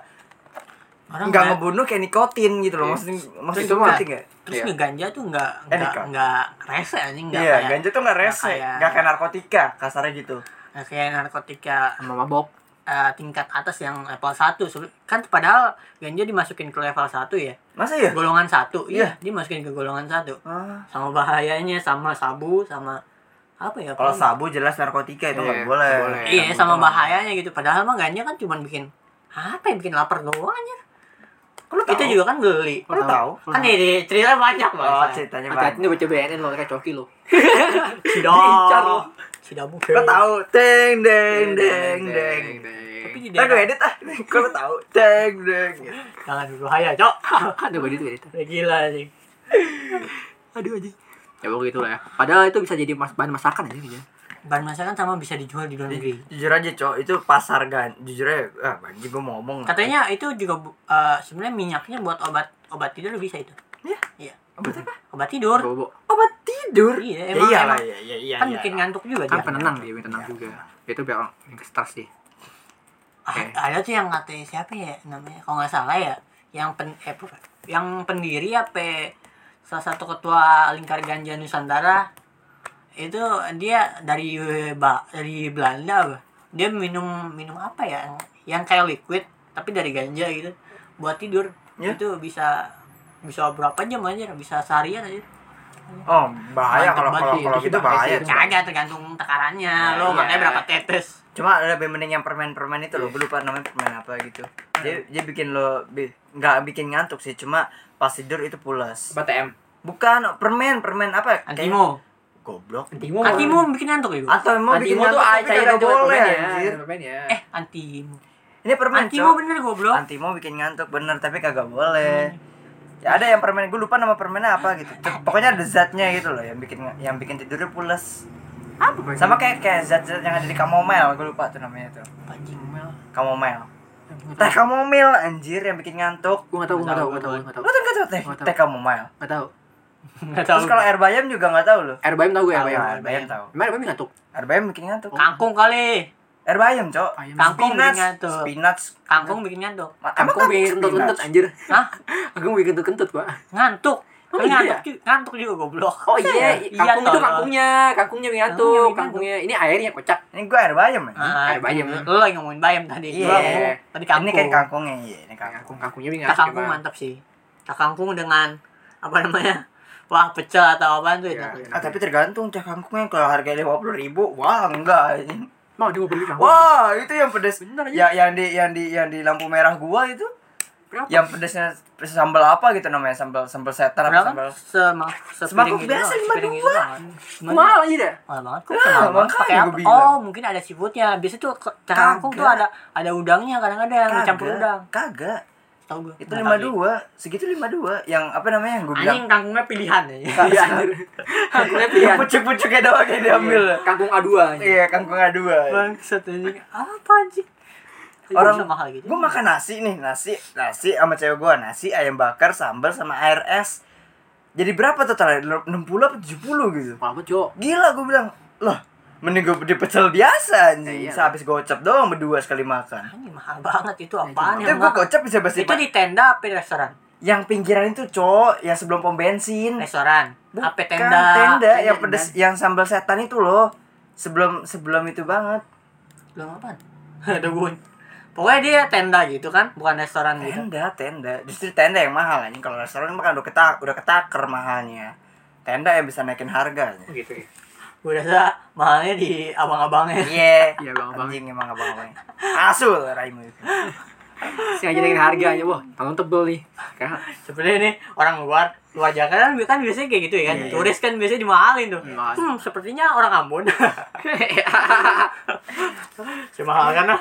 [SPEAKER 1] Orang
[SPEAKER 3] nggak
[SPEAKER 1] nggak-
[SPEAKER 3] ngebunuh kayak nikotin gitu loh
[SPEAKER 2] Iya.
[SPEAKER 3] maksudnya maksudnya
[SPEAKER 1] Terus
[SPEAKER 3] itu ngerti
[SPEAKER 1] nggak-
[SPEAKER 3] nggak?
[SPEAKER 1] Terus
[SPEAKER 2] Iya.
[SPEAKER 1] ngeganja tuh nggak nggak
[SPEAKER 3] Enak, kan?
[SPEAKER 1] nggak rese anjing nggak
[SPEAKER 3] iya
[SPEAKER 1] kayak
[SPEAKER 3] ganja tuh nggak
[SPEAKER 1] nggak
[SPEAKER 3] rese
[SPEAKER 1] kayak-
[SPEAKER 3] nggak kayak narkotika kasarnya gitu
[SPEAKER 1] nggak kayak narkotika
[SPEAKER 2] sama mabok
[SPEAKER 1] eh, tingkat atas yang level 1 Sebe- kan padahal ganja dimasukin ke level 1 ya
[SPEAKER 3] masa ya
[SPEAKER 1] golongan satu iya
[SPEAKER 3] Iya.
[SPEAKER 1] dimasukin ke golongan satu
[SPEAKER 3] Ah.
[SPEAKER 1] sama bahayanya sama sabu sama apa ya
[SPEAKER 3] kalau
[SPEAKER 1] apa-
[SPEAKER 3] sabu jelas narkotika itu
[SPEAKER 2] Iya,
[SPEAKER 3] nggak boleh
[SPEAKER 2] nggak boleh.
[SPEAKER 1] iya sama bahayanya gitu padahal mah ganja kan cuma bikin apa ya bikin lapar doang aja
[SPEAKER 3] kalau
[SPEAKER 1] kita juga kan beli
[SPEAKER 3] Lo tahu?
[SPEAKER 1] kan ini ceritanya banyak
[SPEAKER 3] oh
[SPEAKER 1] banget
[SPEAKER 3] ceritanya banyak
[SPEAKER 2] hati-hati nih baca BNN lo kayak coki lo
[SPEAKER 3] Oh,
[SPEAKER 2] diincar lo.
[SPEAKER 1] sidang sidang
[SPEAKER 3] Gue tahu deng deng deng deng.
[SPEAKER 1] tapi di
[SPEAKER 3] Ntar gue
[SPEAKER 1] daerah
[SPEAKER 3] edit ah. Gue tahu deng deng.
[SPEAKER 1] jangan berbahaya cok
[SPEAKER 2] ada body tuh gitu
[SPEAKER 1] Ya, gila sih aduh aja
[SPEAKER 2] ya pokoknya gitu lah ya padahal itu bisa jadi mas bahan masakan aja gitu
[SPEAKER 1] bahan masakan kan sama bisa dijual di
[SPEAKER 3] Iya.
[SPEAKER 1] luar negeri
[SPEAKER 3] jujur aja cok itu pasar gan jujur aja ah bagi gue mau ngomong
[SPEAKER 1] katanya itu juga bu- eh, sebenarnya minyaknya buat obat obat tidur bisa itu
[SPEAKER 3] Iya?
[SPEAKER 1] iya
[SPEAKER 3] obat apa
[SPEAKER 1] obat tidur
[SPEAKER 2] bobo
[SPEAKER 3] obat tidur
[SPEAKER 1] iya
[SPEAKER 3] ya
[SPEAKER 1] emang,
[SPEAKER 3] iyalah,
[SPEAKER 1] emang
[SPEAKER 3] iya iya iya
[SPEAKER 1] kan
[SPEAKER 3] iya
[SPEAKER 1] bikin
[SPEAKER 3] lah.
[SPEAKER 1] ngantuk juga
[SPEAKER 2] kan
[SPEAKER 1] dia
[SPEAKER 2] penenang dia biar tenang juga itu biar orang yang stres sih
[SPEAKER 1] Ah, ada tuh yang katanya siapa ya namanya kalau nggak salah ya yang pen eh, bukan. yang pendiri apa ya? salah satu ketua lingkar ganja nusantara itu dia dari eh, ba dari Belanda apa. dia minum minum apa ya yang, yang kayak liquid tapi dari ganja gitu buat tidur
[SPEAKER 3] Ya.
[SPEAKER 1] itu bisa bisa berapa jam aja bisa seharian aja
[SPEAKER 3] oh bahaya
[SPEAKER 2] Mantep
[SPEAKER 3] kalau
[SPEAKER 2] banget
[SPEAKER 3] kalau
[SPEAKER 2] sih,
[SPEAKER 3] kalau
[SPEAKER 2] itu
[SPEAKER 3] gitu
[SPEAKER 2] bahaya
[SPEAKER 3] bahaya
[SPEAKER 2] sih.
[SPEAKER 3] Cok.
[SPEAKER 1] kagak tergantung takarannya
[SPEAKER 3] Nah,
[SPEAKER 1] lo
[SPEAKER 3] iya.
[SPEAKER 1] makanya berapa tetes
[SPEAKER 3] cuma lebih mending yang permen-permen itu loh gue lupa namanya permen apa gitu dia dia bikin lo bi- nggak bikin ngantuk sih cuma pas tidur itu pulas
[SPEAKER 2] apa TM
[SPEAKER 3] bukan permen permen apa Kayak-
[SPEAKER 1] antimo
[SPEAKER 3] goblok
[SPEAKER 2] antimo
[SPEAKER 1] antimo bikin ngantuk ya Bu?
[SPEAKER 3] atau emang bikin
[SPEAKER 2] antimo tuh
[SPEAKER 3] ngantuk
[SPEAKER 2] air
[SPEAKER 3] tapi
[SPEAKER 2] cairan
[SPEAKER 3] kagak boleh anjir
[SPEAKER 2] permen ya
[SPEAKER 1] eh antimo
[SPEAKER 3] ini permen
[SPEAKER 1] Antimo
[SPEAKER 3] Cok.
[SPEAKER 1] bener goblok.
[SPEAKER 3] Antimo bikin ngantuk bener tapi kagak
[SPEAKER 2] Iya,
[SPEAKER 3] boleh. Ya ada yang permen gue lupa nama permennya apa gitu. Cep- Pokoknya ada zatnya gitu loh yang bikin yang bikin tidurnya pules.
[SPEAKER 2] apa
[SPEAKER 3] Sama kayak kayak zat-zat yang ada di chamomile, gue lupa tuh namanya tuh.
[SPEAKER 1] Anjing.
[SPEAKER 3] Chamomile. Teh chamomile anjir yang bikin ngantuk.
[SPEAKER 2] gue nggak tahu gue nggak tahu gue nggak tahu
[SPEAKER 3] Lu tuh nggak tahu teh
[SPEAKER 2] Nggak tahu.
[SPEAKER 3] teh chamomile.
[SPEAKER 2] nggak tahu
[SPEAKER 1] Enggak
[SPEAKER 3] Terus kalau air bayam juga nggak tahu loh.
[SPEAKER 2] air bayam tahu gue air
[SPEAKER 3] Tahu,
[SPEAKER 2] bayam
[SPEAKER 3] air bayam tahu.
[SPEAKER 2] Emang air bayam ngantuk
[SPEAKER 3] Air bayam bikin ngantuk.
[SPEAKER 2] Oh.
[SPEAKER 1] kangkung kali.
[SPEAKER 3] Air bayam, Cok.
[SPEAKER 2] Bayam.
[SPEAKER 1] Kangkung bikin
[SPEAKER 3] Spinach,
[SPEAKER 1] ngantuk.
[SPEAKER 3] spinach.
[SPEAKER 1] Kangkung bikin ngantuk.
[SPEAKER 3] Ma- emang
[SPEAKER 2] Kangkung bikin
[SPEAKER 3] spinach?
[SPEAKER 2] kentut kentut anjir
[SPEAKER 1] Hah?
[SPEAKER 2] kangkung bikin kentut kentut pak
[SPEAKER 1] Ngantuk.
[SPEAKER 2] Oh,
[SPEAKER 1] Kan
[SPEAKER 2] iya.
[SPEAKER 1] ngantuk juga, ngantuk juga goblok.
[SPEAKER 2] oh iya
[SPEAKER 1] Iya,
[SPEAKER 2] kangkung itu
[SPEAKER 1] tolol.
[SPEAKER 2] kangkungnya kangkungnya
[SPEAKER 1] Kangkungnya
[SPEAKER 2] bikin ngantuk
[SPEAKER 1] bikin
[SPEAKER 2] kangkungnya ini airnya kocak
[SPEAKER 3] Ini gue air bayam ya.
[SPEAKER 1] Ah,
[SPEAKER 2] Air bayam.
[SPEAKER 1] Lu lagi ngomongin bayam tadi.
[SPEAKER 3] Iya.
[SPEAKER 1] Gua ngomong Tadi kangkung.
[SPEAKER 3] Ini kayak kangkungnya, iya, ini kangkung.
[SPEAKER 2] kangkung kangkungnya bikin
[SPEAKER 1] Tak
[SPEAKER 2] ngantuk
[SPEAKER 1] kangkung
[SPEAKER 2] Pak.
[SPEAKER 1] mantap sih. Tak kangkung dengan apa namanya? Wah, pecel atau apa tuh
[SPEAKER 2] Iya,
[SPEAKER 1] enak.
[SPEAKER 2] enak.
[SPEAKER 3] Ah, tapi tergantung teh kangkungnya kalau harganya lima puluh ribu, wah enggak. anjing.
[SPEAKER 2] mau dia mau beli kangkung
[SPEAKER 3] Wah itu yang pedes.
[SPEAKER 2] Bener aja.
[SPEAKER 1] iya.
[SPEAKER 3] Ya yang di yang di yang di lampu merah gua itu,
[SPEAKER 2] Berapa?
[SPEAKER 3] yang pedesnya pedes sambal apa gitu namanya sambal sambal setan
[SPEAKER 1] Berapa?
[SPEAKER 3] apa sambal.
[SPEAKER 1] Semak sepiring
[SPEAKER 3] Semangkuk
[SPEAKER 1] itu.
[SPEAKER 3] biasa
[SPEAKER 1] doang,
[SPEAKER 3] lima
[SPEAKER 1] sepiring itu
[SPEAKER 3] dua.
[SPEAKER 1] doang. Cuma
[SPEAKER 2] mahal ya? aja deh
[SPEAKER 1] Mahal banget kok
[SPEAKER 3] Nah,
[SPEAKER 1] mahal banget.
[SPEAKER 3] makanya
[SPEAKER 1] Pakai
[SPEAKER 3] gua
[SPEAKER 1] apa?
[SPEAKER 3] bilang.
[SPEAKER 1] Oh, mungkin ada seafoodnya. Biasanya tuh ke- teh kangkung tuh
[SPEAKER 3] Kagak.
[SPEAKER 1] ada ada udangnya kadang-kadang
[SPEAKER 3] Kagak,
[SPEAKER 1] campur udang.
[SPEAKER 3] Kagak.
[SPEAKER 1] Tahu gua.
[SPEAKER 3] Itu
[SPEAKER 1] Nggak
[SPEAKER 3] lima
[SPEAKER 1] tahu sih.
[SPEAKER 3] dua, segitu lima dua. Yang apa namanya yang gua bilang?
[SPEAKER 1] Anjing kangkungnya pilihan ya.
[SPEAKER 2] iya anjir kangkungnya pilihan
[SPEAKER 1] Iya.
[SPEAKER 3] Yang pucuk-pucuknya doang yang diambil.
[SPEAKER 2] kangkung A2 anjir.
[SPEAKER 3] Iya kangkungnya dua.
[SPEAKER 1] Bangsat anjing. Apa anjing?
[SPEAKER 3] Orang
[SPEAKER 1] Bisa mahal gitu.
[SPEAKER 3] Gue makan nasi nih, nasi, nasi sama cewek gue, nasi ayam bakar, sambal sama air es. Jadi berapa total? 60 apa 70 gitu.
[SPEAKER 2] mahal banget cok
[SPEAKER 3] Gila gue bilang, "Loh, mending gue di pecel biasa
[SPEAKER 2] Iya.
[SPEAKER 3] anjing. Sehabis gocap doang berdua sekali makan."
[SPEAKER 1] Anjing mahal banget itu apaan
[SPEAKER 3] Itu
[SPEAKER 1] yang
[SPEAKER 3] gue
[SPEAKER 1] mahal?
[SPEAKER 3] gocap bisa basi.
[SPEAKER 1] Itu di tenda apa di restoran?
[SPEAKER 3] Yang pinggiran itu, Cok, yang sebelum pom bensin.
[SPEAKER 1] Restoran. Apa Hmm.
[SPEAKER 3] Bukan,
[SPEAKER 1] tenda?
[SPEAKER 3] tenda yang
[SPEAKER 2] tenda.
[SPEAKER 3] pedes, yang sambal setan itu loh. Sebelum sebelum itu banget.
[SPEAKER 1] Belum apaan? Ada bun. Pokoknya dia tenda gitu kan, bukan restoran gitu.
[SPEAKER 3] Tenda, tenda. Justru tenda yang mahal anjing. Kalau restoran kan makan udah ketak, udah ketaker mahalnya. Tenda yang bisa naikin harga. anjing.
[SPEAKER 2] gitu ya
[SPEAKER 1] Gue rasa mahalnya di abang-abangnya.
[SPEAKER 3] Iya.
[SPEAKER 2] Iya, bang-bang.
[SPEAKER 3] Anjing emang abang-abang. Asul Raimu. itu.
[SPEAKER 2] sengaja naikin harganya wah tangan tebel nih Kan? Kayak-
[SPEAKER 1] Sebenarnya nih orang luar luar Jakarta kan, kan biasanya kayak gitu ya kan.
[SPEAKER 3] Iya, iya.
[SPEAKER 1] Turis kan biasanya dimahalin tuh.
[SPEAKER 2] Mahal.
[SPEAKER 1] Hmm, sepertinya orang Ambon. Cuma mahal karena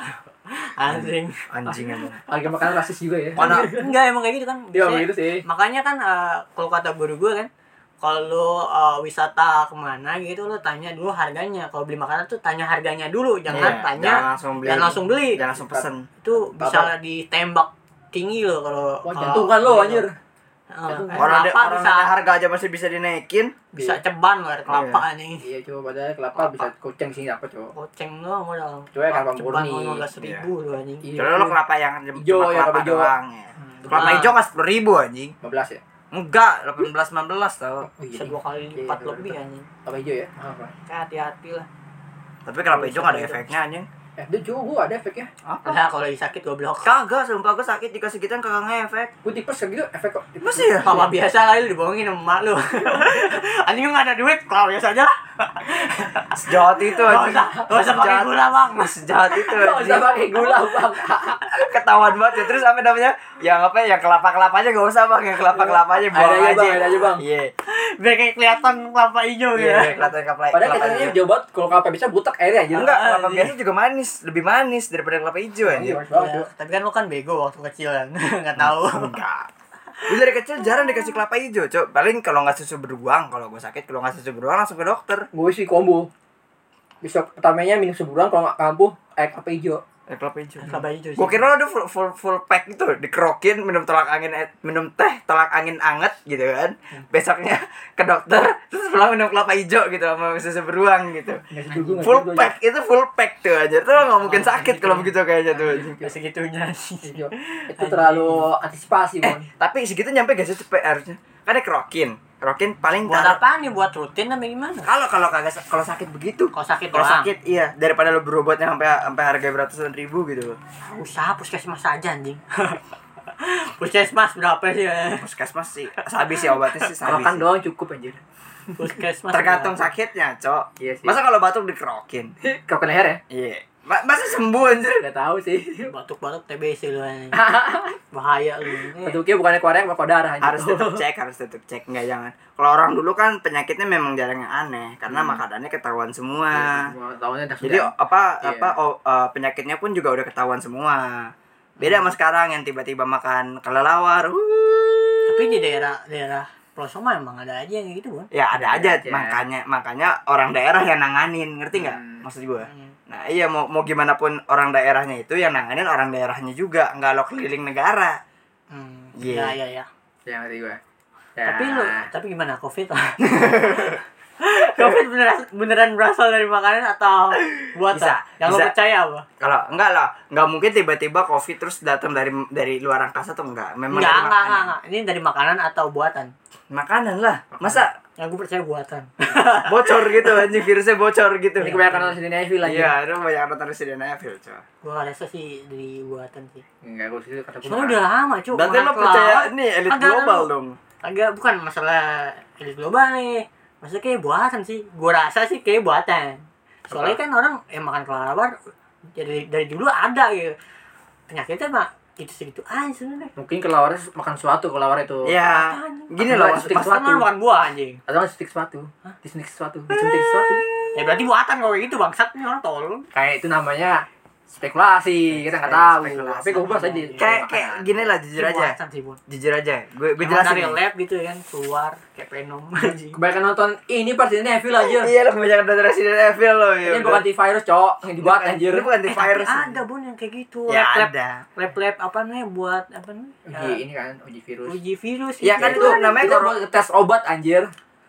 [SPEAKER 1] anjing.
[SPEAKER 3] Anjing emang.
[SPEAKER 2] harga makanan rasis juga ya
[SPEAKER 1] Mana? Enggak emang kayak gitu kan.
[SPEAKER 2] dia
[SPEAKER 1] Biasanya-
[SPEAKER 2] Iya, begitu sih
[SPEAKER 1] makanya kan eh, kalau kata guru gue kan kalau lu, eh, wisata kemana gitu lo tanya dulu harganya kalau beli makanan tuh tanya harganya dulu jangan
[SPEAKER 3] Iya,
[SPEAKER 1] tanya
[SPEAKER 3] jangan langsung beli.
[SPEAKER 1] jangan langsung beli.
[SPEAKER 3] Jangan langsung pesen.
[SPEAKER 1] itu bisa ditembak tinggi lo kalau
[SPEAKER 2] wah Iya,
[SPEAKER 1] kalau- gitu.
[SPEAKER 2] jantungan lo anjir
[SPEAKER 1] Eh,
[SPEAKER 2] Jantungan.
[SPEAKER 1] air
[SPEAKER 3] Orang ada
[SPEAKER 1] kelapa
[SPEAKER 3] orang
[SPEAKER 1] bisa
[SPEAKER 3] ada harga aja masih bisa dinaikin.
[SPEAKER 1] bisa ceban lo air kelapa nih
[SPEAKER 2] iya coba padahal kelapa bisa koceng sih apa coba
[SPEAKER 1] goceng doang modal
[SPEAKER 2] Coba ya, kelapa
[SPEAKER 1] ceban
[SPEAKER 2] murni.
[SPEAKER 1] mau belas ribu lo anjing
[SPEAKER 2] iya Hmm,
[SPEAKER 3] Kalau lo kelapa yang
[SPEAKER 2] Ijo,
[SPEAKER 3] cuma
[SPEAKER 2] ya,
[SPEAKER 3] kelapa
[SPEAKER 2] kelapa ijo.
[SPEAKER 3] doang ya. Kelapa
[SPEAKER 1] Ah.
[SPEAKER 3] hijau kan 10 ribu anjing.
[SPEAKER 2] 15 ya
[SPEAKER 3] Enggak, 18 19
[SPEAKER 2] oh
[SPEAKER 3] tau.
[SPEAKER 2] iya
[SPEAKER 1] bisa dua kali
[SPEAKER 2] Iya,
[SPEAKER 1] lipat
[SPEAKER 2] betul,
[SPEAKER 1] lebih
[SPEAKER 2] betul.
[SPEAKER 1] anjing
[SPEAKER 2] apa hijau ya Ah, apa
[SPEAKER 1] Kayak hati-hati lah
[SPEAKER 3] Tapi kelapa hijau gak ada efeknya anjing.
[SPEAKER 2] eh dia cowok gua ada efeknya
[SPEAKER 1] nah kalau lagi sakit gue blok
[SPEAKER 3] Kagak, sumpah gue sakit dikasih gituan kagak ngefek.
[SPEAKER 2] gua tipes kayak gitu efek kok tipes
[SPEAKER 3] Masih ya?
[SPEAKER 1] Papa biasa kali lu dibohongin sama emak lu. Anjing lu gak ada duit, kalau biasa aja lah.
[SPEAKER 3] Sejahat itu
[SPEAKER 1] Gak
[SPEAKER 3] anjing.
[SPEAKER 1] usah, gak usah pakai
[SPEAKER 3] Sejahat-
[SPEAKER 1] gula bang.
[SPEAKER 3] Sejahat itu
[SPEAKER 2] Gak usah
[SPEAKER 3] anjing.
[SPEAKER 2] pakai gula bang
[SPEAKER 3] Ketahuan banget ya. Terus apa namanya? Yang apa yang kelapa-kelapanya gak usah bang. Yang kelapa-kelapanya buang
[SPEAKER 2] Ada aja,
[SPEAKER 3] aja.
[SPEAKER 2] Bang, ada aja, Bang. Oh,
[SPEAKER 3] Iya.
[SPEAKER 1] Biar kayak kelihatan kelapa hijau
[SPEAKER 3] Iya,
[SPEAKER 1] ya.
[SPEAKER 3] kelihatan kelapa.
[SPEAKER 2] padahal
[SPEAKER 3] kelapa
[SPEAKER 2] katanya
[SPEAKER 3] hijau.
[SPEAKER 2] jauh banget kalau kelapa bisa butek airnya anjir
[SPEAKER 3] Enggak, kelapa
[SPEAKER 1] Anjing.
[SPEAKER 3] biasa juga manis, lebih manis daripada kelapa hijau
[SPEAKER 2] Iya,
[SPEAKER 3] anjing.
[SPEAKER 2] banget, Cok.
[SPEAKER 3] Hmm.
[SPEAKER 1] Tapi kan lu kan bego waktu kecil kan, nggak tahu.
[SPEAKER 3] Oh, Enggak. Gue dari kecil jarang dikasih kelapa hijau, cok. Paling kalau nggak susu beruang, kalau gue sakit, kalau nggak susu beruang langsung ke dokter.
[SPEAKER 2] Gue sih combo. Besok pertamanya minum sebulan kalau nggak kampuh air kelapa hijau.
[SPEAKER 3] Eh, kelapa hijau.
[SPEAKER 1] Kelapa hijau sih.
[SPEAKER 3] Gue kira ada full, full, full pack itu dikerokin minum tolak angin eh, minum teh tolak angin anget gitu kan. Besoknya ke dokter terus pulang minum kelapa hijau gitu sama susu beruang gitu.
[SPEAKER 2] Nggak setuju nggak
[SPEAKER 3] Full
[SPEAKER 2] setuju aja.
[SPEAKER 3] pack itu full pack gitu. tuh aja. Tuh nggak mungkin sakit kalau begitu kayaknya tuh. anjing.
[SPEAKER 1] Gak segitunya sih.
[SPEAKER 2] Hijau. Itu terlalu
[SPEAKER 3] Eh,
[SPEAKER 2] antisipasi, Mon.
[SPEAKER 3] Tapi segitu nyampe gak sih cepet harusnya? Kan dikerokin. Kerokin paling
[SPEAKER 1] Buat
[SPEAKER 3] taruh-
[SPEAKER 1] apa nih? Buat rutin apa gimana?
[SPEAKER 3] kalau kalau kagak sa- kalau sakit begitu.
[SPEAKER 1] Kalau sakit
[SPEAKER 3] Kalau
[SPEAKER 1] doang.
[SPEAKER 3] sakit iya daripada lo berobatnya sampai sampai harga beratusan ribu gitu.
[SPEAKER 1] Usaha puskesmas aja anjing. puskesmas berapa sih? eh?
[SPEAKER 3] Puskesmas sih habis ya obatnya sih habis.
[SPEAKER 2] Makan doang cukup anjir.
[SPEAKER 1] Puskesmas.
[SPEAKER 3] Tergantung
[SPEAKER 1] berapa?
[SPEAKER 3] sakitnya, Cok.
[SPEAKER 2] Iya sih.
[SPEAKER 3] Masa kalau batuk dikerokin?
[SPEAKER 2] Kau kena leher ya?
[SPEAKER 3] Iya. Ma- masa sembuh anjir.
[SPEAKER 2] Gak tahu sih.
[SPEAKER 1] Batuk-batuk TBC lu anjing. Bahaya lu. Eh,
[SPEAKER 2] Bentuknya bukannya korek, malah kau darah. anjir.
[SPEAKER 3] Harus tetap cek, harus tetap cek, nggak jangan. Kalau orang dulu kan penyakitnya memang jarang yang aneh karena makanannya ketahuan semua.
[SPEAKER 2] Semua Tahunnya dah
[SPEAKER 3] Nah. Jadi
[SPEAKER 2] Hmm. Iya, sudah.
[SPEAKER 3] apa
[SPEAKER 2] Iya.
[SPEAKER 3] apa oh, eh, penyakitnya pun juga udah ketahuan semua.
[SPEAKER 2] Hmm.
[SPEAKER 3] Beda sama sekarang yang tiba-tiba makan kelelawar. wuh.
[SPEAKER 1] Tapi di daerah daerah pelosok mah emang ada aja yang gitu, Bun.
[SPEAKER 3] Ya ada aja,
[SPEAKER 2] Ada aja.
[SPEAKER 3] makanya makanya orang daerah yang nanganin, ngerti nggak?
[SPEAKER 2] Hmm.
[SPEAKER 3] Maksud gue.
[SPEAKER 1] Hmm.
[SPEAKER 3] Nah iya mau mau gimana pun orang daerahnya itu yang nanganin orang daerahnya juga, nggak lo keliling negara.
[SPEAKER 1] Hmm.
[SPEAKER 3] Iya.
[SPEAKER 1] Ya, ya, ya.
[SPEAKER 2] Ya, ngerti gue.
[SPEAKER 1] Tapi
[SPEAKER 2] Ya.
[SPEAKER 1] lu, tapi gimana COVID? COVID beneran, beneran berasal dari makanan atau buatan?
[SPEAKER 3] Bisa,
[SPEAKER 1] Yang lu
[SPEAKER 3] bisa.
[SPEAKER 1] percaya apa?
[SPEAKER 3] Kalau enggak lah, enggak mungkin tiba-tiba COVID terus datang dari dari luar angkasa tuh enggak. Memang
[SPEAKER 1] Enggak,
[SPEAKER 3] dari
[SPEAKER 1] enggak,
[SPEAKER 3] makanan.
[SPEAKER 1] enggak, enggak. Ini dari makanan atau buatan?
[SPEAKER 3] Makanan lah. Masa
[SPEAKER 1] Yang gue percaya buatan.
[SPEAKER 3] bocor gitu anjing virusnya bocor gitu.
[SPEAKER 2] Ini kebanyakan nonton Resident Evil lagi.
[SPEAKER 3] Iya, itu banyak nonton Resident Evil, coy.
[SPEAKER 1] gue rasa sih dari buatan sih.
[SPEAKER 2] Enggak, gue sih kata gue.
[SPEAKER 1] Cuma udah lama cuy.
[SPEAKER 3] Berarti lo percaya ini elit
[SPEAKER 1] Agak- anu.
[SPEAKER 3] global dong.
[SPEAKER 1] Agak bukan masalah elit global nih. Maksudnya kayak buatan sih. Gue rasa sih kayak buatan. Soalnya kan orang yang makan kelelawar ya dari, dari dulu ada gitu. Penyakitnya mah gitu segitu aja sebenarnya.
[SPEAKER 2] Mungkin kelawarnya makan suatu kelawar itu.
[SPEAKER 3] Iya. Gini
[SPEAKER 2] Apaan?
[SPEAKER 3] loh,
[SPEAKER 2] Apaan?
[SPEAKER 3] pas-
[SPEAKER 1] Masa kan
[SPEAKER 2] Suatu.
[SPEAKER 1] makan buah anjing.
[SPEAKER 2] Atau nggak suntik sepatu? Disuntik sepatu, disuntik sepatu.
[SPEAKER 1] Ya berarti buatan kalau kayak gitu bangsat nih orang tolol.
[SPEAKER 2] Kayak itu namanya spekulasi, kita nggak tahu.
[SPEAKER 3] Spekulasi.
[SPEAKER 2] Tapi gue bahas aja.
[SPEAKER 3] kayak kayak gini lah
[SPEAKER 1] Ini
[SPEAKER 3] jujur aja.
[SPEAKER 1] Buatan sih, Bun.
[SPEAKER 3] Jujur aja. Gue gue
[SPEAKER 1] Emang dari
[SPEAKER 3] jelasin. ya? nih.
[SPEAKER 1] lab gitu kan keluar kayak Venom anjing.
[SPEAKER 2] Kebanyakan nonton ini pas ini Evil aja.
[SPEAKER 3] Iya, lo kebanyakan nonton Resident Evil lo. ya
[SPEAKER 2] Ini
[SPEAKER 3] udah.
[SPEAKER 2] bukan antivirus, cok. Yang dibuat anjir.
[SPEAKER 3] Ini bukan
[SPEAKER 1] Eh, tapi
[SPEAKER 3] antivirus.
[SPEAKER 1] ada bun yang kayak gitu
[SPEAKER 3] Ya
[SPEAKER 1] lab,
[SPEAKER 3] ada.
[SPEAKER 1] lab lab apa nih buat apa nih ya,
[SPEAKER 2] Uji ini kan, uji virus.
[SPEAKER 1] uji virus gitu.
[SPEAKER 3] Ya Iya. kan
[SPEAKER 1] Itu
[SPEAKER 3] itu namanya
[SPEAKER 2] Kita
[SPEAKER 3] corona.
[SPEAKER 2] buat tes obat anjir.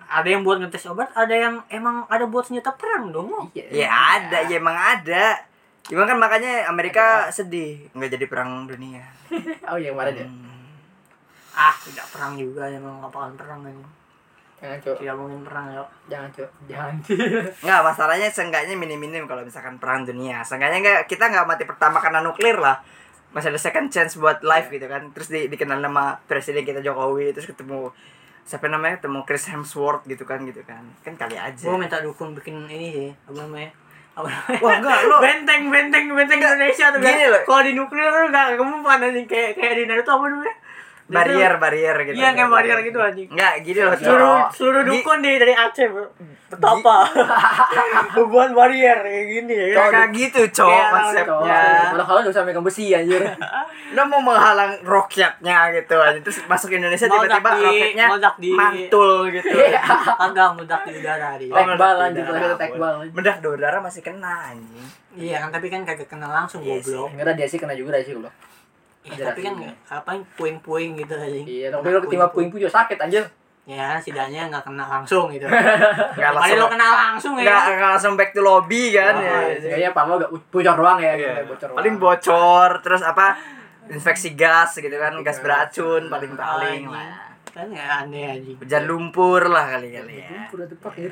[SPEAKER 1] ada yang buat ngetes obat ada yang emang ada buat senjata perang dong lo
[SPEAKER 2] Iya.
[SPEAKER 3] Ya ada, ya emang ada. Cuman kan makanya Amerika sedih nggak jadi perang dunia.
[SPEAKER 2] Oh iya, kemarin ya.
[SPEAKER 3] Hmm.
[SPEAKER 1] ah tidak perang juga emang nggak bakalan perang aja
[SPEAKER 2] Jangan, cok.
[SPEAKER 1] tidak mungkin perang ya
[SPEAKER 2] Jangan, cok. Jangan.
[SPEAKER 3] Nggak, masalahnya seenggaknya minim-minim kalau misalkan perang dunia. Seenggaknya nggak kita nggak mati pertama karena nuklir lah. Masih ada second chance buat
[SPEAKER 1] Iya.
[SPEAKER 3] life gitu kan. Terus di, dikenal nama presiden kita Jokowi, terus ketemu siapa namanya ketemu Chris Hemsworth gitu kan gitu kan. Kan kali aja.
[SPEAKER 1] gua minta dukun bikin ini sih apa namanya apa namanya
[SPEAKER 3] Wah, enggak lo.
[SPEAKER 1] benteng benteng benteng Indonesia tuh
[SPEAKER 3] Gini
[SPEAKER 1] kan
[SPEAKER 3] loh.
[SPEAKER 1] kalau di nuklir tuh nggak kemumpan anjing kayak kayak di Naruto apa namanya
[SPEAKER 3] barrier barrier gitu.
[SPEAKER 1] Iya, kayak barrier gitu, anjing.
[SPEAKER 3] Enggak, gini loh.
[SPEAKER 1] seluruh
[SPEAKER 3] Cok.
[SPEAKER 1] seluruh
[SPEAKER 3] Gi-
[SPEAKER 1] dukun deh dari Aceh bro betapa hubungan barrier kayak gini ya kan?
[SPEAKER 3] Kagak gitu, cowok
[SPEAKER 1] Kayak-
[SPEAKER 3] konsepnya.
[SPEAKER 2] Kalau kalau nggak usah megang besi anjir.
[SPEAKER 3] Lo mau menghalang rokyatnya gitu aja. Terus masuk Indonesia
[SPEAKER 1] Meledak
[SPEAKER 3] tiba-tiba
[SPEAKER 1] di-
[SPEAKER 3] roketnya
[SPEAKER 1] meledak di- Iya,
[SPEAKER 3] mantul gitu.
[SPEAKER 1] agak meledak di udara dia.
[SPEAKER 2] Tekbal,
[SPEAKER 3] meledak di
[SPEAKER 2] anjing,
[SPEAKER 3] udara,
[SPEAKER 2] kalau
[SPEAKER 3] boleh.
[SPEAKER 2] tekbal.
[SPEAKER 3] Meledak di udara masih kena anjing.
[SPEAKER 1] Iya kan tapi kan kagak kenal langsung
[SPEAKER 3] Iya sih.
[SPEAKER 1] goblok.
[SPEAKER 2] Enggak dia sih kena juga sih gua.
[SPEAKER 1] Iya, tapi kan
[SPEAKER 2] Iya.
[SPEAKER 1] apa puing-puing gitu aja.
[SPEAKER 2] Iya, tapi lu ketimpa puing puing juga sakit anjir.
[SPEAKER 1] Ya, setidaknya nggak kena langsung gitu.
[SPEAKER 3] Enggak
[SPEAKER 1] Kali
[SPEAKER 3] langsung.
[SPEAKER 1] lo kenal langsung ya. Iya.
[SPEAKER 3] Enggak enggak langsung back to lobby kan ya.
[SPEAKER 2] Oh, Kayaknya Pak Mo gak bocor doang ya,
[SPEAKER 3] Iya.
[SPEAKER 2] kayak bocor.
[SPEAKER 3] Paling
[SPEAKER 2] doang.
[SPEAKER 3] bocor terus apa? Infeksi gas gitu kan, gas
[SPEAKER 2] Iya.
[SPEAKER 3] beracun paling-paling lah.
[SPEAKER 1] Kan ya aneh aja.
[SPEAKER 3] Hujan lumpur lah kali-kali
[SPEAKER 1] Iya.
[SPEAKER 3] ya.
[SPEAKER 2] Iya. Udah tepak ya.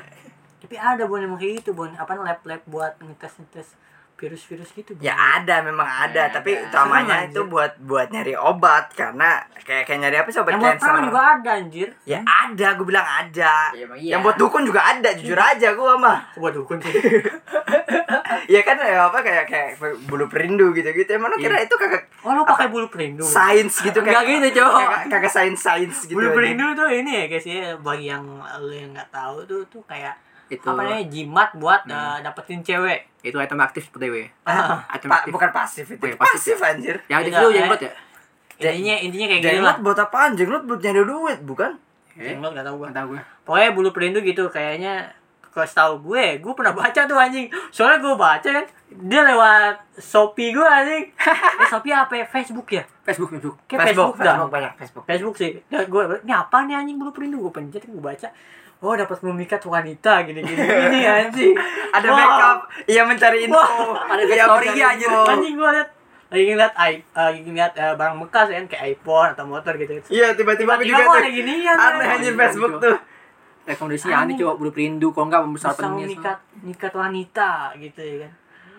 [SPEAKER 1] Tapi ada bon emang kayak gitu bon. Apa lab-lab buat ngetes-ngetes virus-virus gitu. Bon.
[SPEAKER 3] Ya ada, memang
[SPEAKER 2] Ya,
[SPEAKER 3] ada, tapi
[SPEAKER 2] ada.
[SPEAKER 3] utamanya
[SPEAKER 1] Serem,
[SPEAKER 3] itu buat buat nyari obat karena kayak kayak nyari apa sih
[SPEAKER 1] Yang
[SPEAKER 3] obat
[SPEAKER 1] buat
[SPEAKER 3] cancer.
[SPEAKER 1] perang juga ada anjir.
[SPEAKER 3] Ya ada, gue bilang ada.
[SPEAKER 2] Ya, emang iya.
[SPEAKER 3] Yang buat dukun juga ada, jujur aja gue mah.
[SPEAKER 1] Buat dukun sih.
[SPEAKER 3] Ya kan ya apa kayak kayak bulu perindu gitu-gitu. Emang lu kira itu kagak
[SPEAKER 1] Oh lo pakai bulu pelindung.
[SPEAKER 3] sains gitu
[SPEAKER 2] Enggak
[SPEAKER 3] kayak
[SPEAKER 2] gitu, Cok.
[SPEAKER 3] kagak- kagak sains-sains gitu.
[SPEAKER 1] bulu
[SPEAKER 3] aja.
[SPEAKER 1] pelindung tuh ini ya guys ya bagi yang lo yang nggak tahu tuh tuh kayak
[SPEAKER 2] Itu
[SPEAKER 1] apa namanya jimat buat eh, dapetin cewek.
[SPEAKER 2] itu item aktif seperti we.
[SPEAKER 3] Ah,
[SPEAKER 2] Item
[SPEAKER 3] pa-
[SPEAKER 2] aktif.
[SPEAKER 3] bukan pasif itu.
[SPEAKER 2] Iya,
[SPEAKER 3] pasif,
[SPEAKER 2] pasif Iya,
[SPEAKER 3] anjir.
[SPEAKER 2] Yang aktif
[SPEAKER 1] Enggak,
[SPEAKER 2] lu yang
[SPEAKER 1] eh.
[SPEAKER 2] buat ya?
[SPEAKER 1] intinya intinya kayak gini lah
[SPEAKER 3] Jenglot buat apa anjing? Lu belum nyari duit, bukan?
[SPEAKER 1] Jenglot nggak tahu gua
[SPEAKER 5] Gak tau gue
[SPEAKER 1] pokoknya bulu perindu gitu kayaknya kalau setahu gue gue pernah baca tuh anjing soalnya gue baca kan dia lewat shopee gue anjing eh, shopee apa ya? facebook ya
[SPEAKER 5] Facebook Facebook
[SPEAKER 1] kayak facebook, dah
[SPEAKER 3] Facebook banyak Facebook.
[SPEAKER 1] Facebook sih. Dan gue ini apa nih anjing bulu perindu gue pencet gue baca. Oh dapat memikat wanita gini gini gini anjing.
[SPEAKER 3] Ada
[SPEAKER 1] Wah.
[SPEAKER 3] backup, iya mencari info. Iya,
[SPEAKER 1] Ada
[SPEAKER 3] Ada dia
[SPEAKER 1] backup,
[SPEAKER 3] pria
[SPEAKER 1] ada
[SPEAKER 3] anjir.
[SPEAKER 1] Iya, Anjing gue liat lagi ngeliat i- eh, lagi ngeliat eh, barang bekas kan kayak iPhone atau motor gitu.
[SPEAKER 3] Iya, tiba-tiba aku
[SPEAKER 1] Tiba-tiba
[SPEAKER 3] juga
[SPEAKER 1] kok
[SPEAKER 3] tuh.
[SPEAKER 1] ada ginian.
[SPEAKER 3] Aneh
[SPEAKER 1] kan?
[SPEAKER 3] anjir Facebook tuh.
[SPEAKER 2] Eh,
[SPEAKER 5] Rekomendasinya aneh coba Bulu perindu Kalau nggak pembesar
[SPEAKER 1] Bisa
[SPEAKER 5] penyesal
[SPEAKER 1] memikat mikat wanita gitu ya kan.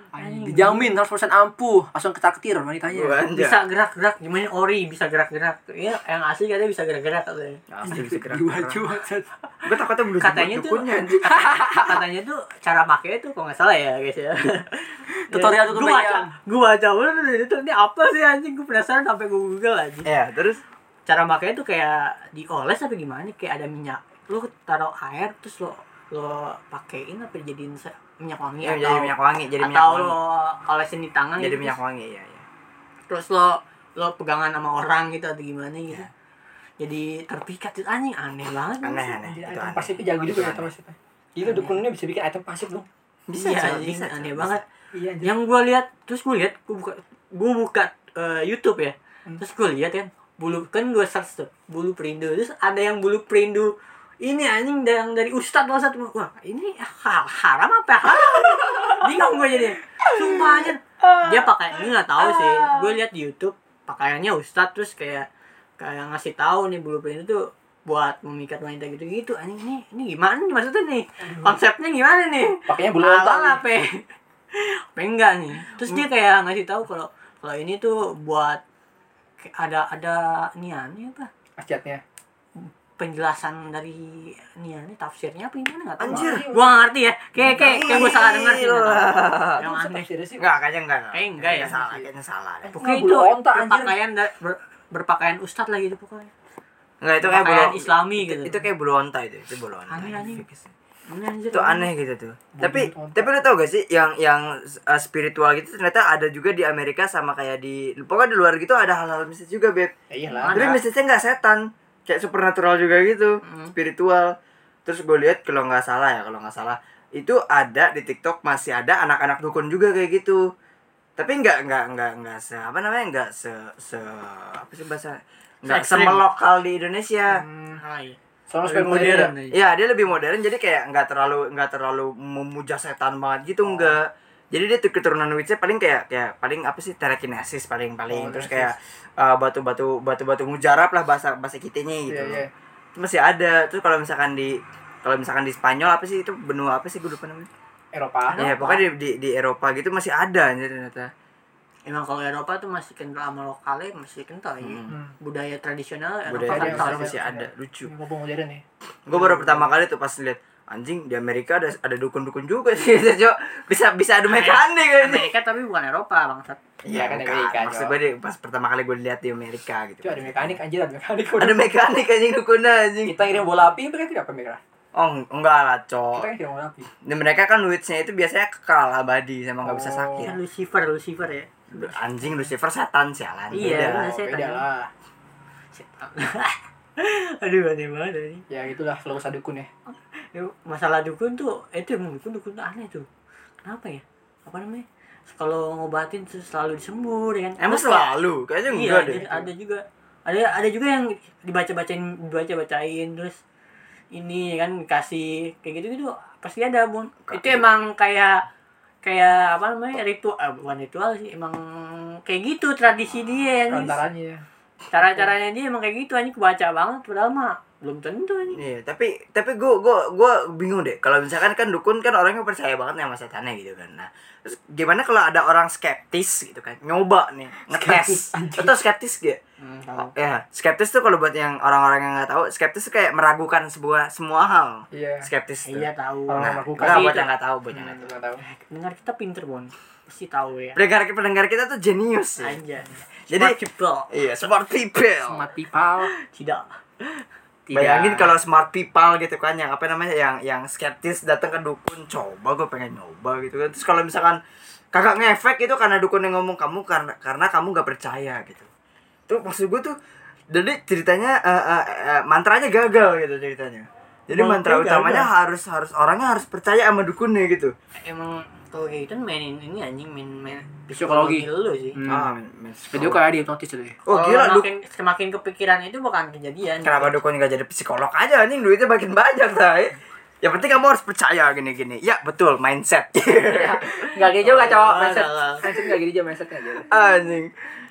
[SPEAKER 1] Anjing.
[SPEAKER 5] Dijamin 100% ampuh Langsung ketaktir wanitanya
[SPEAKER 3] Anjir.
[SPEAKER 1] Bisa gerak-gerak gimana ori bisa gerak-gerak. Ya yang asli katanya bisa gerak-gerak katanya.
[SPEAKER 3] Asli bisa gerak.
[SPEAKER 5] Dua jual
[SPEAKER 3] Gue takutnya belum
[SPEAKER 1] Katanya tuh katanya tuh cara pakainya tuh kalau nggak salah ya guys ya.
[SPEAKER 5] Tutorial tuh
[SPEAKER 1] gue baca, gue baca bener dari itu ini apa sih anjing gue penasaran sampai gue google aja.
[SPEAKER 3] Ya, terus
[SPEAKER 1] Cara makanya tuh kayak dioles apa gimana? Kayak ada minyak, lu taruh air terus lo lo pakein apa jadiin se- minyak wangi
[SPEAKER 3] ya,
[SPEAKER 1] atau
[SPEAKER 3] jadi minyak wangi, jadi minyak
[SPEAKER 1] atau
[SPEAKER 3] wangi.
[SPEAKER 1] lo olesin di tangan
[SPEAKER 3] Jadi
[SPEAKER 1] gitu,
[SPEAKER 3] minyak wangi, iya iya.
[SPEAKER 1] terus lo lo pegangan sama orang gitu atau gimana
[SPEAKER 3] Iya.
[SPEAKER 1] gitu. Jadi terpikat itu anjing aneh banget.
[SPEAKER 3] Aneh aneh.
[SPEAKER 2] Jadi
[SPEAKER 3] Itu
[SPEAKER 2] item
[SPEAKER 3] aneh.
[SPEAKER 2] pasifnya jago juga
[SPEAKER 3] Itu
[SPEAKER 2] item pasifnya. Itu dukunnya bisa bikin item pasif dong.
[SPEAKER 1] Bisa,
[SPEAKER 3] Bisa, Cok.
[SPEAKER 1] Iya, anjing,
[SPEAKER 3] Bisa, Cok.
[SPEAKER 1] aneh
[SPEAKER 3] Bisa.
[SPEAKER 1] banget.
[SPEAKER 2] Iya anjir.
[SPEAKER 1] yang gue lihat terus gue lihat gue buka gue buka eh, YouTube ya
[SPEAKER 2] Hmm.
[SPEAKER 1] terus gue lihat kan bulu kan gue search tuh bulu perindu terus ada yang bulu perindu ini anjing da- yang dari Ustadz loh satu wah ini ha- haram apa ya? haram bingung gue jadi sumpah anjir dia pakai ini nggak tahu sih gue lihat di YouTube pakaiannya Ustadz terus kayak kayak ngasih tahu nih bulu perindu tuh buat memikat wanita gitu gitu anjing ini ini gimana nih maksudnya nih konsepnya gimana nih
[SPEAKER 2] Pakainya bulu
[SPEAKER 1] Halal
[SPEAKER 2] otak.
[SPEAKER 1] apa? Apa enggak nih? Terus
[SPEAKER 3] Hmm.
[SPEAKER 1] dia kayak ngasih tahu kalau kalau ini tuh buat kayak ada ada niannya apa?
[SPEAKER 2] Asiatnya.
[SPEAKER 1] Penjelasan dari niannya tafsirnya apa gimana enggak tahu.
[SPEAKER 3] Anjir.
[SPEAKER 1] Gua nggak ngerti ya. Kayak kayak kayak gua salah dengar sih. nggak tahu. Yang
[SPEAKER 2] Masa
[SPEAKER 1] aneh.
[SPEAKER 2] tafsirnya sih?
[SPEAKER 3] Enggak, kayaknya enggak.
[SPEAKER 1] Kayaknya enggak ya.
[SPEAKER 3] Kayaknya salah, kayaknya salah. deh.
[SPEAKER 1] Pokoknya itu
[SPEAKER 2] Nggak, bulu onta, anjir.
[SPEAKER 1] berpakaian da- ber- berpakaian ustadz lagi itu pokoknya.
[SPEAKER 3] Enggak, itu kayak
[SPEAKER 1] Berpakaian
[SPEAKER 3] bulu-
[SPEAKER 1] Islami
[SPEAKER 3] itu,
[SPEAKER 1] gitu.
[SPEAKER 3] itu kayak bulu onta itu, itu bulu onta.
[SPEAKER 1] Aneh, anjing. Aneh, anjir.
[SPEAKER 3] itu aneh gitu tuh tapi
[SPEAKER 2] Bodoh,
[SPEAKER 3] tapi lu tau gak sih yang yang uh, spiritual gitu ternyata ada juga di Amerika sama kayak di pokoknya di luar gitu ada hal-hal mistis juga beb
[SPEAKER 2] Ya iyalah.
[SPEAKER 3] tapi mistisnya nggak setan kayak supernatural juga gitu spiritual terus gue lihat kalau nggak salah ya kalau nggak salah itu ada di TikTok masih ada anak-anak dukun juga kayak gitu tapi nggak nggak nggak nggak se apa namanya nggak se se apa sih bahasa nggak
[SPEAKER 1] Se-ekstrim.
[SPEAKER 3] semelokal di Indonesia
[SPEAKER 1] Ah, iya. Lebih
[SPEAKER 2] Soalnya ya. supaya modern.
[SPEAKER 1] modern aja.
[SPEAKER 3] Iya dia lebih modern jadi kayak nggak terlalu nggak terlalu memuja setan banget
[SPEAKER 2] Oh.
[SPEAKER 3] gitu enggak. Jadi dia tuh keturunan witchnya paling kayak kayak paling apa sih telekinesis paling
[SPEAKER 2] Oh,
[SPEAKER 3] paling terus kayak uh, batu-batu batu-batu mujarab lah bahasa bahasa kitanya gitu.
[SPEAKER 2] Iya iya.
[SPEAKER 3] Itu masih ada terus kalau misalkan di kalau misalkan di Spanyol apa sih itu benua apa sih gue lupa namanya.
[SPEAKER 2] Eropa.
[SPEAKER 3] Ya pokoknya di, di, di Eropa gitu masih ada anjir ternyata.
[SPEAKER 1] Emang kalau Eropa tuh masih kental sama lokalnya masih kental ya.
[SPEAKER 2] Hmm.
[SPEAKER 1] Budaya tradisional Eropa
[SPEAKER 3] Budaya
[SPEAKER 2] ada,
[SPEAKER 1] kental.
[SPEAKER 3] Eropa
[SPEAKER 2] ada,
[SPEAKER 3] masih
[SPEAKER 2] ada.
[SPEAKER 3] ada lucu.
[SPEAKER 2] Ini Ngomong modern ya.
[SPEAKER 3] gue baru pertama kali tuh pas lihat anjing di Amerika ada ada dukun-dukun juga sih Cok. bisa bisa adu mekanik anjing
[SPEAKER 1] Amerika tapi bukan Eropa bangsat.
[SPEAKER 2] Iya, kan
[SPEAKER 3] bukan.
[SPEAKER 2] Amerika,
[SPEAKER 3] maksud
[SPEAKER 2] Cok.
[SPEAKER 3] gue deh, pas pertama kali gue lihat di Amerika gitu
[SPEAKER 2] Itu ada mekanik anjir ada mekanik.
[SPEAKER 3] ada mekanik anjing dukun anjing
[SPEAKER 2] Kita ngirim bola api mereka tidak apa mereka.
[SPEAKER 3] oh enggak lah
[SPEAKER 2] Kita
[SPEAKER 3] cok
[SPEAKER 2] kan ngirim bola api.
[SPEAKER 3] dan mereka kan witchnya itu biasanya kekal abadi sama nggak bisa
[SPEAKER 2] Oh.
[SPEAKER 3] sakit
[SPEAKER 1] Lucifer, Lucifer ya.
[SPEAKER 3] anjing Lucifer setan sialan
[SPEAKER 1] Iya, bener. Nah,
[SPEAKER 3] Beda.
[SPEAKER 1] saya
[SPEAKER 2] beda
[SPEAKER 1] tanya.
[SPEAKER 2] lah.
[SPEAKER 1] Setan. Aduh aneh banget ini.
[SPEAKER 2] Ya gitulah selalu sadukun ya.
[SPEAKER 1] Ya, Masalah dukun tuh itu emang dukun dukun tuh aneh tuh. Kenapa ya? Apa namanya? Kalau ngobatin tuh selalu disembur ya kan.
[SPEAKER 3] emang
[SPEAKER 1] Terus kayak-
[SPEAKER 3] selalu kayaknya
[SPEAKER 1] Iya,
[SPEAKER 3] enggak
[SPEAKER 1] ada,
[SPEAKER 3] deh
[SPEAKER 1] ada juga. Ada ada juga yang dibaca-bacain, dibaca-bacain terus ini ya kan kasih kayak gitu-gitu pasti ada, Bun.
[SPEAKER 3] Ka-
[SPEAKER 1] Itu emang kayak kayak apa namanya? ritual eh, bukan ritual sih, emang kayak gitu tradisi dia yang
[SPEAKER 2] Perantaranya ya.
[SPEAKER 1] cara-caranya dia emang kayak gitu anjing kebaca banget padahal mah belum tentu anjing
[SPEAKER 3] Iya, tapi tapi gue gua gua bingung deh. Kalau misalkan kan dukun kan orangnya percaya banget sama setannya gitu kan. Nah, terus gimana kalau ada orang skeptis gitu kan? Nyoba nih, ngetes. Atau skeptis gak? Ya, skeptis tuh kalau buat yang orang-orang yang nggak tahu, skeptis tuh kayak meragukan sebuah semua hal.
[SPEAKER 2] Iya.
[SPEAKER 3] Skeptis tuh.
[SPEAKER 1] iya tahu
[SPEAKER 2] Orang
[SPEAKER 3] Nah,
[SPEAKER 2] meragukan.
[SPEAKER 3] nggak, buat
[SPEAKER 1] Itu.
[SPEAKER 3] yang nggak tahu, buat yang nggak
[SPEAKER 2] Hmm,
[SPEAKER 3] tahu.
[SPEAKER 2] nggak tahu.
[SPEAKER 1] dengar kita pinter bon pasti tahu ya
[SPEAKER 3] Pendengar pendengar kita tuh jenius. Ya.
[SPEAKER 1] aja
[SPEAKER 3] Jadi
[SPEAKER 1] Smart people
[SPEAKER 3] iya, smart people.
[SPEAKER 5] Smart people
[SPEAKER 1] tidak
[SPEAKER 2] Iya.
[SPEAKER 3] Bayangin kalau smart people gitu kan yang apa namanya yang yang skeptis datang ke dukun coba gue pengen nyoba gitu kan terus kalau misalkan kagak ngefek itu karena dukun yang ngomong kamu karena karena kamu gak percaya gitu tuh maksud gue tuh jadi ceritanya eh, eh, eh, mantranya gagal gitu ceritanya jadi mantra
[SPEAKER 4] Mantra
[SPEAKER 3] utamanya
[SPEAKER 4] gagal.
[SPEAKER 3] harus harus orangnya harus percaya sama dukunnya gitu
[SPEAKER 1] emang kalau kayak gitu mainin ini anjing main main
[SPEAKER 5] Psikologi.
[SPEAKER 1] lu sih
[SPEAKER 5] Hmm.
[SPEAKER 3] ah men- men-
[SPEAKER 5] Video kayak di hipnotis itu ya.
[SPEAKER 3] oh
[SPEAKER 1] Kalau
[SPEAKER 3] gila duk
[SPEAKER 1] makin, semakin kepikiran itu bukan kejadian
[SPEAKER 3] kenapa dukun gak jadi psikolog aja anjing duitnya makin banyak say yang penting kamu harus percaya gini-gini ya betul mindset
[SPEAKER 2] Enggak gitu juga, Cok.
[SPEAKER 1] Enggak,
[SPEAKER 2] Mindset.
[SPEAKER 1] enggak.
[SPEAKER 2] Mindset enggak gitu aja mindsetnya aja.
[SPEAKER 3] anjing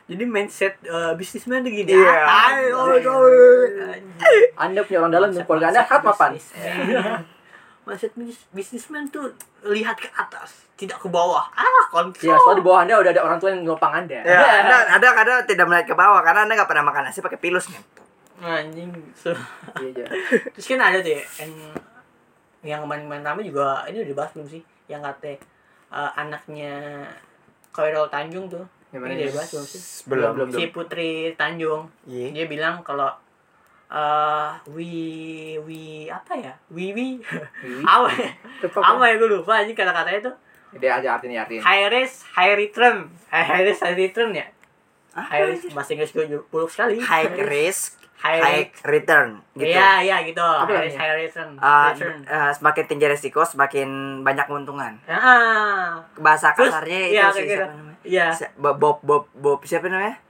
[SPEAKER 1] jadi mindset eh, bisnismen tuh gini
[SPEAKER 3] Iya.
[SPEAKER 1] Apaan?
[SPEAKER 3] Oh,
[SPEAKER 1] Anjing.
[SPEAKER 2] Anda punya orang dalam dan keluarga Anda
[SPEAKER 1] Mindset
[SPEAKER 2] hat mapan.
[SPEAKER 1] bisnismen. mindset bis- bisnismen tuh lihat ke atas tidak ke bawah ah
[SPEAKER 2] Ya,
[SPEAKER 1] kontrol
[SPEAKER 2] soalnya di bawah Anda udah ada orang tua yang ngopang Anda.
[SPEAKER 3] ya
[SPEAKER 1] Iya.
[SPEAKER 3] anda, anda kadang tidak melihat ke bawah karena anda nggak pernah makan nasi pakai pilus nih
[SPEAKER 1] anjing So-
[SPEAKER 2] Iya, Cok.
[SPEAKER 1] Terus kan ada tuh ya, yang, yang kemarin-kemarin rame juga, ini udah dibahas belum sih? Yang kata eh, anaknya Khairul Tanjung tuh,
[SPEAKER 2] Gimana
[SPEAKER 1] ini udah
[SPEAKER 2] ya?
[SPEAKER 1] dibahas belum sih?
[SPEAKER 3] belum
[SPEAKER 2] Belum,
[SPEAKER 1] Si Putri Tanjung,
[SPEAKER 3] Iya.
[SPEAKER 1] dia bilang kalau eh we we apa ya we we apa ya?
[SPEAKER 2] Cepat.
[SPEAKER 1] apa ya gue lupa aja kata-katanya tuh
[SPEAKER 2] Dia ada artinya artinya.
[SPEAKER 1] high risk high return Eh, high risk high return ya high risk bahasa Inggris gue juga buruk sekali
[SPEAKER 3] high risk
[SPEAKER 1] high
[SPEAKER 3] high
[SPEAKER 1] risk
[SPEAKER 3] return gitu
[SPEAKER 1] Iya, iya gitu.
[SPEAKER 2] Apa
[SPEAKER 1] High risk, high return.
[SPEAKER 3] Uh,
[SPEAKER 1] return.
[SPEAKER 3] uh, semakin tinggi resiko semakin banyak keuntungan
[SPEAKER 1] Ah,
[SPEAKER 3] bahasa
[SPEAKER 1] Terus,
[SPEAKER 3] kasarnya itu
[SPEAKER 1] iya,
[SPEAKER 3] sih,
[SPEAKER 1] kayak gitu.
[SPEAKER 3] siapa namanya
[SPEAKER 1] iya.
[SPEAKER 3] Si- Bob Bob Bob Bob- siapa namanya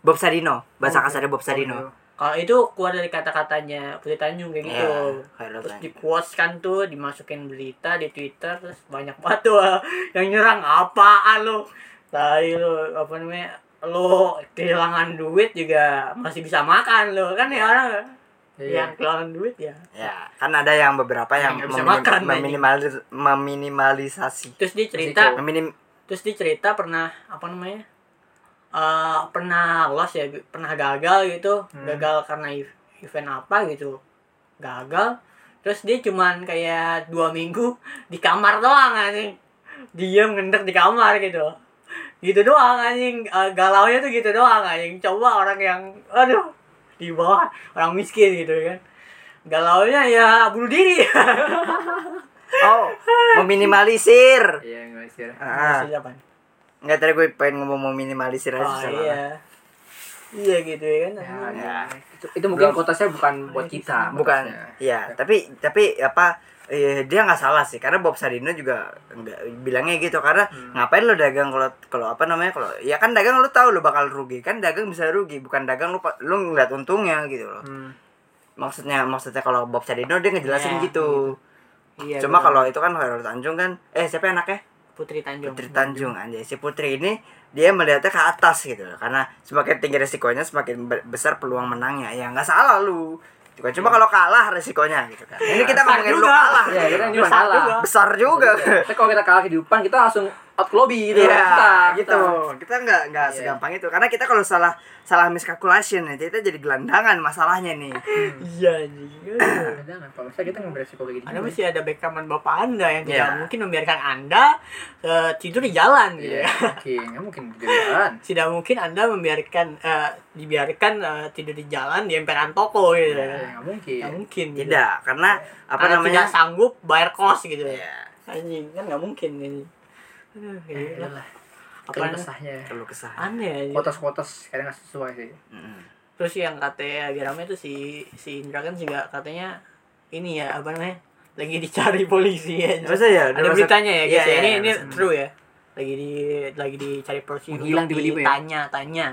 [SPEAKER 3] Bob Sadino
[SPEAKER 1] Oh,
[SPEAKER 3] bahasa
[SPEAKER 1] gitu.
[SPEAKER 3] kasarnya Bob Sadino
[SPEAKER 1] Kalau itu keluar dari kata-katanya Putri Tanjung kayak
[SPEAKER 3] Iya,
[SPEAKER 1] gitu.
[SPEAKER 3] Khairul
[SPEAKER 1] Terus
[SPEAKER 3] Tanjung.
[SPEAKER 1] di quotes kan tuh dimasukin berita di Twitter terus banyak banget tuh ah, yang nyerang apaan lo. Tai lo apa namanya? Lo kehilangan duit juga masih bisa makan lo. Kan
[SPEAKER 3] Iya.
[SPEAKER 1] ya orang
[SPEAKER 2] Iya,
[SPEAKER 1] yang kehilangan duit ya.
[SPEAKER 3] ya kan ada yang beberapa yang
[SPEAKER 1] Nggak bisa
[SPEAKER 3] meminim-
[SPEAKER 1] makan,
[SPEAKER 3] meminimalis- meminimalisasi
[SPEAKER 1] Terus dia cerita,
[SPEAKER 3] meminim
[SPEAKER 1] terus dia cerita pernah apa namanya? eh pernah loss ya, pernah gagal gitu.
[SPEAKER 3] Hmm.
[SPEAKER 1] Gagal karena ev- event apa gitu. gagal terus dia cuman kayak dua minggu di kamar doang anjing diam ngendek di kamar gitu gitu doang anjing galau nya tuh gitu doang anjing coba orang yang aduh di bawah orang miskin gitu kan galau nya ya bunuh diri
[SPEAKER 3] oh meminimalisir
[SPEAKER 2] Iya, enggak sih.
[SPEAKER 3] ah,
[SPEAKER 1] Maksudnya apaan?
[SPEAKER 3] nggak tadi gue pengen ngomong meminimalisir aja
[SPEAKER 1] oh
[SPEAKER 3] salah.
[SPEAKER 1] iya iya gitu ya kan anjing.
[SPEAKER 3] Ya.
[SPEAKER 2] Itu, itu mungkin
[SPEAKER 3] Belum.
[SPEAKER 2] kotasnya bukan buat kita.
[SPEAKER 3] bukan
[SPEAKER 2] kotasnya.
[SPEAKER 3] iya tapi tapi apa eh, dia nggak salah sih karena Bob Sadino juga nggak bilangnya gitu karena
[SPEAKER 1] Hmm.
[SPEAKER 3] ngapain lo dagang kalau kalau apa namanya kalau ya kan dagang lo tahu lo bakal rugi kan dagang bisa rugi bukan dagang lo lo ngeliat untungnya gitu loh
[SPEAKER 1] Hmm.
[SPEAKER 3] maksudnya maksudnya kalau Bob Sadino dia ngejelasin
[SPEAKER 1] Iya,
[SPEAKER 3] gitu
[SPEAKER 1] iya
[SPEAKER 3] cuma
[SPEAKER 1] bener.
[SPEAKER 3] kalau itu kan Hairul Tanjung kan eh siapa anaknya
[SPEAKER 1] Putri Tanjung
[SPEAKER 3] Putri Tanjung anjay si Putri ini dia melihatnya ke atas gitu loh karena semakin tinggi resikonya semakin be- besar peluang menangnya ya nggak salah lu Gitu kan. cuma kalau kalah resikonya gitu kan ini kita
[SPEAKER 1] Iya. Besar
[SPEAKER 3] ngomongin lu
[SPEAKER 1] juga. Iya,
[SPEAKER 3] kalah
[SPEAKER 2] Iya, kita
[SPEAKER 1] Besar
[SPEAKER 2] cuma salah.
[SPEAKER 1] juga.
[SPEAKER 3] besar juga
[SPEAKER 2] Tapi kalau kita kalah kehidupan kita langsung out ke lobby gitu.
[SPEAKER 3] Iya,
[SPEAKER 2] Kita-
[SPEAKER 3] gitu. Kita nggak nggak
[SPEAKER 2] Iya.
[SPEAKER 3] segampang itu karena kita kalau salah salah miscalculation ya, kita jadi gelandangan masalahnya nih.
[SPEAKER 1] iya anjing Aduh.
[SPEAKER 2] Kita. Jangan, Kalau misalnya kita nggak beresiko kayak gitu.
[SPEAKER 1] Anda masih ada background bapak Anda yang tidak
[SPEAKER 3] Iya.
[SPEAKER 1] mungkin membiarkan Anda eh, tidur di jalan gitu
[SPEAKER 2] Iya,
[SPEAKER 1] ya.
[SPEAKER 2] mungkin, nggak mungkin kejadian.
[SPEAKER 1] Tidak mungkin Anda membiarkan eh, dibiarkan eh, tidur di jalan di emperan toko gitu
[SPEAKER 2] Iya,
[SPEAKER 1] ya.
[SPEAKER 2] nggak mungkin.
[SPEAKER 1] Nggak mungkin. gitu.
[SPEAKER 3] Tidak, karena apa
[SPEAKER 1] Karena
[SPEAKER 3] namanya?
[SPEAKER 1] tidak sanggup bayar kos gitu ya.
[SPEAKER 3] Iya,
[SPEAKER 1] Anjing kan nggak mungkin ini. Aduh, kayak gitu.
[SPEAKER 2] Adalah
[SPEAKER 1] Apa
[SPEAKER 2] kesahnya.
[SPEAKER 3] perlu kesah.
[SPEAKER 1] aneh ya. ini.
[SPEAKER 2] Kotas-kotas kadang nggak sesuai sih.
[SPEAKER 3] Mm.
[SPEAKER 1] Terus yang katanya agak rame tuh si si Indra kan juga katanya ini ya apa namanya? lagi dicari polisi ya.
[SPEAKER 3] Masa ya?
[SPEAKER 1] ada
[SPEAKER 3] masa-
[SPEAKER 1] beritanya ya guys
[SPEAKER 3] Iya,
[SPEAKER 1] ya. ini
[SPEAKER 3] iya,
[SPEAKER 1] ini
[SPEAKER 3] masa-
[SPEAKER 1] true ya lagi di lagi dicari polisi untuk
[SPEAKER 5] Menghilang tiba-tiba ya?
[SPEAKER 1] tanya tanya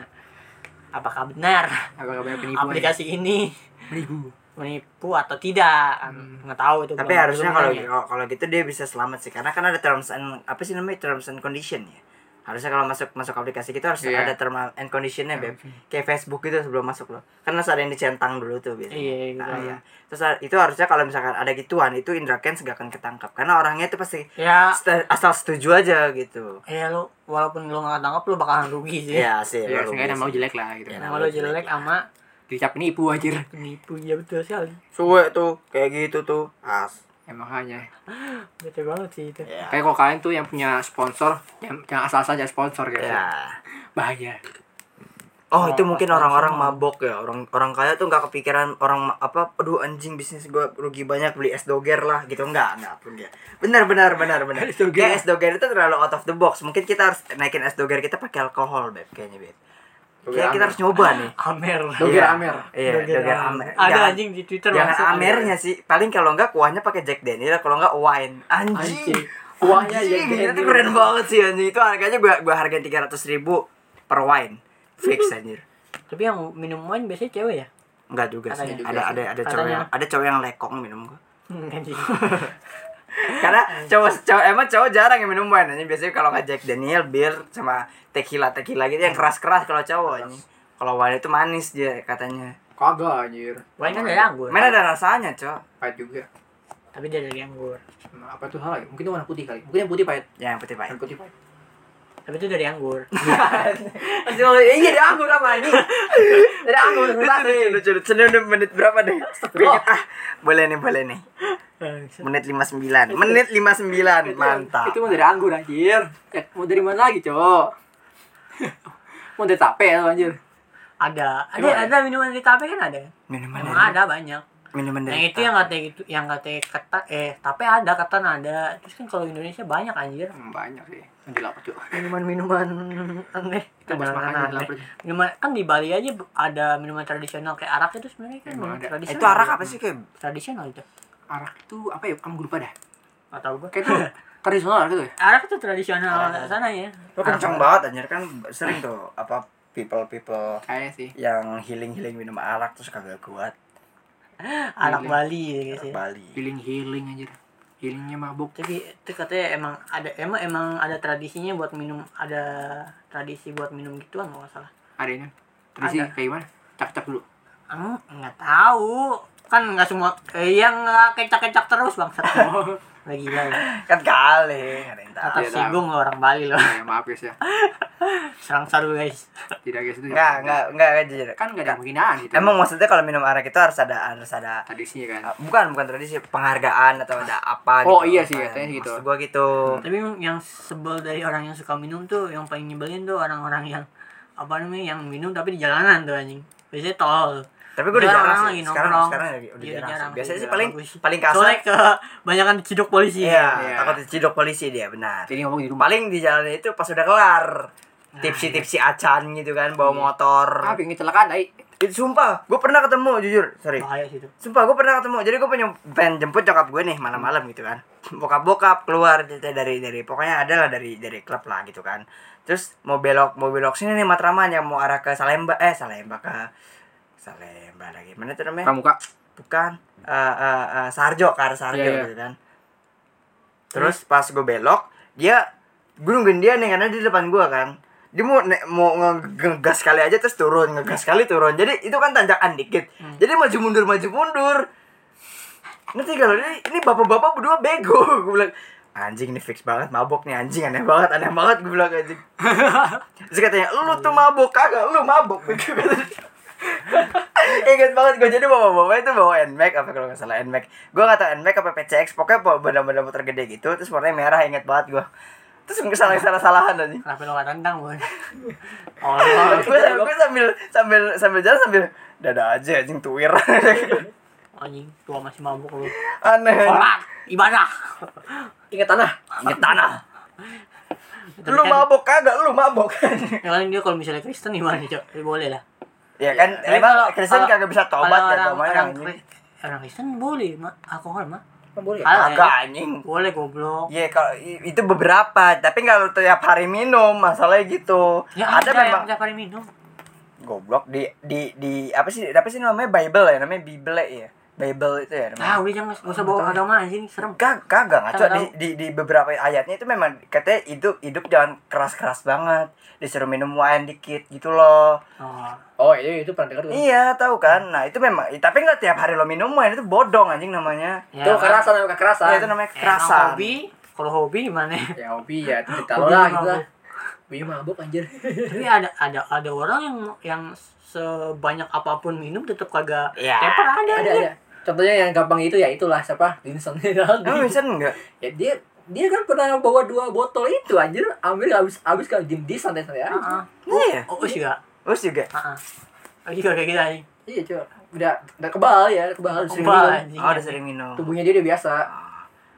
[SPEAKER 1] apakah benar
[SPEAKER 5] Agak-agak banyak
[SPEAKER 3] ya?
[SPEAKER 5] penipuan.
[SPEAKER 1] aplikasi ini
[SPEAKER 5] Penipu.
[SPEAKER 1] menipu atau tidak Kan nggak tahu itu
[SPEAKER 3] Hmm. Tapi
[SPEAKER 1] belum-
[SPEAKER 3] harusnya
[SPEAKER 1] belum
[SPEAKER 3] kalau
[SPEAKER 1] nanya.
[SPEAKER 3] kalau- kalau gitu dia bisa selamat sih karena kan ada terms and apa sih namanya terms and condition ya. Harusnya kalau masuk masuk aplikasi gitu harus
[SPEAKER 5] Iya.
[SPEAKER 3] ada term and conditionnya beb. Kayak Facebook gitu sebelum masuk loh. Kan harus ada yang dicentang dulu tuh biasanya.
[SPEAKER 1] Iya, iya,
[SPEAKER 3] Nah,
[SPEAKER 1] gitu.
[SPEAKER 3] iya. Terus har- itu harusnya kalau misalkan ada gituan itu Indra Kents gak akan ketangkap karena orangnya itu pasti
[SPEAKER 1] ya
[SPEAKER 3] sta- asal setuju aja gitu.
[SPEAKER 1] ya lu walaupun lu nggak tangkap lu bakalan rugi sih
[SPEAKER 3] Iya sih.
[SPEAKER 5] Ya,
[SPEAKER 3] baru
[SPEAKER 5] seenggaknya
[SPEAKER 3] biasa.
[SPEAKER 5] nama lu jelek lah gitu.
[SPEAKER 3] Iya.
[SPEAKER 1] Nama lu jelek sama
[SPEAKER 5] Dicap penipu anjir.
[SPEAKER 1] penipu ya betul sekali
[SPEAKER 3] Suwe tuh kayak gitu tuh. As.
[SPEAKER 5] Emang hanya.
[SPEAKER 1] betul banget sih itu
[SPEAKER 3] Ya.
[SPEAKER 5] Kayak kalau kalian tuh yang punya sponsor, yang jangan asal saja sponsor gitu.
[SPEAKER 3] Ya.
[SPEAKER 5] Bahaya.
[SPEAKER 3] Oh, itu mungkin orang-orang mabok ya. Orang orang kaya tuh nggak kepikiran orang ma- apa aduh anjing bisnis gua rugi banyak beli es doger lah gitu. Enggak, enggak pun dia. Benar benar benar benar.
[SPEAKER 5] Es doger.
[SPEAKER 3] Kayak es doger itu terlalu out of the box. Mungkin kita harus naikin es doger kita pakai alkohol, Beb, kayaknya, Beb. Kayak kita harus nyoba nih.
[SPEAKER 1] Amer.
[SPEAKER 5] Doger Amer.
[SPEAKER 3] Iya, doger amer.
[SPEAKER 1] gitu. Ada
[SPEAKER 3] Jangan-
[SPEAKER 1] anjing di Twitter
[SPEAKER 3] Jangan
[SPEAKER 1] masuk.
[SPEAKER 3] amernya sih. Paling kalau enggak kuahnya pakai Jack Daniel, kalau enggak wine. Anjing.
[SPEAKER 5] Anjing. Kuahnya Jack
[SPEAKER 3] Anjing,
[SPEAKER 5] Daniel.
[SPEAKER 3] Itu keren banget sih anjing. Itu harganya gua gua hargain 300 ribu per wine. Fix anjir.
[SPEAKER 1] Tapi yang minum wine biasanya cewek ya?
[SPEAKER 3] Enggak juga sih.
[SPEAKER 1] Katanya juga
[SPEAKER 3] Ada
[SPEAKER 1] sih.
[SPEAKER 3] ada ada cowok
[SPEAKER 1] Katanya.
[SPEAKER 3] yang ada cowok yang lekong minum gua.
[SPEAKER 1] Hmm, anjing.
[SPEAKER 3] Karena cowok cowok emang cowok jarang yang minum wine anjing. Biasanya kalau enggak Jack Daniel, bir sama tequila tequila gitu yang keras-keras kalau cowok anjing. Kalau wine itu manis dia katanya.
[SPEAKER 5] Kagak anjir.
[SPEAKER 1] Wine kan dari anggur.
[SPEAKER 3] Mana ada rasanya, cowok?
[SPEAKER 5] Pahit juga.
[SPEAKER 1] Tapi dia dari anggur.
[SPEAKER 5] Nah, Apa tuh hal lagi? Mungkin itu warna putih kali. Mungkin yang putih pahit.
[SPEAKER 3] Ya, yang putih pahit.
[SPEAKER 5] Yang putih pahit.
[SPEAKER 1] Tapi itu dari anggur.
[SPEAKER 5] Eh,
[SPEAKER 2] Iya, dia anggur sama ini. Dia anggur susah
[SPEAKER 3] lucu
[SPEAKER 2] nih.
[SPEAKER 3] lucu lucu Ini udah menit berapa deh Pengen- ah, boleh nih boleh nih menit 59 menit 59 mantap
[SPEAKER 5] Itu mau dari anggur anjir. Eh, mau dari mana lagi, Cok? mau dari tape ya lo, anjir.
[SPEAKER 1] Ada, ada,
[SPEAKER 5] Emang ada?
[SPEAKER 1] ada minuman di tape kan ada.
[SPEAKER 3] minuman
[SPEAKER 1] Emang
[SPEAKER 3] dari
[SPEAKER 1] ada banyak.
[SPEAKER 3] minuman
[SPEAKER 1] Yang
[SPEAKER 3] dari
[SPEAKER 1] itu yang katanya gitu, yang katanya ketan, eh tape ada, ketan ada. Terus kan kalau Indonesia banyak anjir.
[SPEAKER 5] Hmm, banyak sih. Anjir lapar, Cok.
[SPEAKER 1] Minuman-minuman aneh.
[SPEAKER 5] Kita bahas makan jadi lapar. Cok.
[SPEAKER 1] Minuman kan di Bali aja bu- ada minuman tradisional kayak arak itu sebenarnya kan
[SPEAKER 5] Emang
[SPEAKER 1] minuman
[SPEAKER 5] ada.
[SPEAKER 1] tradisional.
[SPEAKER 3] itu arak apa sih kayak
[SPEAKER 1] Tradisional itu.
[SPEAKER 5] Arak itu apa ya? Kamu gue lupa dah.
[SPEAKER 1] Enggak tahu gua.
[SPEAKER 5] Kayak itu tradisional arak itu ya?
[SPEAKER 1] Arak itu tradisional sana ya.
[SPEAKER 3] Lu kencang banget anjir kan sering tuh apa people people
[SPEAKER 5] Kayaknya sih.
[SPEAKER 3] yang healing healing minum arak terus kagak kuat
[SPEAKER 1] Arak Bali ya
[SPEAKER 5] Iya
[SPEAKER 1] guys ya.
[SPEAKER 3] Bali
[SPEAKER 5] Healing healing anjir. Healingnya mabuk.
[SPEAKER 1] tapi itu katanya emang ada emang emang ada tradisinya buat minum ada tradisi buat minum gituan kalau nggak salah
[SPEAKER 5] Ada ini. Tradisi
[SPEAKER 1] Ada.
[SPEAKER 5] kayak gimana? Cak-cak dulu.
[SPEAKER 1] Eng, nggak tahu kan nggak semua eh, yang nggak kecak kecak terus bangsat lagi gila ya
[SPEAKER 3] kan kali ada yang tahu
[SPEAKER 1] kata
[SPEAKER 5] Iya,
[SPEAKER 1] singgung lo orang Bali lo
[SPEAKER 5] Ya, maaf guys ya.
[SPEAKER 1] serang saru guys
[SPEAKER 5] Tidak guys itu. ya.
[SPEAKER 3] nggak nggak nggak nggak, jujur
[SPEAKER 5] Kan enggak ada penghinaan gitu.
[SPEAKER 3] emang maksudnya kalau minum arak itu harus ada harus ada uh,
[SPEAKER 5] tradisinya kan.
[SPEAKER 3] bukan bukan tradisi penghargaan atau ada apa
[SPEAKER 5] Oh, iya sih, katanya
[SPEAKER 3] Maksud
[SPEAKER 5] gitu.
[SPEAKER 3] gua gitu
[SPEAKER 1] tapi yang sebel dari orang yang suka minum tuh yang paling nyebelin tuh orang-orang yang apa namanya yang minum tapi di jalanan tuh anjing biasanya tol
[SPEAKER 3] Tapi gue udah
[SPEAKER 1] Jarang
[SPEAKER 3] jarang
[SPEAKER 1] lagi
[SPEAKER 3] sih. Sekarang
[SPEAKER 1] nongkrong.
[SPEAKER 3] sekarang lagi udah
[SPEAKER 1] Iya,
[SPEAKER 3] jarang.
[SPEAKER 1] jarang
[SPEAKER 3] sih. Biasanya
[SPEAKER 1] sih,
[SPEAKER 3] sih
[SPEAKER 1] jarang.
[SPEAKER 3] paling paling kasar.
[SPEAKER 1] soalnya kebanyakan diciduk polisi
[SPEAKER 3] Iya,
[SPEAKER 5] Iya.
[SPEAKER 3] takut diciduk polisi dia benar.
[SPEAKER 5] Jadi ngomong di rumah.
[SPEAKER 3] Paling di jalan itu pas udah kelar.
[SPEAKER 5] Nah,
[SPEAKER 3] Tipsi-tipsi
[SPEAKER 5] iya.
[SPEAKER 3] acan gitu kan bawa motor.
[SPEAKER 5] Ah, pengen kecelakaan, ai.
[SPEAKER 3] Itu sumpah, gue pernah ketemu jujur, sorry.
[SPEAKER 1] bahaya sih tuh
[SPEAKER 3] Sumpah gue pernah ketemu. Jadi gue pengen jemput nyokap gue nih malam-malam gitu kan. Bokap-bokap keluar gitu, dari dari pokoknya adalah dari dari klub lah gitu kan. Terus mau belok mau belok sini nih Matraman yang mau arah ke Salemba eh Salemba ke Salemba lagi mana
[SPEAKER 2] Eh,
[SPEAKER 3] tuh namanya?
[SPEAKER 5] Pramuka.
[SPEAKER 3] bukan eh eh, eh, Sarjo ke arah Sarjo
[SPEAKER 5] Iya, iya.
[SPEAKER 3] gitu kan terus pas gue belok dia gue nungguin dia nih karena dia di depan gue kan dia mau ne- mau nge- ngegas kali aja terus turun ngegas kali turun jadi itu kan tanjakan dikit
[SPEAKER 5] Hmm.
[SPEAKER 3] jadi maju mundur maju mundur nanti kalau ini ini bapak-bapak berdua bego gue bilang anjing ini fix banget mabok nih anjing aneh banget aneh banget gue bilang anjing terus katanya lu tuh mabok kagak lu mabok Gitu katanya. Ingat banget gue jadi bawa bawa itu bawa Nmax apa kalau nggak salah Nmax. Gue nggak tahu Nmax apa PCX. Pokoknya bawa benda-benda motor gede gitu. Terus warnanya merah ingat banget gue. Terus gue salah salah salahan aja.
[SPEAKER 1] kenapa lo nggak tendang gue Oh,
[SPEAKER 3] Gue gue sambil sambil sambil jalan sambil dada aja anjing tuir.
[SPEAKER 1] anjing tua masih mabuk lu
[SPEAKER 3] Aneh.
[SPEAKER 1] sholat ibadah
[SPEAKER 2] Ingat tanah.
[SPEAKER 3] Ingat tanah.
[SPEAKER 1] Tapi
[SPEAKER 3] Lu
[SPEAKER 1] kan-
[SPEAKER 3] mabok kagak lu mabok.
[SPEAKER 1] Ya paling dia kalau misalnya Kristen gimana cok? Ya, boleh lah.
[SPEAKER 3] ya kan
[SPEAKER 1] Tapi
[SPEAKER 3] emang
[SPEAKER 1] kalau-
[SPEAKER 3] Kristen
[SPEAKER 1] kalau-
[SPEAKER 3] kagak bisa
[SPEAKER 1] kalau
[SPEAKER 3] tobat kan
[SPEAKER 1] orang,
[SPEAKER 3] namanya
[SPEAKER 1] orang,
[SPEAKER 3] anjing.
[SPEAKER 1] Kri- orang Kristen boleh ma alkohol mah.
[SPEAKER 2] Kan boleh. ya?
[SPEAKER 1] Halal
[SPEAKER 3] Kagak
[SPEAKER 1] ya?
[SPEAKER 3] anjing.
[SPEAKER 1] Boleh goblok.
[SPEAKER 3] Ya kalau i- itu beberapa, tapi kalau tiap hari minum masalahnya gitu.
[SPEAKER 1] Ya
[SPEAKER 3] ada memang
[SPEAKER 1] tiap hari minum.
[SPEAKER 3] goblok di di di apa sih apa sih namanya Bible ya namanya Bible ya Bible itu ya
[SPEAKER 1] Ah
[SPEAKER 3] namanya
[SPEAKER 1] udah jangan nggak usah bawa agama anjing serem.
[SPEAKER 3] Kag- kagak ngaco
[SPEAKER 1] Tahu,
[SPEAKER 3] di, di di beberapa ayatnya itu memang katanya hidup hidup jangan keras keras banget disuruh minum wine dikit gitu loh
[SPEAKER 1] Oh,
[SPEAKER 2] Oh, iya itu pernah dengar tuh.
[SPEAKER 3] iya tahu kan nah itu memang tapi nggak tiap hari lo minum wine itu bodong anjing namanya
[SPEAKER 1] ya,
[SPEAKER 2] Nah. Iya, Itu kekerasan sama
[SPEAKER 3] ya,
[SPEAKER 2] kekerasan.
[SPEAKER 3] itu namanya
[SPEAKER 1] Emang
[SPEAKER 3] kekerasan
[SPEAKER 1] hobi, kalau hobi gimana?
[SPEAKER 2] Ya hobi ya, cerita
[SPEAKER 1] Hobi
[SPEAKER 2] lo lah
[SPEAKER 1] mabuk.
[SPEAKER 2] gitu lah. Hobi mabuk anjir.
[SPEAKER 1] Tapi ada ada ada orang yang yang sebanyak apapun minum tetap kagak
[SPEAKER 3] Ya.
[SPEAKER 1] Teper ada.
[SPEAKER 2] Ada ada. Contohnya yang gampang itu ya itulah siapa? Linson
[SPEAKER 3] Emang
[SPEAKER 2] ya
[SPEAKER 3] bisa enggak?
[SPEAKER 2] dia dia kan pernah bawa dua botol itu anjir, ambil habis habis kan diem di santai-santai aja.
[SPEAKER 1] Heeh.
[SPEAKER 3] Iya.
[SPEAKER 1] Oh, us juga.
[SPEAKER 3] Us juga.
[SPEAKER 1] Heeh. Oh, juga kayak gitu anjing.
[SPEAKER 2] Iya, cuy. Udah udah kebal ya, udah kebal Ah. sering
[SPEAKER 1] Kebal,
[SPEAKER 2] minum.
[SPEAKER 1] anjing.
[SPEAKER 3] Oh, udah sering minum.
[SPEAKER 2] Tubuhnya dia udah biasa.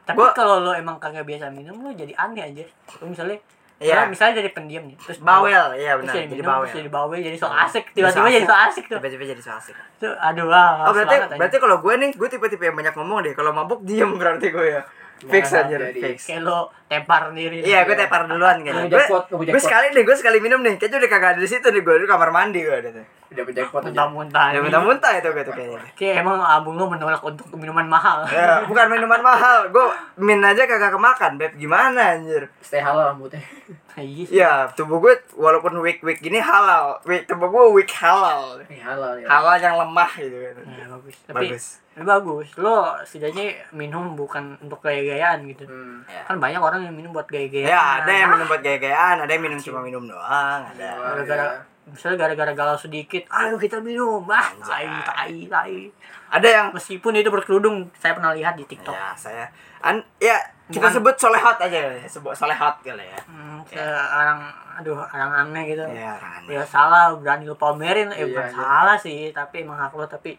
[SPEAKER 1] Tapi
[SPEAKER 3] Gua-
[SPEAKER 1] kalau lo emang kagak biasa minum lo jadi aneh aja. Lo misalnya Karena
[SPEAKER 3] Iya.
[SPEAKER 1] misalnya dari pendiam nih, terus
[SPEAKER 3] Bawel, iya
[SPEAKER 1] terus
[SPEAKER 3] benar.
[SPEAKER 1] jadi
[SPEAKER 3] Jadi
[SPEAKER 1] minum, terus
[SPEAKER 3] bawel.
[SPEAKER 1] jadi bawel, jadi so
[SPEAKER 3] Iya.
[SPEAKER 1] asik,
[SPEAKER 3] Jadi so
[SPEAKER 1] tiba-tiba jadi so asik tuh.
[SPEAKER 3] Tiba-tiba jadi so asik.
[SPEAKER 1] Tuh, aduh wah. males
[SPEAKER 3] Oh berarti
[SPEAKER 1] banget, anjing.
[SPEAKER 3] berarti kalau gue nih, gue tipe-tipe yang banyak ngomong deh. Kalau mabuk diem berarti gue ya.
[SPEAKER 1] Iya,
[SPEAKER 3] Fix
[SPEAKER 2] Jangan,
[SPEAKER 3] aja,
[SPEAKER 2] jadi.
[SPEAKER 3] fix.
[SPEAKER 1] kayak lo tepar sendiri.
[SPEAKER 3] Iya, gue tepar duluan
[SPEAKER 2] Ngebu
[SPEAKER 3] kayaknya. Gue
[SPEAKER 2] jackpot, ngebu
[SPEAKER 3] gue
[SPEAKER 2] jackpot.
[SPEAKER 3] sekali nih, gue sekali minum nih. Kayaknya udah kagak ada di situ nih, gue di kamar mandi gue gitu. ada tuh.
[SPEAKER 2] Dapet jackpot aja.
[SPEAKER 1] muntah-muntah.
[SPEAKER 3] Ada
[SPEAKER 1] anjing.
[SPEAKER 3] Iya, muntah-muntah itu gue tuh kayaknya.
[SPEAKER 1] Kayak emang abung lo menolak untuk minuman mahal.
[SPEAKER 3] Ya, bukan minuman mahal. Gue min aja kagak kemakan, Beb. Gimana anjir?
[SPEAKER 2] Stay halal rambutnya.
[SPEAKER 1] Iya. sih.
[SPEAKER 3] Ya, tubuh gue walaupun weak weak gini halal. Weak, tubuh gue weak halal.
[SPEAKER 2] Ini halal ya.
[SPEAKER 3] Halal yang lemah gitu kan.
[SPEAKER 1] Iya, bagus. Tapi
[SPEAKER 3] Bagus.
[SPEAKER 1] tapi bagus. Lo setidaknya minum bukan untuk gaya-gayaan gitu.
[SPEAKER 2] Hmm.
[SPEAKER 1] Kan banyak orang yang minum buat gaya-gayaan.
[SPEAKER 3] Ya, ada yang minum buat gaya-gayaan, ada yang minum cuma minum doang, ada.
[SPEAKER 1] Nah,
[SPEAKER 2] Wah,
[SPEAKER 1] Gara-gara-
[SPEAKER 2] ya.
[SPEAKER 3] Iya.
[SPEAKER 1] Misalnya gara-gara galau sedikit, ayo kita minum. Ah, tai, tai, tai.
[SPEAKER 3] Ada yang
[SPEAKER 1] Meskipun itu berkerudung, saya pernah lihat di TikTok.
[SPEAKER 3] ya saya an ya kita
[SPEAKER 1] Bukan-
[SPEAKER 3] sebut solehot aja kali ya, sebut solehot kali ya.
[SPEAKER 1] Hmm, kayak orang aduh, orang aneh gitu.
[SPEAKER 3] Ya, kan.
[SPEAKER 1] Ya salah, berani lu pamerin, eh
[SPEAKER 2] Iya,
[SPEAKER 1] bukan
[SPEAKER 2] iya.
[SPEAKER 1] salah sih, tapi emang hak lo, tapi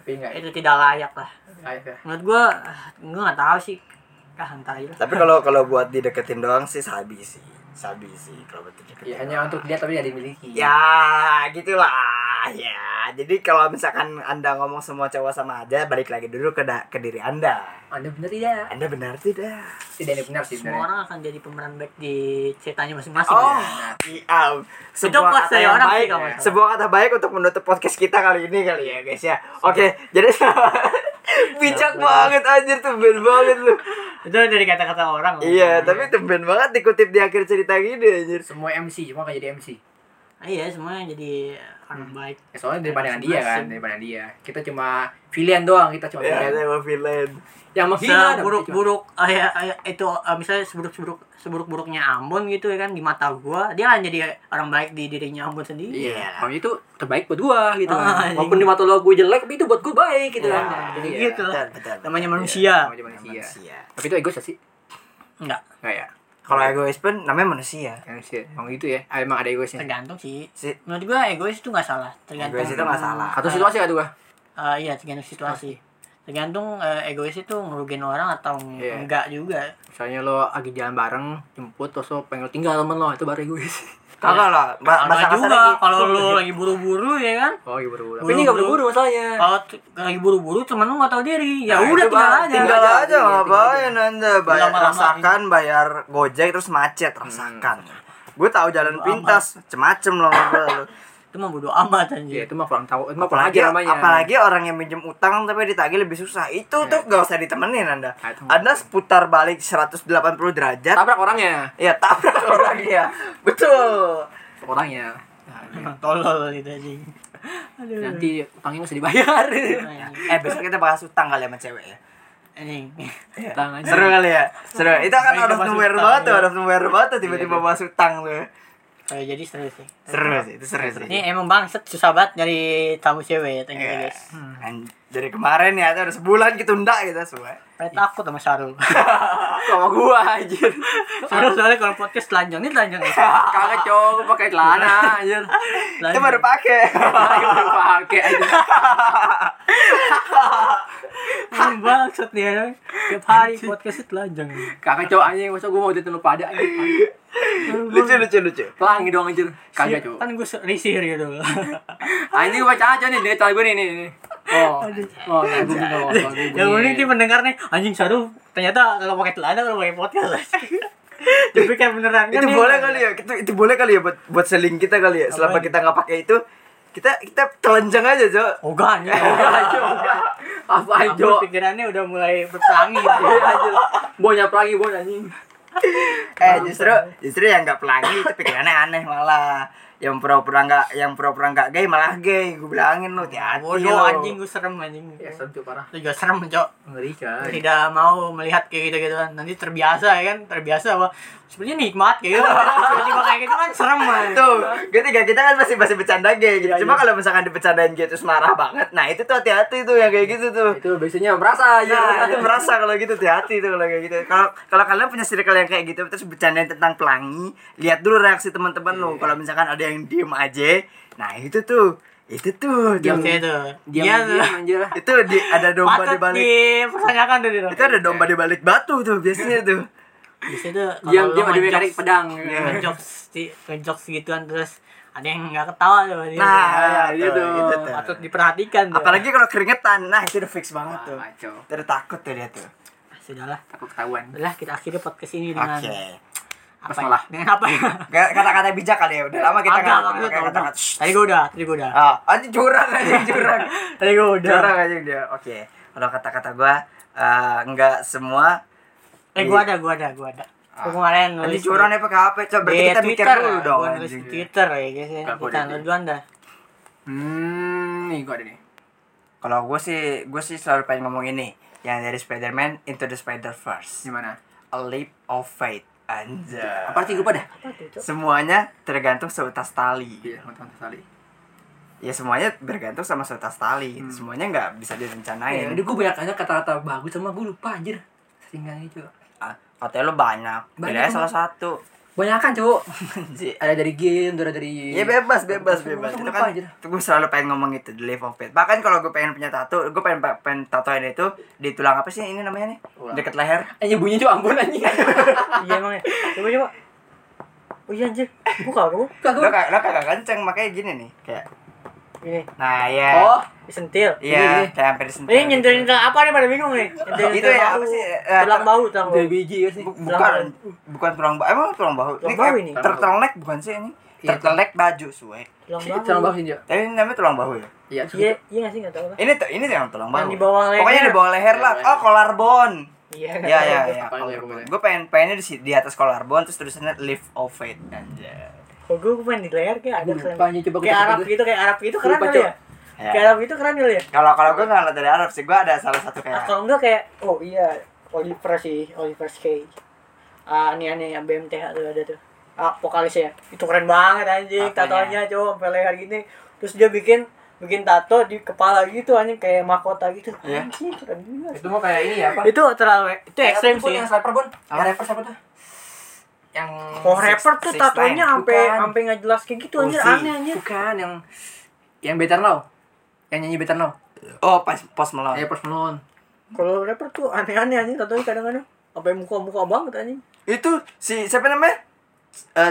[SPEAKER 2] Tapi enggak
[SPEAKER 1] itu tidak layak lah.
[SPEAKER 2] Ayo ya.
[SPEAKER 1] Menurut gua, ah, gua nggak tahu sih. Ah, entar aja lah.
[SPEAKER 3] Tapi kalau kalau buat dideketin doang sih sabi sih. Sabi sih kalau buat dideketin.
[SPEAKER 2] Ya hanya untuk dia tapi tidak dimiliki.
[SPEAKER 3] Ya, gitulah. Ya, jadi kalau misalkan Anda ngomong semua cowok sama aja, balik lagi dulu ke da- ke diri Anda.
[SPEAKER 2] Anda benar tidak?
[SPEAKER 3] Anda benar tidak?
[SPEAKER 2] Tidak ada yang benar sih
[SPEAKER 1] Semua
[SPEAKER 2] sebenarnya.
[SPEAKER 1] orang akan jadi pemeran baik di ceritanya masing-masing. ya.
[SPEAKER 3] Oh, iya. Sebuah
[SPEAKER 1] podcast
[SPEAKER 3] kata
[SPEAKER 1] dari
[SPEAKER 3] yang
[SPEAKER 1] orang sih
[SPEAKER 3] baik.
[SPEAKER 1] kalau nggak salah.
[SPEAKER 3] Sebuah kata baik untuk menutup podcast kita kali ini kali ya, guys ya. Oke, jadi bijak banget anjir tumben banget lu.
[SPEAKER 1] Itu dari kata-kata orang.
[SPEAKER 3] Iya, tapi tumben banget dikutip di akhir cerita gini anjir.
[SPEAKER 2] Semua MC cuma gak jadi MC.
[SPEAKER 1] Ah, iya, semuanya jadi orang
[SPEAKER 3] Hmm.
[SPEAKER 1] baik.
[SPEAKER 2] Ya, soalnya dari pandangan dia kan,
[SPEAKER 1] Masing-masing.
[SPEAKER 2] dari pandangan dia. Kita cuma pilihan doang, kita cuma
[SPEAKER 3] Ya,
[SPEAKER 2] pilihan.
[SPEAKER 3] sama villain.
[SPEAKER 2] Yang
[SPEAKER 3] Oh,
[SPEAKER 2] menghina
[SPEAKER 1] seburuk-buruk ah, ya, ah, ya, itu ah, misalnya seburuk-buruk seburuk-buruknya Ambon gitu ya kan di mata gua dia kan jadi orang baik di dirinya Ambon sendiri
[SPEAKER 3] Iya.
[SPEAKER 5] Makanya itu terbaik buat gua gitu
[SPEAKER 1] Ah,
[SPEAKER 5] kan. Walaupun
[SPEAKER 1] iya.
[SPEAKER 5] di mata lo gue jelek, tapi itu buat gue baik gitu
[SPEAKER 1] Iya.
[SPEAKER 5] kan.
[SPEAKER 1] jadi
[SPEAKER 2] iya.
[SPEAKER 1] gitu Iya. lah
[SPEAKER 3] Ah, Betul, betul.
[SPEAKER 1] namanya manusia
[SPEAKER 2] Sama manusia.
[SPEAKER 3] Manusia.
[SPEAKER 5] Tapi itu egois gak sih?
[SPEAKER 1] enggak
[SPEAKER 5] Enggak ya.
[SPEAKER 3] Kalau egois pun namanya manusia.
[SPEAKER 5] Manusia. Emang gitu ya. Ah, emang ada egoisnya.
[SPEAKER 1] tergantung sih
[SPEAKER 3] Si
[SPEAKER 1] menurut gua egois itu nggak salah tergantung
[SPEAKER 3] egois itu nggak salah.
[SPEAKER 5] Atau situasi kata gua.
[SPEAKER 1] Ah, iya tergantung situasi tergantung eh, egois itu ngerugiin orang atau ng-
[SPEAKER 5] Iya.
[SPEAKER 1] enggak juga
[SPEAKER 5] Misalnya lo lagi jalan bareng, jemput terus lo pengen lo tinggal temen lo, itu baru egois.
[SPEAKER 3] Kagak lah, ba-
[SPEAKER 1] Kalau
[SPEAKER 3] bahasa gitu.
[SPEAKER 1] nggak juga
[SPEAKER 3] kasar
[SPEAKER 1] kalau lu lagi buru-buru ya kan
[SPEAKER 5] Oh, iya
[SPEAKER 1] Buru-buru.
[SPEAKER 5] buru-buru.
[SPEAKER 1] Ah.
[SPEAKER 5] Tapi ini enggak buru-buru masalahnya.
[SPEAKER 1] kalau t- lagi buru-buru temen lu nggak tahu diri ya
[SPEAKER 5] Nah,
[SPEAKER 1] udah
[SPEAKER 5] itu, Bang.
[SPEAKER 1] tinggal aja
[SPEAKER 3] Tinggal
[SPEAKER 5] Tinggal
[SPEAKER 3] aja
[SPEAKER 5] aja,
[SPEAKER 3] ngapain anda bayar
[SPEAKER 1] lama-lama.
[SPEAKER 3] rasakan bayar gojek terus macet rasakan. Gue tahu jalan pintas, macem-macem loh ngobrol lu.
[SPEAKER 1] itu mah bodo amat
[SPEAKER 2] Iya,
[SPEAKER 5] Ya
[SPEAKER 1] anjir
[SPEAKER 5] itu mah kurang tahu, itu mah kurang
[SPEAKER 3] Apalagi
[SPEAKER 5] ajar namanya.
[SPEAKER 3] apalagi orang yang minjem utang tapi ditagih lebih susah. Itu tuh gak usah ditemenin anda.
[SPEAKER 5] Nah, itu-
[SPEAKER 3] Anda seputar balik 180 derajat.
[SPEAKER 5] tabrak orangnya,
[SPEAKER 3] Ya tabrak orang ya. Betul.
[SPEAKER 5] orangnya. Nah, iya.
[SPEAKER 1] tolol itu anjing aduh
[SPEAKER 5] Nanti utangnya mesti dibayar.
[SPEAKER 3] Eh besok kita bahas utang kali sama cewek ya.
[SPEAKER 1] Nah, anjing
[SPEAKER 5] Utang aja.
[SPEAKER 3] Iya. Seru kali ya. Seru. Itu akan
[SPEAKER 1] Baik,
[SPEAKER 3] out of
[SPEAKER 1] bahas
[SPEAKER 3] nowhere
[SPEAKER 1] utang,
[SPEAKER 3] banget tuh,
[SPEAKER 1] iya.
[SPEAKER 3] out of nowhere banget tuh tiba-tiba bahas utang tuh.
[SPEAKER 1] Eh, jadi seru sih
[SPEAKER 3] Seru sih, itu seru sih.
[SPEAKER 1] ini emang bangset susah banget nyari tamu cewek ya thank you, iya,
[SPEAKER 3] Iya.
[SPEAKER 1] guys
[SPEAKER 3] An- Dari kemarin ya, itu udah sebulan ditunda gitu semua.
[SPEAKER 1] Kayak takut sama Sarul
[SPEAKER 5] Sama gua anjir.
[SPEAKER 1] Sarul soalnya kalau podcast telanjang ini telanjang ya
[SPEAKER 5] Kagak cowok gua pakai celana anjir.
[SPEAKER 3] Itu baru pakai.
[SPEAKER 5] Lagi baru pakai aja.
[SPEAKER 1] Emang bangset nih ya Tiap hari podcast telanjang
[SPEAKER 5] Kagak cowok anjing, masa gua mau jadi lu pada anjing.
[SPEAKER 3] lucu lucu lucu.
[SPEAKER 5] Pelangi dong anjir. Kagak cowok.
[SPEAKER 1] Kan gue risih gitu
[SPEAKER 5] Anjing gua baca aja nih, dia celana gua nih nih. nih. Oh. Oh, nah, gua bingung, oh, gua bingung.
[SPEAKER 1] Yang unik nih pendengar nih Anjing Sarul ternyata kalau pakai celana kalau pakai podcast Tapi kan beneran kan
[SPEAKER 3] Itu
[SPEAKER 1] dia-
[SPEAKER 3] boleh kali ya. Itu itu boleh kali ya buat buat selling kita kali ya. Selama
[SPEAKER 1] Apaan?
[SPEAKER 3] kita nggak pakai itu, kita kita telanjang aja, Eh, Cok.
[SPEAKER 1] Ogah anjing Ogah
[SPEAKER 5] Apa aja?
[SPEAKER 1] Ampun, pikirannya udah mulai berpelangi gitu.
[SPEAKER 5] Anjir. Bonya pelangi bon anjing.
[SPEAKER 3] Eh, justru justru yang nggak pelangi itu pikirannya aneh malah. Yang pura-pura nggak yang pura-pura nggak gay malah gay. Gue bilangin lu hati-hati.
[SPEAKER 1] Bodoh
[SPEAKER 3] lu.
[SPEAKER 1] Iya, anjing gue serem anjing
[SPEAKER 2] Ya serem tuh parah.
[SPEAKER 1] Itu juga serem cok
[SPEAKER 2] Ngeri kan.
[SPEAKER 1] tidak mau melihat kayak gitu gitu kan nanti terbiasa ya kan terbiasa bahwa sebenarnya nikmat kayak gitu tiba-tiba kayak gitu kan serem
[SPEAKER 5] Nah,
[SPEAKER 1] man
[SPEAKER 3] Tuh, ketika kita kan masih masih bercanda gay
[SPEAKER 5] Iya,
[SPEAKER 3] gitu. Cuma kalau misalkan dibercandain gitu terus marah banget, nah itu tuh hati-hati tuh yang kayak gitu tuh.
[SPEAKER 5] Nah, Itu biasanya merasa anjir.
[SPEAKER 3] Nah, itu merasa kalau gitu hati-hati tuh kalau kayak gitu. Kalau kalau kalian punya circle yang kayak gitu terus bercandain tentang pelangi, lihat dulu reaksi teman-teman
[SPEAKER 5] Iya.
[SPEAKER 3] lo. Kalau misalkan ada yang diem aja, nah itu tuh, itu tuh,
[SPEAKER 5] Iya,
[SPEAKER 1] Diam
[SPEAKER 3] tuh.
[SPEAKER 1] kayak itu dia
[SPEAKER 5] Diam
[SPEAKER 1] Iya, tuh
[SPEAKER 5] diam anjir.
[SPEAKER 3] itu di, ada domba di
[SPEAKER 1] patut
[SPEAKER 3] balik.
[SPEAKER 1] dipertanyakan tuh dia
[SPEAKER 3] Itu ada domba di balik batu tuh biasanya tuh.
[SPEAKER 1] biasanya tuh
[SPEAKER 5] Dia
[SPEAKER 1] kalau
[SPEAKER 5] dia
[SPEAKER 1] lu
[SPEAKER 5] ada mekanik
[SPEAKER 1] ngejokes
[SPEAKER 5] pedang.
[SPEAKER 3] Iya.
[SPEAKER 1] Kan ngejokes di- ngejokes gituan terus ada yang nggak ketawa tuh dia. "Ah,
[SPEAKER 3] Nah,
[SPEAKER 5] iya
[SPEAKER 3] tuh,
[SPEAKER 5] tuh.
[SPEAKER 3] itu tuh.
[SPEAKER 1] patut diperhatikan tuh.
[SPEAKER 3] Apalagi kalau keringetan, nah itu udah fix banget tuh.
[SPEAKER 5] Maco,
[SPEAKER 3] Udah takut tuh dia tuh.
[SPEAKER 1] Ah, sudahlah
[SPEAKER 5] Ah, takut ketahuan.
[SPEAKER 1] sudahlah kita akhiri podcast ini dengan
[SPEAKER 3] Oke.
[SPEAKER 1] apa ya?
[SPEAKER 5] Basmalah.
[SPEAKER 1] dengan apa ya
[SPEAKER 3] Kayak Kata-kata bijak kali ya, udah lama kita
[SPEAKER 1] Agak, agak,
[SPEAKER 3] pakai
[SPEAKER 1] agak,
[SPEAKER 3] kata-kata.
[SPEAKER 1] agak. tadi gua udah tadi gua udah
[SPEAKER 3] Ah, anjing curang anjing curang.
[SPEAKER 1] tadi gua udah
[SPEAKER 3] curang anjing dia. Oke. Kalau kata-kata gua eh, enggak semua
[SPEAKER 1] eh gua ada gua ada gua ada Gua kemarin
[SPEAKER 3] Anjing
[SPEAKER 1] nulis
[SPEAKER 3] Ah. curang
[SPEAKER 1] di-
[SPEAKER 3] ya pakai HP. Coba berarti
[SPEAKER 1] di
[SPEAKER 3] kita mikir
[SPEAKER 1] Iya, Twitter,
[SPEAKER 3] dulu
[SPEAKER 1] gua
[SPEAKER 3] dong
[SPEAKER 1] nulis
[SPEAKER 3] anjing.
[SPEAKER 1] di Twitter ya guys ya
[SPEAKER 5] Nggak, gua
[SPEAKER 1] kita
[SPEAKER 5] ada.
[SPEAKER 1] lu duluan dah
[SPEAKER 5] Hmm, nih gua ada nih.
[SPEAKER 3] Kalau gua sih gua sih selalu pengen ngomong ini yang dari Spider-Man Into the Spider-Verse.
[SPEAKER 5] Gimana?
[SPEAKER 3] A leap of faith. Anjay.
[SPEAKER 5] Apa arti gua pada?
[SPEAKER 3] Semuanya tergantung seutas tali.
[SPEAKER 5] Iya, teman-teman sekali.
[SPEAKER 3] ya semuanya bergantung sama seutas tali
[SPEAKER 1] Hmm.
[SPEAKER 3] gitu. semuanya nggak bisa
[SPEAKER 2] Ya,
[SPEAKER 5] Eh,
[SPEAKER 3] direncanain
[SPEAKER 1] Iya,
[SPEAKER 2] ini gue banyak aja kata-kata bagus sama gue lupa anjir. Seringan itu.
[SPEAKER 3] Ah, katanya lo banyak
[SPEAKER 2] Banyak
[SPEAKER 3] bedanya
[SPEAKER 2] banget.
[SPEAKER 3] salah satu
[SPEAKER 2] Banyak kan, Cuk.
[SPEAKER 3] Anjir.
[SPEAKER 2] Ada dari game, ada dari
[SPEAKER 3] ya bebas bebas
[SPEAKER 2] Aku
[SPEAKER 3] bebas itu
[SPEAKER 2] lupa
[SPEAKER 3] kan
[SPEAKER 2] aja dah.
[SPEAKER 3] itu gue selalu pengen ngomong itu the life of faith bahkan kalau gue pengen punya tato gue pengen pengen tatoan itu di tulang apa sih ini namanya nih deket leher
[SPEAKER 5] Eh,
[SPEAKER 2] Anjir bunyi Cuk, ampun anjing.
[SPEAKER 1] iya emang ya coba coba oh iya anjir gua kagak
[SPEAKER 3] lo kagak lo kagak kenceng makanya gini nih kayak
[SPEAKER 1] ini
[SPEAKER 3] nah ya
[SPEAKER 5] Oh,
[SPEAKER 1] disentil
[SPEAKER 3] Iya, kayak hampir disentil. gitu.
[SPEAKER 1] ini nyentil nyentil Eh, apa nih pada bingung nih nyentil
[SPEAKER 3] Itu ya, apa sih? Eh,
[SPEAKER 1] tulang bau tulang bau
[SPEAKER 2] Dari biji ya sih.
[SPEAKER 3] Bu- bukan bukan tulang bahu. Emang tulang bahu.
[SPEAKER 1] Tulang
[SPEAKER 3] kayak
[SPEAKER 1] bahu ini?
[SPEAKER 3] Tertelek bukan sih ini?
[SPEAKER 2] Iya.
[SPEAKER 3] Tertelek baju suwe.
[SPEAKER 1] tulang
[SPEAKER 2] Sih,
[SPEAKER 1] bau
[SPEAKER 2] Sama bawah sini, Cuk.
[SPEAKER 3] Tapi ini namanya tulang bahu ya?
[SPEAKER 2] Iya.
[SPEAKER 1] iya iya nggak sih nggak tahu lah
[SPEAKER 3] Ini tuh ini yang tulang bahu.
[SPEAKER 1] Yang di bawah leher.
[SPEAKER 3] Pokoknya di bawah leher lah. Oh, collarbone.
[SPEAKER 1] iya
[SPEAKER 3] Ya ya ya.
[SPEAKER 2] Apa yang gue
[SPEAKER 3] Gue pengen pengennya di si- di atas collarbone terus tulisannya lift of faith anjay.
[SPEAKER 1] Kok gue main di layar kayak ada
[SPEAKER 2] Gua
[SPEAKER 1] keren.
[SPEAKER 2] lupa nih, coba gua
[SPEAKER 1] kayak
[SPEAKER 2] cek
[SPEAKER 1] Arab
[SPEAKER 2] dulu.
[SPEAKER 1] gitu, kayak Arab gitu keren
[SPEAKER 2] Lupa,
[SPEAKER 1] kali
[SPEAKER 2] Cok.
[SPEAKER 1] ya.
[SPEAKER 3] Ya.
[SPEAKER 1] Kayak Arab gitu keren kali ya.
[SPEAKER 3] Kalau kalau gue nggak lihat dari Arab sih, gue ada salah satu
[SPEAKER 1] Ah,
[SPEAKER 3] kayak
[SPEAKER 1] kalau enggak kayak oh iya Oliver sih, Oliver Kay. Ah, ini aneh yang BMTH tuh ada tuh. Ah, vokalisnya ya. Itu keren banget anjing, tatoannya coba sampai leher gini. Terus dia bikin bikin tato di kepala gitu anjing kayak mahkota gitu.
[SPEAKER 3] Iya.
[SPEAKER 1] Anjing, keren juga.
[SPEAKER 4] Itu mah kayak ini ya, apa?
[SPEAKER 1] Itu
[SPEAKER 3] Eh,
[SPEAKER 1] terlalu itu ekstrim sih.
[SPEAKER 4] Yang sniper bun. Yang rapper siapa tuh? Yang
[SPEAKER 1] Oh, rapper tuh
[SPEAKER 3] Six- Six
[SPEAKER 1] tatonya
[SPEAKER 3] Nine.
[SPEAKER 1] sampai
[SPEAKER 3] Bukan.
[SPEAKER 1] sampai nggak jelas kayak gitu anjir
[SPEAKER 3] Uzi.
[SPEAKER 1] aneh anjir.
[SPEAKER 5] Oh, bukan yang yang Better Now. Yang nyanyi Better Now.
[SPEAKER 3] oh pas pos melon.
[SPEAKER 5] Eh, Post Malone.
[SPEAKER 1] Kalau rapper tuh aneh-aneh anjing tatonya kadang-kadang sampai muka-muka banget anjing.
[SPEAKER 3] Itu si siapa namanya?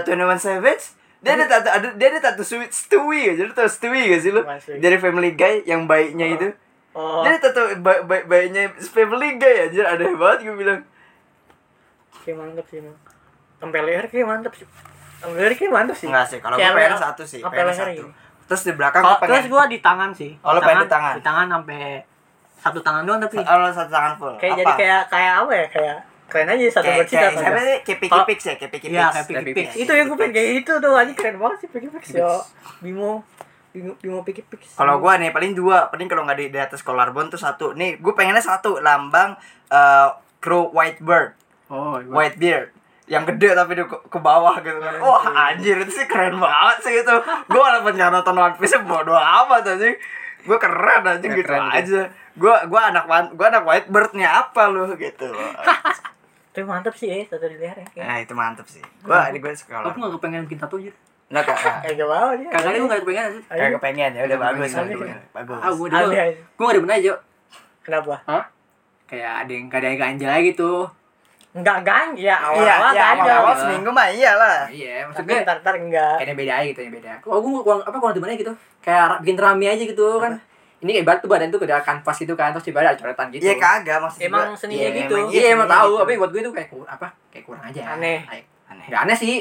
[SPEAKER 3] Twenty One Savage. Dia ada tato ada dia ada tato Stewie, Stewie ya. Jadi tato Stewie gak sih lu?
[SPEAKER 1] Bukan Stewie.
[SPEAKER 3] Dari Family Guy yang baiknya itu.
[SPEAKER 1] iya. Oh.
[SPEAKER 3] Dia ada tato ba- ba- baiknya Family Guy anjir ada banget gue bilang.
[SPEAKER 1] Kayak mantep sih emang. Sampai leher kayak mantep sih. Sampai leher kayak mantep sih.
[SPEAKER 3] Enggak sih, kalau gue
[SPEAKER 1] Kayak
[SPEAKER 3] pengen
[SPEAKER 1] leher-
[SPEAKER 3] satu sih,
[SPEAKER 1] sampai
[SPEAKER 3] pengen
[SPEAKER 1] leher
[SPEAKER 3] satu.
[SPEAKER 1] gini.
[SPEAKER 3] Terus di belakang
[SPEAKER 1] Kalau
[SPEAKER 3] gue pengen
[SPEAKER 1] terus gua di tangan sih.
[SPEAKER 3] Oh, lu pengen di tangan?
[SPEAKER 1] Di tangan sampai satu tangan doang tapi
[SPEAKER 3] kalau satu tangan full.
[SPEAKER 1] kayak
[SPEAKER 3] Apa?
[SPEAKER 1] jadi kayak kayak apa ya? Kayak keren aja satu
[SPEAKER 3] kayak
[SPEAKER 1] bersih
[SPEAKER 3] kayak
[SPEAKER 1] satu.
[SPEAKER 3] siapa sih? Kayak Picky
[SPEAKER 1] iya. Kalau-
[SPEAKER 3] Picks ya, kayak Picky
[SPEAKER 1] Iya,
[SPEAKER 3] Picks.
[SPEAKER 1] kayak Picky
[SPEAKER 5] Picky
[SPEAKER 1] Pix.
[SPEAKER 3] Picks.
[SPEAKER 1] Itu yang gue
[SPEAKER 3] Picky
[SPEAKER 1] pengen kayak itu tuh anjing keren banget sih Picky Pix. Yo, Bimo Bimo Bimo Picky Pix.
[SPEAKER 3] Kalau gua nih paling dua, paling kalau nggak di, di atas collarbone tuh satu. Nih, gue pengennya satu lambang eh crow white bird,
[SPEAKER 5] Oh, iya.
[SPEAKER 3] white beard yang gede tapi di ke, ke bawah gitu kan. Wah, anjir itu sih keren banget sih itu. Gua walaupun nggak nonton One Piece bodo amat anjing. Gua keren anjing
[SPEAKER 1] Iya,
[SPEAKER 3] gitu
[SPEAKER 5] keren
[SPEAKER 3] aja.
[SPEAKER 5] gitu.
[SPEAKER 3] Gua gua anak wan- gua anak white birdnya apa lu gitu.
[SPEAKER 1] Tapi mantep sih ya satu di leher ya. Kayak
[SPEAKER 3] Nah, itu mantep sih. Gua di gua
[SPEAKER 5] Aku
[SPEAKER 3] sekolah.
[SPEAKER 5] nggak kepengen bikin tato aja.
[SPEAKER 3] Nah, kagak
[SPEAKER 1] kayak gak bawa dia.
[SPEAKER 5] Kagak ada gue nggak kepengen aja.
[SPEAKER 1] Ayo.
[SPEAKER 3] kagak pengen ya udah
[SPEAKER 5] Kagak
[SPEAKER 3] bagus.
[SPEAKER 5] pengen.
[SPEAKER 3] bagus, Bagus.
[SPEAKER 5] Ah, gue
[SPEAKER 1] Ada.
[SPEAKER 5] ada. Gue nggak ada bener aja.
[SPEAKER 1] Kenapa?
[SPEAKER 5] Kayak ada yang ada yang ganjal gitu.
[SPEAKER 1] Enggak gang ya
[SPEAKER 3] Iya,
[SPEAKER 1] awal-awal
[SPEAKER 3] iya,
[SPEAKER 1] ganjel.
[SPEAKER 3] awal-awal Eh. seminggu mah iyalah.
[SPEAKER 5] Iya,
[SPEAKER 1] Tapi
[SPEAKER 5] maksudnya
[SPEAKER 1] ntar-ntar enggak.
[SPEAKER 5] kayaknya beda aja gitu ya beda. Oh, gue kurang apa kurang di mana gitu. Kayak ra- bikin rame aja gitu kan. Ini kayak batu badan tuh ada kanvas gitu kan terus tiba ada coretan gitu.
[SPEAKER 3] Iya kagak maksudnya.
[SPEAKER 1] Emang seninya gitu.
[SPEAKER 5] Iya, emang tahu, tapi buat gue itu kayak kur- apa? Kayak kurang aja.
[SPEAKER 1] Aneh.
[SPEAKER 5] Kayak- Nggak aneh sih.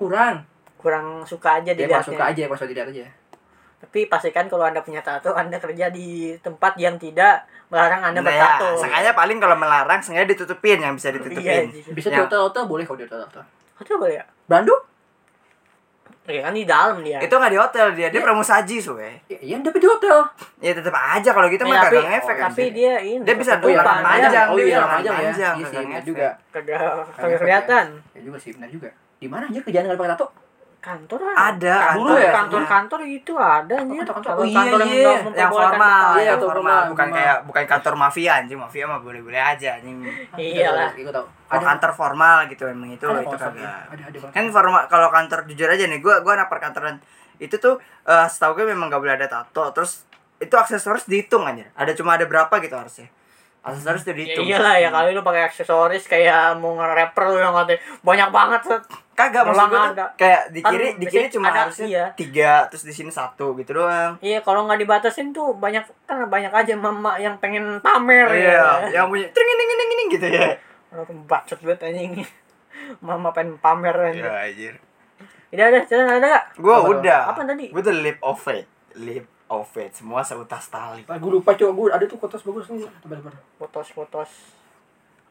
[SPEAKER 5] Kurang.
[SPEAKER 1] kurang suka aja
[SPEAKER 5] Dia
[SPEAKER 3] Iya,
[SPEAKER 1] dilihatnya.
[SPEAKER 5] pas suka aja, pas dilihat aja.
[SPEAKER 1] Tapi pastikan kalau Anda punya tato, Anda kerja di tempat yang tidak melarang Anda
[SPEAKER 3] Nah, ya,
[SPEAKER 1] bertato.
[SPEAKER 3] sengaja paling kalau melarang sengaja ditutupin yang bisa
[SPEAKER 1] Iya,
[SPEAKER 3] ditutupin.
[SPEAKER 1] iya.
[SPEAKER 5] Bisa
[SPEAKER 3] Ya.
[SPEAKER 5] tato-tato boleh kalau dia tato-tato.
[SPEAKER 1] Itu boleh ya?
[SPEAKER 5] Bandu?
[SPEAKER 1] Ya kan di dalam dia.
[SPEAKER 3] Itu nggak di hotel dia,
[SPEAKER 1] Iya.
[SPEAKER 3] dia pramusaji suwe.
[SPEAKER 5] Ya, Iya, tapi di hotel.
[SPEAKER 3] Ya tetap aja kalau gitu
[SPEAKER 1] Eh,
[SPEAKER 3] mah
[SPEAKER 1] tapi,
[SPEAKER 3] kagak ngefek
[SPEAKER 1] tapi
[SPEAKER 3] anjir.
[SPEAKER 1] dia ini.
[SPEAKER 3] Dia bisa
[SPEAKER 5] Oh
[SPEAKER 3] lengan
[SPEAKER 5] iya,
[SPEAKER 1] tutupan,
[SPEAKER 5] lengan
[SPEAKER 3] panjang,
[SPEAKER 5] Oh
[SPEAKER 3] dia
[SPEAKER 5] iya,
[SPEAKER 3] bisa
[SPEAKER 5] lengan
[SPEAKER 3] lengan
[SPEAKER 5] panjang ya.
[SPEAKER 3] panjang,
[SPEAKER 5] Iya sih,
[SPEAKER 3] kagak
[SPEAKER 5] benar
[SPEAKER 3] ngefek.
[SPEAKER 5] juga.
[SPEAKER 1] Kagak
[SPEAKER 5] Kagak
[SPEAKER 1] kagak kelihatan.
[SPEAKER 5] Ya juga sih, benar juga. Di mana aja kerjaan nggak pakai tato?
[SPEAKER 1] Kantor
[SPEAKER 3] Ada
[SPEAKER 5] Dulu
[SPEAKER 1] Kantor-
[SPEAKER 5] ya,
[SPEAKER 1] Kantor-kantor gitu ada anjir.
[SPEAKER 5] Kantor-kantor.
[SPEAKER 1] Kalau
[SPEAKER 5] Oh, iya,
[SPEAKER 1] kantor yang
[SPEAKER 5] iya.
[SPEAKER 1] nggak
[SPEAKER 3] yang
[SPEAKER 1] memperbolehkan
[SPEAKER 3] formal,
[SPEAKER 1] tato.
[SPEAKER 5] Iya,
[SPEAKER 3] yang
[SPEAKER 5] tuh,
[SPEAKER 3] formal,
[SPEAKER 5] formal.
[SPEAKER 3] bukan kayak bukan kantor mafia anjing, mafia mah boleh-boleh aja anjing.
[SPEAKER 2] Iya
[SPEAKER 1] Iyalah.
[SPEAKER 5] Gue tahu.
[SPEAKER 3] Kalau kantor formal gitu emang itu
[SPEAKER 5] ada
[SPEAKER 3] itu
[SPEAKER 5] konsep ya.
[SPEAKER 3] kagak.
[SPEAKER 5] Ada ada
[SPEAKER 3] kan formal kalau kantor jujur aja nih gue gue anak perkantoran itu tuh eh, setahu gue memang gak boleh ada tato terus itu aksesoris dihitung aja ada cuma ada berapa gitu harusnya aksesoris udah
[SPEAKER 1] Ya
[SPEAKER 3] dihitung
[SPEAKER 1] iyalah ya kali lu pakai aksesoris kayak mau nge-rapper lu yang katanya banyak banget set.
[SPEAKER 3] kagak maksud
[SPEAKER 1] Dolang
[SPEAKER 3] gue
[SPEAKER 1] ada.
[SPEAKER 3] tuh kayak di
[SPEAKER 1] Kan
[SPEAKER 3] kiri di kiri
[SPEAKER 1] biasanya
[SPEAKER 3] cuma
[SPEAKER 1] ada,
[SPEAKER 3] harusnya
[SPEAKER 1] iya.
[SPEAKER 3] tiga terus di sini satu gitu doang
[SPEAKER 1] Iya, kalau nggak dibatasin tuh banyak kan banyak aja mama yang pengen pamer
[SPEAKER 3] iya
[SPEAKER 1] ya.
[SPEAKER 3] yang punya tring ini ini ini gitu ya
[SPEAKER 1] Orang bacot banget anjing. Mama pengen pamer
[SPEAKER 3] ya
[SPEAKER 1] aja.
[SPEAKER 3] anjir
[SPEAKER 1] Tidak ada, tidak ada nggak?
[SPEAKER 3] gue
[SPEAKER 1] Apa tuh?
[SPEAKER 3] udah
[SPEAKER 1] Apa tadi?
[SPEAKER 3] gue tuh lip of fate lip of fate semua seutas tali
[SPEAKER 2] Ah, gue lupa coba gue ada tuh kotos bagus nih coba coba
[SPEAKER 1] Potos-potos.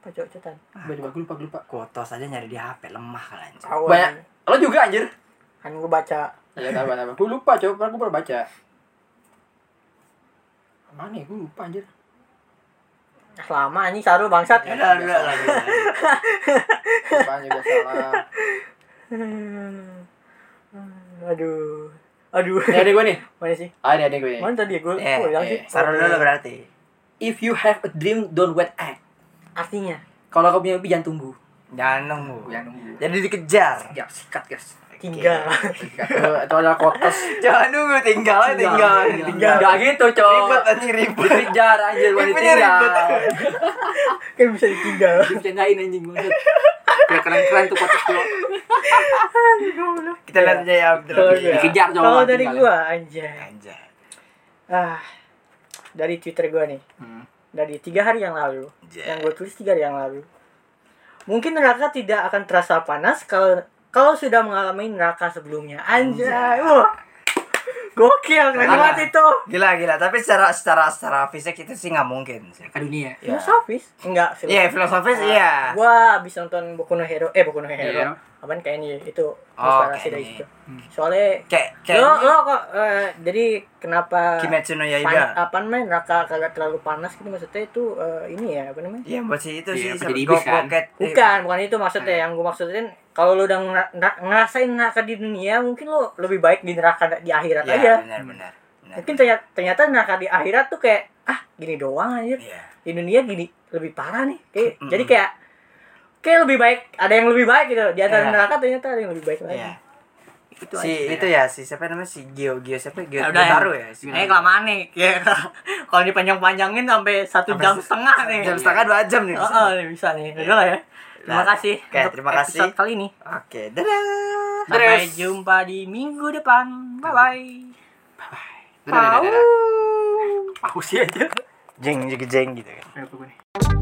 [SPEAKER 1] Apa cocok
[SPEAKER 2] coba coba gue lupa gue lupa
[SPEAKER 3] kotos aja nyari di hp lemah kan anjir
[SPEAKER 1] Banyak.
[SPEAKER 2] Banyak. lo juga anjir
[SPEAKER 1] Kan gue baca.
[SPEAKER 2] ya tambah tambah gue lupa coba pernah gue pernah baca mana ya gue lupa anjir
[SPEAKER 1] Ah, Lama anjing saru bangsat.
[SPEAKER 3] ya udah udah lagi
[SPEAKER 2] Eh, lupa anjir biasa lah
[SPEAKER 1] Hmm. Hmm, Aduh. Aduh.
[SPEAKER 2] ini ada gue nih
[SPEAKER 1] Mana Oh, iya sih?
[SPEAKER 2] ah ini ada gue nih
[SPEAKER 1] Mana tadi gue?
[SPEAKER 3] eh
[SPEAKER 1] Oh, yang
[SPEAKER 2] eh,
[SPEAKER 1] sih.
[SPEAKER 3] saran dulu berarti
[SPEAKER 2] if you have a dream don't wait act
[SPEAKER 1] Artinya.
[SPEAKER 2] kalau kau punya mimpi jangan tunggu
[SPEAKER 3] jangan nunggu
[SPEAKER 2] jangan nunggu
[SPEAKER 3] jadi dikejar
[SPEAKER 2] ya sikat guys
[SPEAKER 1] Tinggal.
[SPEAKER 2] sikat itu, itu adalah kotos
[SPEAKER 3] jangan nunggu tinggal aja, tinggal tinggal
[SPEAKER 2] Enggak gitu
[SPEAKER 3] ribet
[SPEAKER 2] cowok
[SPEAKER 3] anjing ribet
[SPEAKER 2] dikejar anjir gue
[SPEAKER 3] Ribetnya ribet.
[SPEAKER 2] ditinggal
[SPEAKER 1] kan bisa ditinggal.
[SPEAKER 2] dicandain anjing banget
[SPEAKER 5] Ya keren-keren tuh kotak dulu.
[SPEAKER 3] kita lihat aja ya Abdul.
[SPEAKER 1] Kalau gue-
[SPEAKER 5] Dikejar cowok,
[SPEAKER 1] Kalau dari
[SPEAKER 5] tinggal.
[SPEAKER 1] gue anjay.
[SPEAKER 3] anjay
[SPEAKER 1] Ah. Dari Twitter gue nih.
[SPEAKER 3] Hmm.
[SPEAKER 1] Dari tiga hari yang lalu. Yang gue tulis tiga hari yang lalu. Mungkin neraka tidak akan terasa panas kalau kalau sudah mengalami neraka sebelumnya. Anjay. Wah. Gokil, keren
[SPEAKER 3] Neraka.
[SPEAKER 1] banget itu.
[SPEAKER 3] gila gila tapi secara secara secara fisik itu sih nggak mungkin sih
[SPEAKER 5] Ke dunia.
[SPEAKER 3] ya
[SPEAKER 1] Filosofis? Enggak, filosofis.
[SPEAKER 3] Iya, filosofis iya
[SPEAKER 1] Gua abis nonton Boku no Hero, eh Boku no Hero.
[SPEAKER 5] Iya.
[SPEAKER 1] Apaan kayak ini itu
[SPEAKER 3] Oh,
[SPEAKER 1] inspirasi dari situ.
[SPEAKER 3] kayaknya.
[SPEAKER 1] Soalnya
[SPEAKER 3] kayak kayak
[SPEAKER 1] lo lo kok eh, jadi kenapa
[SPEAKER 3] Kimetsu no
[SPEAKER 1] pan,
[SPEAKER 3] Yaiba
[SPEAKER 1] apa namanya neraka kagak terlalu panas gitu maksudnya itu eh, ini ya apa namanya?
[SPEAKER 3] Iya buat si itu sih
[SPEAKER 5] Iya,
[SPEAKER 3] si
[SPEAKER 5] jadi
[SPEAKER 3] go-
[SPEAKER 5] iblis kan?
[SPEAKER 3] goket.
[SPEAKER 1] Bukan, bukan itu maksudnya.
[SPEAKER 3] Hmm.
[SPEAKER 1] Yang gue maksudin kalau lo udah ngera- ngera- ngerasain neraka di dunia, mungkin lo lebih baik di neraka di akhirat
[SPEAKER 3] Iya
[SPEAKER 1] aja.
[SPEAKER 3] benar benar benar.
[SPEAKER 1] Mungkin ternyata, ternyata neraka di akhirat tuh kayak ah gini doang aja.
[SPEAKER 3] Iya.
[SPEAKER 1] di dunia ya, gini lebih parah nih kayak
[SPEAKER 3] Mm-mm.
[SPEAKER 1] jadi kayak kayak lebih baik ada yang lebih baik gitu di antara
[SPEAKER 3] Iya.
[SPEAKER 1] neraka ternyata ada yang lebih baik lagi
[SPEAKER 3] Iya.
[SPEAKER 1] itu
[SPEAKER 3] Si
[SPEAKER 1] aja.
[SPEAKER 3] itu ya si siapa namanya si Gio Gio siapa
[SPEAKER 1] Ya
[SPEAKER 3] Gio Gio
[SPEAKER 1] udah, ya.
[SPEAKER 3] Taru ya. Si-
[SPEAKER 1] ini kelamaan nih kayak kalau dipanjang-panjangin sampai satu
[SPEAKER 3] Sampai
[SPEAKER 1] jam
[SPEAKER 3] se-
[SPEAKER 1] setengah nih
[SPEAKER 3] Jam setengah dua jam nih.
[SPEAKER 1] oh, oh, bisa nih udah lah ya terima
[SPEAKER 3] Nah,
[SPEAKER 1] kasih
[SPEAKER 3] oke,
[SPEAKER 1] untuk
[SPEAKER 3] terima kasih.
[SPEAKER 1] episode kali ini
[SPEAKER 3] Oke, dadah.
[SPEAKER 1] sampai jumpa di minggu depan bye bye
[SPEAKER 5] Dadah, dadah, dadah.
[SPEAKER 3] Jeng jeng jeng gitu kan.
[SPEAKER 5] Dadah.